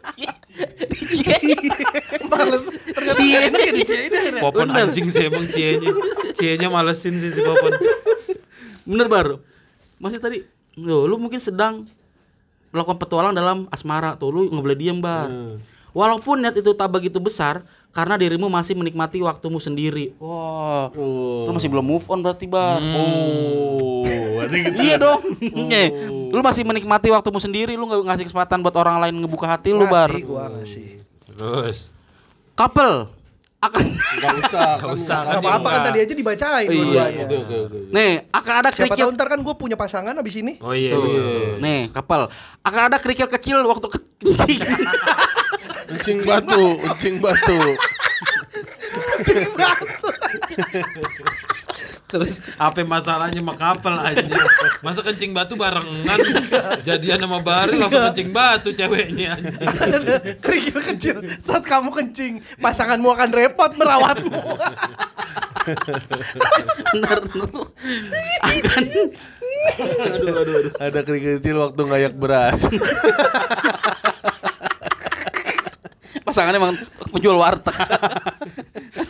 S1: Males. Ternyata enak ya dijain akhirnya.
S7: Popon anjing sih emang cienya. Cienya malesin sih si Popon.
S4: Bener baru. Masih tadi, lo lu mungkin sedang melakukan petualang dalam asmara tuh lu nggak boleh diem bar.
S1: Hmm.
S4: Walaupun niat itu tak begitu besar, karena dirimu masih menikmati waktumu sendiri. Wah,
S1: Oh.
S4: lu masih belum move on berarti bar.
S7: Hmm.
S2: Oh,
S4: Iya dong. Eh, Lu masih menikmati waktumu sendiri, lu nggak ngasih kesempatan buat orang lain ngebuka hati lu bar.
S1: Ngasih, gua ngasih.
S7: Terus.
S4: Couple akan *laughs*
S2: Gak usah,
S7: Gak usah.
S1: Gak apa-apa kan tadi aja dibacain
S4: Iya,
S1: dua-duanya.
S7: Oke oke oke.
S4: nih akan ada
S1: Siapa
S4: kerikil
S1: tahu ntar kan gue punya pasangan abis ini.
S7: Oh iya.
S4: *laughs* Tuh.
S7: betul.
S4: Nih, kapal. Akan ada kerikil kecil waktu *laughs* kencing.
S2: Ucing batu, ucing batu.
S7: Terus apa masalahnya sama kapel aja? Masa kencing batu barengan? Jadian sama Bari langsung kencing batu ceweknya anjing.
S1: Kerikil kecil saat kamu kencing, pasanganmu akan repot merawatmu.
S4: Bener. akan
S2: Ada kerikil kecil waktu ngayak beras.
S4: pasangannya emang penjual warteg.
S1: *laughs*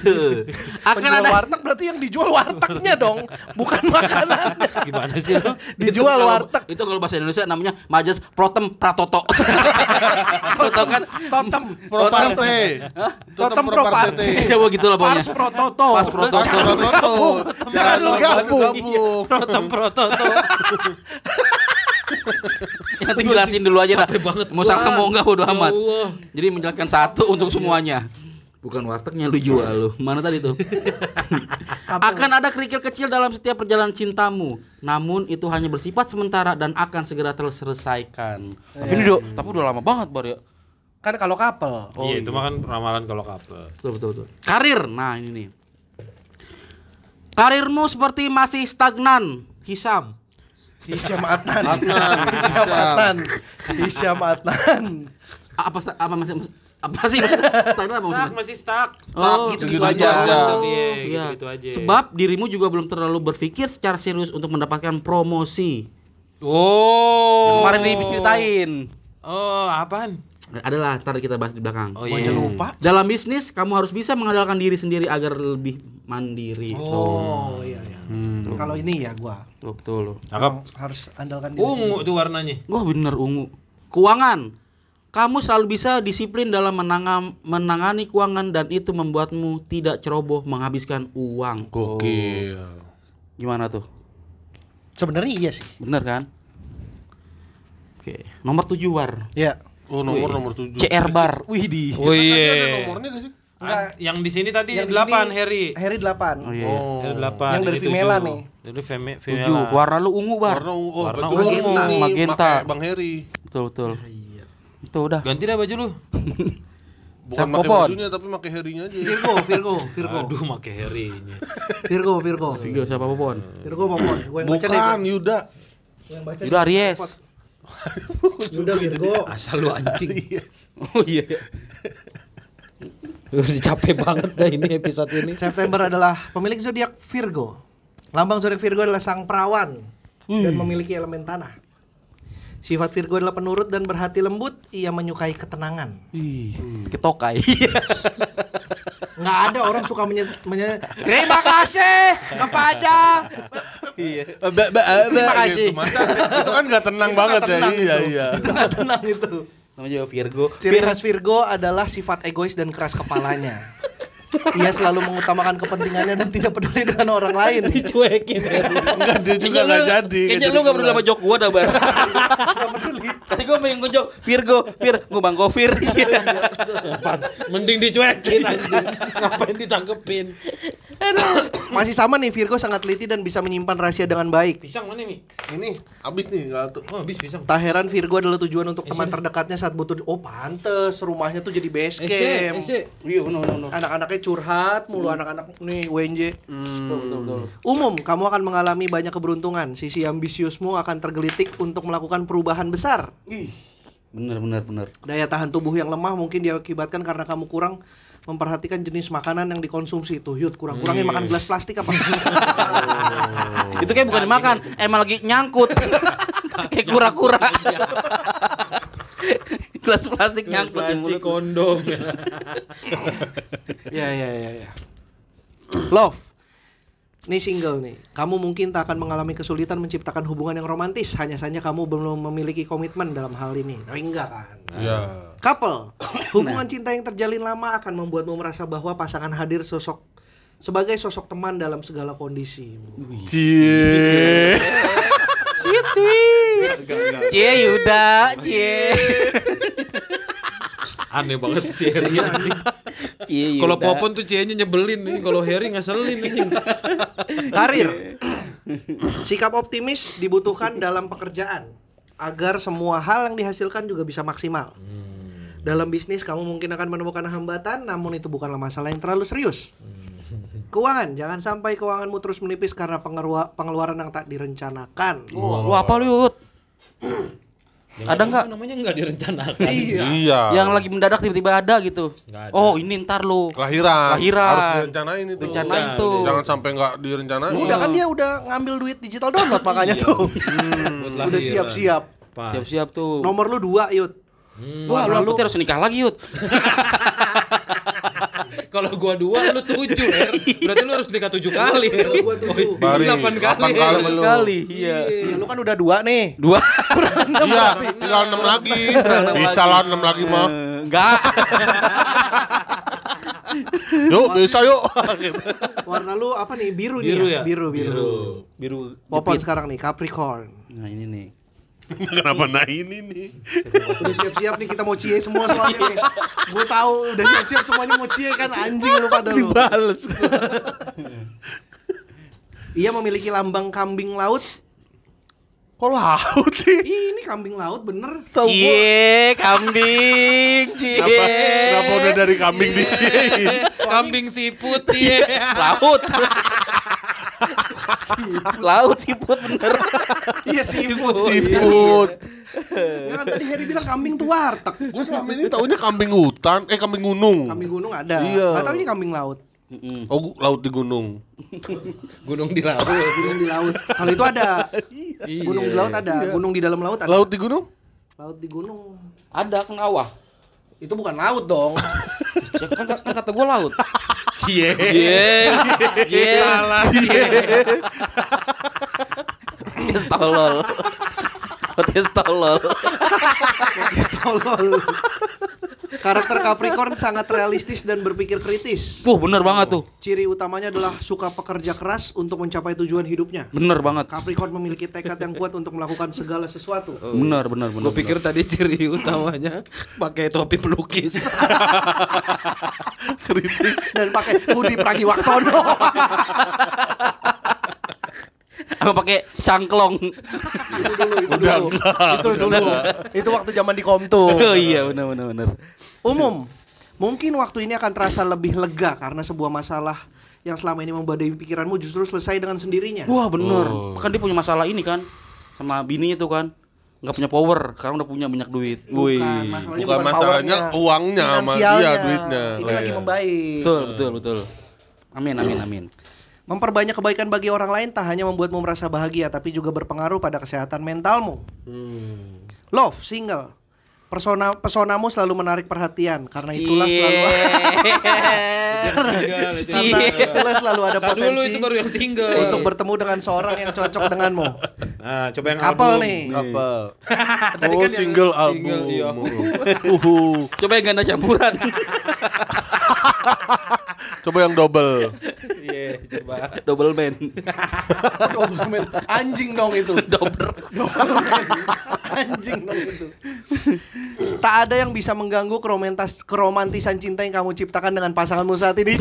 S4: Aduh. akan
S1: Penjual
S4: ada
S1: warteg berarti yang dijual wartegnya dong, bukan makanan.
S7: Gimana sih lo?
S1: Dijual
S4: kalau-
S1: warteg.
S4: Itu kalau bahasa Indonesia namanya Majas Protem Pratoto. *laughs* Protem kan
S1: Totem,
S2: Proparte.
S4: Hah?
S1: totem pro parte.
S4: Ya begitu lah
S1: Iya. Pars
S4: pokoknya.
S1: prototo.
S4: Pas Prototo.
S2: Gabung.
S1: Jangan lu gabung.
S7: Protem prototo.
S4: Nanti jelasin dulu aja dah.
S7: Capek banget
S4: Mau
S7: gua.
S4: sangka mau enggak bodo
S7: Ya
S4: amat.
S7: Allah. Iya.
S4: Jadi menjelaskan satu untuk semuanya. Bukan wartegnya lu jual lu. Mana tadi
S7: *laughs*
S4: tuh? akan ada kerikil kecil dalam setiap perjalanan cintamu. Namun itu hanya bersifat sementara dan akan segera terselesaikan. Tapi ini udah, tapi udah lama banget baru ya.
S1: Kan kalau kapel.
S7: iya, itu mah kan ramalan kalau kapel.
S4: Betul, betul, betul. Karir. Nah, ini nih. Karirmu seperti masih stagnan. Hisam.
S1: Hisham Adnan.
S2: Adnan,
S1: Hisham
S2: Hisham.
S1: Adnan. Hisham Adnan.
S4: A- Apa sta- apa masih apa sih? Stagnan apa maksudnya?
S7: Stuck masih stuck.
S4: Oh,
S2: gitu-gitu
S7: aja.
S2: aja.
S7: Iya,
S4: Iya.
S7: gitu-gitu aja.
S4: Sebab dirimu juga belum terlalu berpikir secara serius untuk mendapatkan promosi.
S7: Oh.
S4: Kemarin diceritain.
S7: Oh, apaan?
S4: Adalah, ntar kita bahas di belakang.
S7: Oh
S1: Gua
S7: iya.
S1: aja lupa.
S4: Dalam bisnis, kamu harus bisa mengandalkan diri sendiri agar lebih mandiri.
S1: Oh, iya iya. Kalau ini ya gua
S4: Tuh, betul loh.
S7: Cakep.
S1: harus andalkan diri
S7: Ungu tuh warnanya.
S4: Wah bener ungu. Keuangan. Kamu selalu bisa disiplin dalam menangam, menangani keuangan dan itu membuatmu tidak ceroboh menghabiskan uang. Oh,
S2: Gokil.
S4: Gimana tuh?
S1: Sebenarnya iya sih.
S4: Bener kan? Oke, nomor tujuh war.
S1: Iya.
S2: Oh, nomor nomor 7.
S4: CR bar. Wih di.
S7: Oh
S2: Ada
S7: iya.
S2: nomornya gak sih?
S1: Enggak.
S7: Yang di sini tadi
S1: Yang di
S7: 8
S1: sini-
S7: Harry.
S1: Harry 8.
S4: Oh iya.
S2: Oh.
S7: Dari 8.
S1: Yang dari
S7: ini tujuh.
S1: Vimela nih.
S7: Dari Vime,
S4: Tujuh.
S7: Vimela.
S4: Warna lu ungu bar.
S2: Warna ungu. Oh,
S7: Warna
S2: betul.
S1: ungu.
S2: Ini
S4: Magenta.
S2: pakai Bang Heri.
S4: Betul betul. Itu udah.
S7: Ganti dah baju lu.
S2: Bukan
S4: Saya
S2: pakai
S4: popon.
S2: bajunya tapi pakai herinya aja.
S1: Virgo, Virgo, Virgo.
S7: Aduh, make Harry-nya.
S1: Virgo, Virgo.
S4: Tiga siapa pun.
S1: Virgo Popon. Gua yang baca deh.
S2: Bukan Yuda.
S1: Gua yang baca.
S4: Udah Aries.
S7: *laughs*
S1: Udah Virgo.
S7: Gitu Asal lu anjing.
S4: Oh iya.
S7: *laughs* Udah capek banget dah ini episode ini.
S1: September adalah pemilik zodiak Virgo. Lambang zodiak Virgo adalah sang perawan dan memiliki elemen tanah. Sifat Virgo adalah penurut dan berhati lembut. Ia menyukai ketenangan.
S4: Ih, ketokai.
S1: Nggak ada orang suka menye, menye- terima kasih kepada
S2: Terima
S1: kasih.
S2: Gitu, Itu kan gak tenang banget ya. Iya, iya.
S1: itu nggak tenang itu.
S4: Namanya juga Virgo.
S1: Ciri khas Virgo adalah sifat egois dan keras
S4: *laughs*
S1: kepalanya. Ia selalu mengutamakan kepentingannya dan tidak peduli dengan orang
S4: *laughs*
S1: lain.
S4: ya,
S2: Enggak dia juga
S4: Kayaknya
S2: enggak
S4: lu-
S2: jadi.
S4: Kayaknya lu gak peduli sama jok gua dah bar. Tadi gua pengen ngejok Virgo, Vir, gua bang Govir.
S7: Mending dicuekin anjing. Ngapain ditangkepin?
S1: Masih sama nih Virgo sangat teliti dan bisa menyimpan rahasia dengan baik.
S7: Pisang mana, Mi?
S2: Ini habis nih enggak tuh.
S7: Oh, habis pisang.
S1: Tak heran Virgo adalah tujuan untuk teman terdekatnya saat butuh. Oh pantes rumahnya tuh jadi base camp.
S4: Iya, benar benar.
S1: Anak-anaknya curhat mulu anak-anak nih WNJ.
S4: Hmm. Betul betul betul.
S1: Umum, kamu akan mengalami banyak keberuntungan. Sisi ambisiusmu akan tergelitik untuk melakukan perubahan besar.
S4: Bener bener bener.
S1: Daya tahan tubuh yang lemah mungkin diakibatkan karena kamu kurang memperhatikan jenis makanan yang dikonsumsi. Tuh, Yud, kurang-kurangin makan gelas plastik apa? *laughs*
S4: Ah, Itu kayak bukan dimakan, emang lagi nyangkut. kayak kura-kura. *laughs* Gelas plastik nyangkut di mulut. *laughs* Iya,
S7: Plastik kondom.
S1: ya, ya, ya, ya. Love. Ini single nih. Kamu mungkin tak akan mengalami kesulitan menciptakan hubungan yang romantis. Hanya saja kamu belum memiliki komitmen dalam hal ini. Tapi enggak kan?
S2: Iya.
S1: Couple, hubungan cinta yang terjalin lama akan membuatmu merasa bahwa pasangan hadir sosok sebagai sosok teman dalam segala kondisi.
S2: Cie.
S4: Cie Yuda, cie.
S7: Aneh banget si Harry.
S4: Cie
S3: iya,
S4: Yuda.
S7: Kalau Popon tuh cienya nyebelin nih, kalau Harry ngeselin nih.
S1: Karir, Iya. sikap optimis dibutuhkan dalam pekerjaan agar semua hal yang dihasilkan juga bisa maksimal. Dalam bisnis kamu mungkin akan menemukan hambatan, namun itu bukanlah masalah yang terlalu serius. Keuangan, jangan sampai keuanganmu terus menipis karena pengerua- pengeluaran yang tak direncanakan.
S4: Lu apa lu Yud? Ada nggak
S7: Namanya nggak direncanakan.
S2: Iya.
S4: yang lagi mendadak tiba-tiba ada gitu?
S7: Nggak ada.
S4: Oh ini ntar lu.
S2: lahiran.
S4: Lahiran.
S2: Harus direncanain itu. Iya,
S4: Rencanain
S7: Udah,
S4: tuh.
S2: Jangan sampai nggak direncanain.
S1: Udah kan dia udah ngambil duit digital download makanya tuh. udah siap-siap.
S4: Siap-siap tuh.
S1: Nomor lu dua, Yud.
S4: Wah,
S1: Warna
S4: Hmm. lu putih harus nikah lagi, Yud.
S7: Kalau gua dua, lu tujuh, Her.
S4: Iya.
S7: Berarti lu harus nikah tujuh kali. Her.
S1: Gua tujuh.
S7: Oh, ini delapan kali.
S2: delapan
S7: Her.
S2: kali belum.
S4: iya.
S1: Iya, lu kan udah dua nih.
S4: Dua.
S2: Iya, tinggal enam lagi. Bisa lah enam lagi mah.
S4: Eh, Enggak.
S2: *laughs* Yuk, bisa yuk.
S1: Warna lu apa nih? Biru,
S7: Biru
S1: nih.
S7: ya?
S1: Biru, biru.
S4: Biru.
S1: Popon sekarang nih Capricorn.
S4: Nah, ini nih.
S2: *laughs* Kenapa nah ini nih?
S1: Udah siap-siap nih kita mau cie semua soalnya nih. Gue tahu udah siap-siap semuanya mau cie kan anjing lu pada lu.
S4: Dibales.
S1: Ia Iya, memiliki lambang kambing laut.
S2: Kok laut
S1: *laughs*
S2: sih?
S1: Ih, ini kambing laut bener.
S4: Tahu
S7: Iya,
S4: Cie, kambing, cie.
S2: Kenapa, kenapa udah dari kambing
S1: Iya.
S2: di
S1: Oh,
S2: Cie?
S7: Kambing siput, iya.
S1: *laughs*
S4: laut? laut siput bener.
S1: *laughs* Iya seafood.
S2: Seafood.
S1: Nggak kan tadi Harry bilang kambing tuh warteg.
S2: Gue selama ini taunya kambing hutan, eh kambing gunung.
S1: Kambing gunung ada.
S2: Iya.
S1: Nggak tahu ini kambing laut.
S2: Oh, gu- laut di gunung.
S7: Gunung di laut.
S1: Iya, Gunung di laut. Kalau itu ada. Gunung di laut ada. Gunung di dalam laut ada.
S2: Iya. Laut di gunung?
S1: Laut di gunung.
S4: Ada kan awah.
S1: Itu bukan laut dong.
S4: *laughs* Ya, kan, kan kata gua laut. Iya. Cie. Cie. Cie. Salah. Cie. Tolol. Podcast tolol.
S1: Tolol. Karakter Capricorn sangat realistis dan berpikir kritis.
S4: Puh, bener banget tuh.
S1: Ciri utamanya adalah suka pekerja keras untuk mencapai tujuan hidupnya.
S4: Bener banget.
S1: Capricorn memiliki tekad yang kuat untuk melakukan segala sesuatu.
S4: Bener, bener, bener.
S7: Gue pikir tadi ciri utamanya pakai topi pelukis.
S1: Kritis dan pakai hoodie Pragiwaksono.
S4: Apa pakai cangklong?
S1: itu dulu, itu dulu. Itu dulu. Itu waktu zaman di Komtu.
S4: *laughs* Oh iya, bener, bener, bener.
S1: Umum, mungkin waktu ini akan terasa lebih lega karena sebuah masalah yang selama ini membadai pikiranmu justru selesai dengan sendirinya.
S4: Wah bener,
S2: Oh.
S4: kan dia punya masalah ini kan sama bini itu kan nggak punya power, sekarang udah punya banyak duit. Wih,
S1: masalahnya
S2: Bukan masalahnya,
S1: powernya,
S2: uangnya sama
S1: finansialnya.
S2: dia, duitnya.
S1: Ini
S2: Oh,
S1: lagi
S2: iya.
S1: membaik.
S4: betul betul betul. Amin amin amin.
S1: Memperbanyak kebaikan bagi orang lain tak hanya membuatmu merasa bahagia, tapi juga berpengaruh pada kesehatan mentalmu.
S2: Hmm.
S1: Love, single. Persona pesonamu selalu menarik perhatian, karena itulah
S2: *laughs*
S1: selalu *laughs* karena itulah selalu ada
S7: Ntar dulu
S1: potensi
S7: itu baru yang single.
S4: Iya.
S1: untuk bertemu dengan seorang yang cocok denganmu.
S7: Nah, coba yang
S1: Couple
S7: album.
S1: nih.
S2: Apa? *laughs* oh, single album.
S7: single, iya.
S2: *laughs* Uhu.
S4: Coba yang ganda campuran.
S2: Coba yang double.
S7: Iya, coba.
S4: Double man.
S1: Anjing dong itu.
S4: Double.
S1: Anjing dong itu. Tak ada yang bisa mengganggu keromantas keromantisan cinta yang kamu ciptakan dengan pasanganmu saat ini.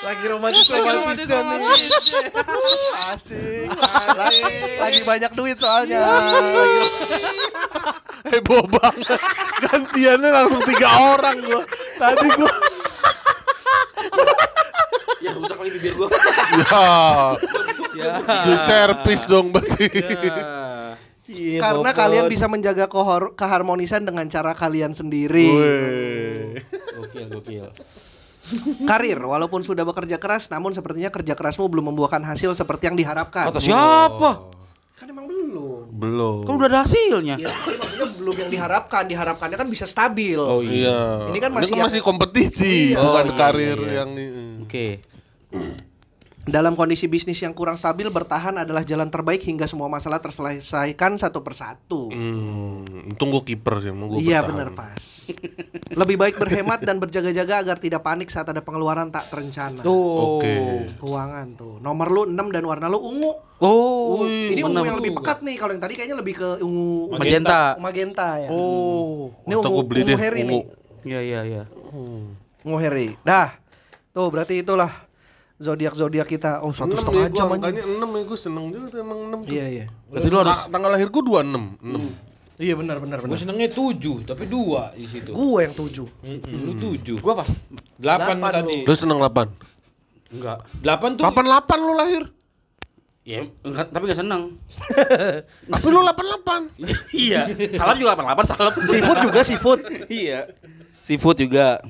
S1: Lagi romantis romantis dan asik. Lagi, lagi banyak duit soalnya. Lagi-
S2: Heboh banget. *laughs* Gantiannya langsung tiga orang gua. Tadi gua
S4: ya rusak lagi Ya. bibir gua.
S2: ya. Di servis dong berarti.
S7: Ya.
S1: Karena kalian bisa menjaga kohor- keharmonisan dengan cara kalian sendiri.
S4: Gokil, gokil.
S1: Karir, walaupun sudah bekerja keras, namun sepertinya kerja kerasmu belum membuahkan hasil seperti yang diharapkan.
S4: Kata siapa?
S1: Kan emang belum.
S2: Belum.
S4: Kan udah ada hasilnya.
S1: Ya, tapi maksudnya belum yang diharapkan. Diharapkannya kan bisa stabil.
S4: Oh iya.
S2: Iya.
S1: Ini kan masih-
S2: kompetisi, bukan karir yang
S4: *laughs* Oh, iya. Oke.
S1: Dalam kondisi bisnis yang kurang stabil, bertahan adalah jalan terbaik hingga semua masalah terselesaikan satu persatu.
S2: Hmm, untung gue kiper sih, mau gue
S1: Iya
S2: bertahan.
S1: benar pas. Lebih baik berhemat dan berjaga-jaga agar tidak panik saat ada pengeluaran tak terencana.
S4: Tuh.
S2: Oke.
S1: Keuangan tuh. Nomor lu 6 dan warna lu ungu.
S4: Oh,
S1: ini ungu
S4: bener.
S1: yang lebih pekat nih. Kalau yang tadi kayaknya lebih ke ungu
S4: magenta.
S1: magenta ya.
S4: Oh.
S1: Ini
S2: Atau
S1: ungu,
S2: gua beli
S1: ungu
S2: deh,
S1: Harry
S2: ungu.
S1: nih.
S4: Iya, iya, iya.
S1: Ungu Harry. Dah. Tuh berarti itulah zodiak-zodiak kita. Oh, satu
S2: Enam
S1: setengah
S2: ya, gua
S1: jam aja.
S2: angkanya enam ya, gue seneng juga tuh emang enam tuh.
S1: Iya, iya.
S4: Berarti lu harus
S2: Ta- tanggal lahir gue 26 enam.
S1: Iya benar benar
S7: Gue
S1: benar.
S7: senengnya tujuh, tapi dua di situ.
S1: Gue yang tujuh.
S7: Mm-mm, Lu tujuh.
S4: gua apa?
S7: Delapan
S1: Delapan
S7: tadi.
S2: Lu seneng 8.
S4: Enggak.
S7: Delapan tuh.
S2: 88 lu lahir.
S4: Ya, enggak, tapi enggak seneng.
S2: Tapi lu 88.
S4: iya. Salam juga 88 salam.
S1: Seafood juga seafood.
S4: iya. Seafood juga.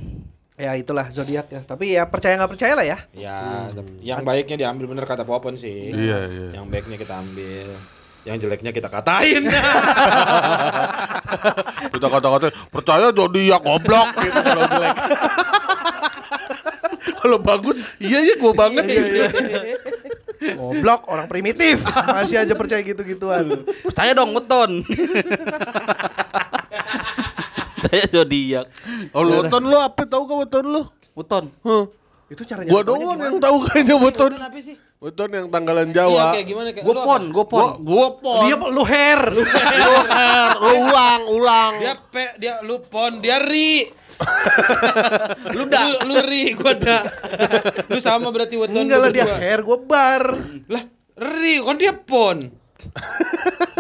S1: ya itulah zodiak ya. Tapi ya percaya nggak percaya lah ya.
S7: Ya, tapi yang baiknya diambil bener kata Popon sih.
S2: Iya, iya.
S7: Yang baiknya kita ambil. Yang jeleknya kita katain.
S2: Kita kata-kata percaya zodiak *laughs* goblok gitu kalau jelek. kalau bagus, iya iya gue banget gitu.
S1: Goblok orang primitif. Masih aja percaya gitu-gituan.
S4: Percaya dong *laughs* weton. Percaya zodiak.
S2: Oh, lu weton lu apa tahu ke weton lu?
S4: Weton.
S2: Huh.
S1: Itu cara
S2: Gua
S1: nyatanya
S2: doang
S1: gimana?
S2: yang tahu kayaknya weton. Weton yang tanggalan Jawa.
S7: kayak gimana kayak
S4: Gua pon, gua pon.
S2: Gua gua pon.
S1: Dia lu hair.
S2: Lu er, lu ulang, ulang.
S7: Dia pe, dia lu pon, dia ri. lu da, lu, ri, gua da. lu sama berarti weton
S1: *laughs* Enggak
S7: lu
S1: lah dia
S7: berdua.
S1: hair, gue bar.
S7: Lah, ri kan dia pon.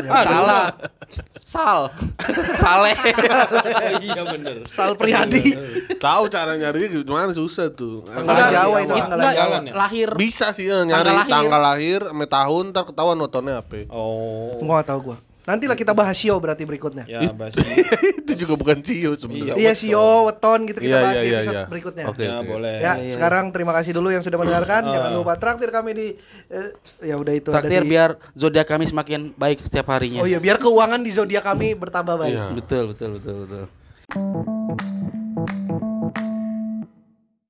S4: Salah. Sal. Saleh.
S7: Oh, iya bener.
S1: Sal Priadi.
S2: Tahu cara nyarinya gimana susah tuh.
S1: Tanggalan
S4: Enggak,
S1: Jawa itu
S4: enggak,
S1: tanggalan
S7: Jawa.
S4: enggak, Lahir.
S2: Bisa sih ya, nyari
S4: lahir.
S2: tanggal lahir, sama tahun, ntar ketahuan wetonnya apa.
S7: Oh.
S1: Jawa. Gua tahu gua. Nantilah kita bahas Sio berarti berikutnya.
S7: Ya, bahas
S2: *laughs* Itu juga bukan Cio sebenarnya.
S1: Iya Sio, Weton gitu kita
S2: ya, Iya,
S1: bahas
S2: iya,
S1: di
S2: iya,
S1: episode
S2: iya.
S1: berikutnya.
S2: Oke.
S7: ya, boleh.
S1: Ya, sekarang terima kasih dulu yang sudah mendengarkan. Jangan lupa traktir kami di eh, ya udah itu Oh iya, ada
S4: Traktir
S1: di-
S4: biar zodiak kami semakin baik setiap harinya. Iya.
S1: Oh iya, biar keuangan di zodiak kami bertambah baik.
S2: Iya.
S4: Betul, betul, betul, betul.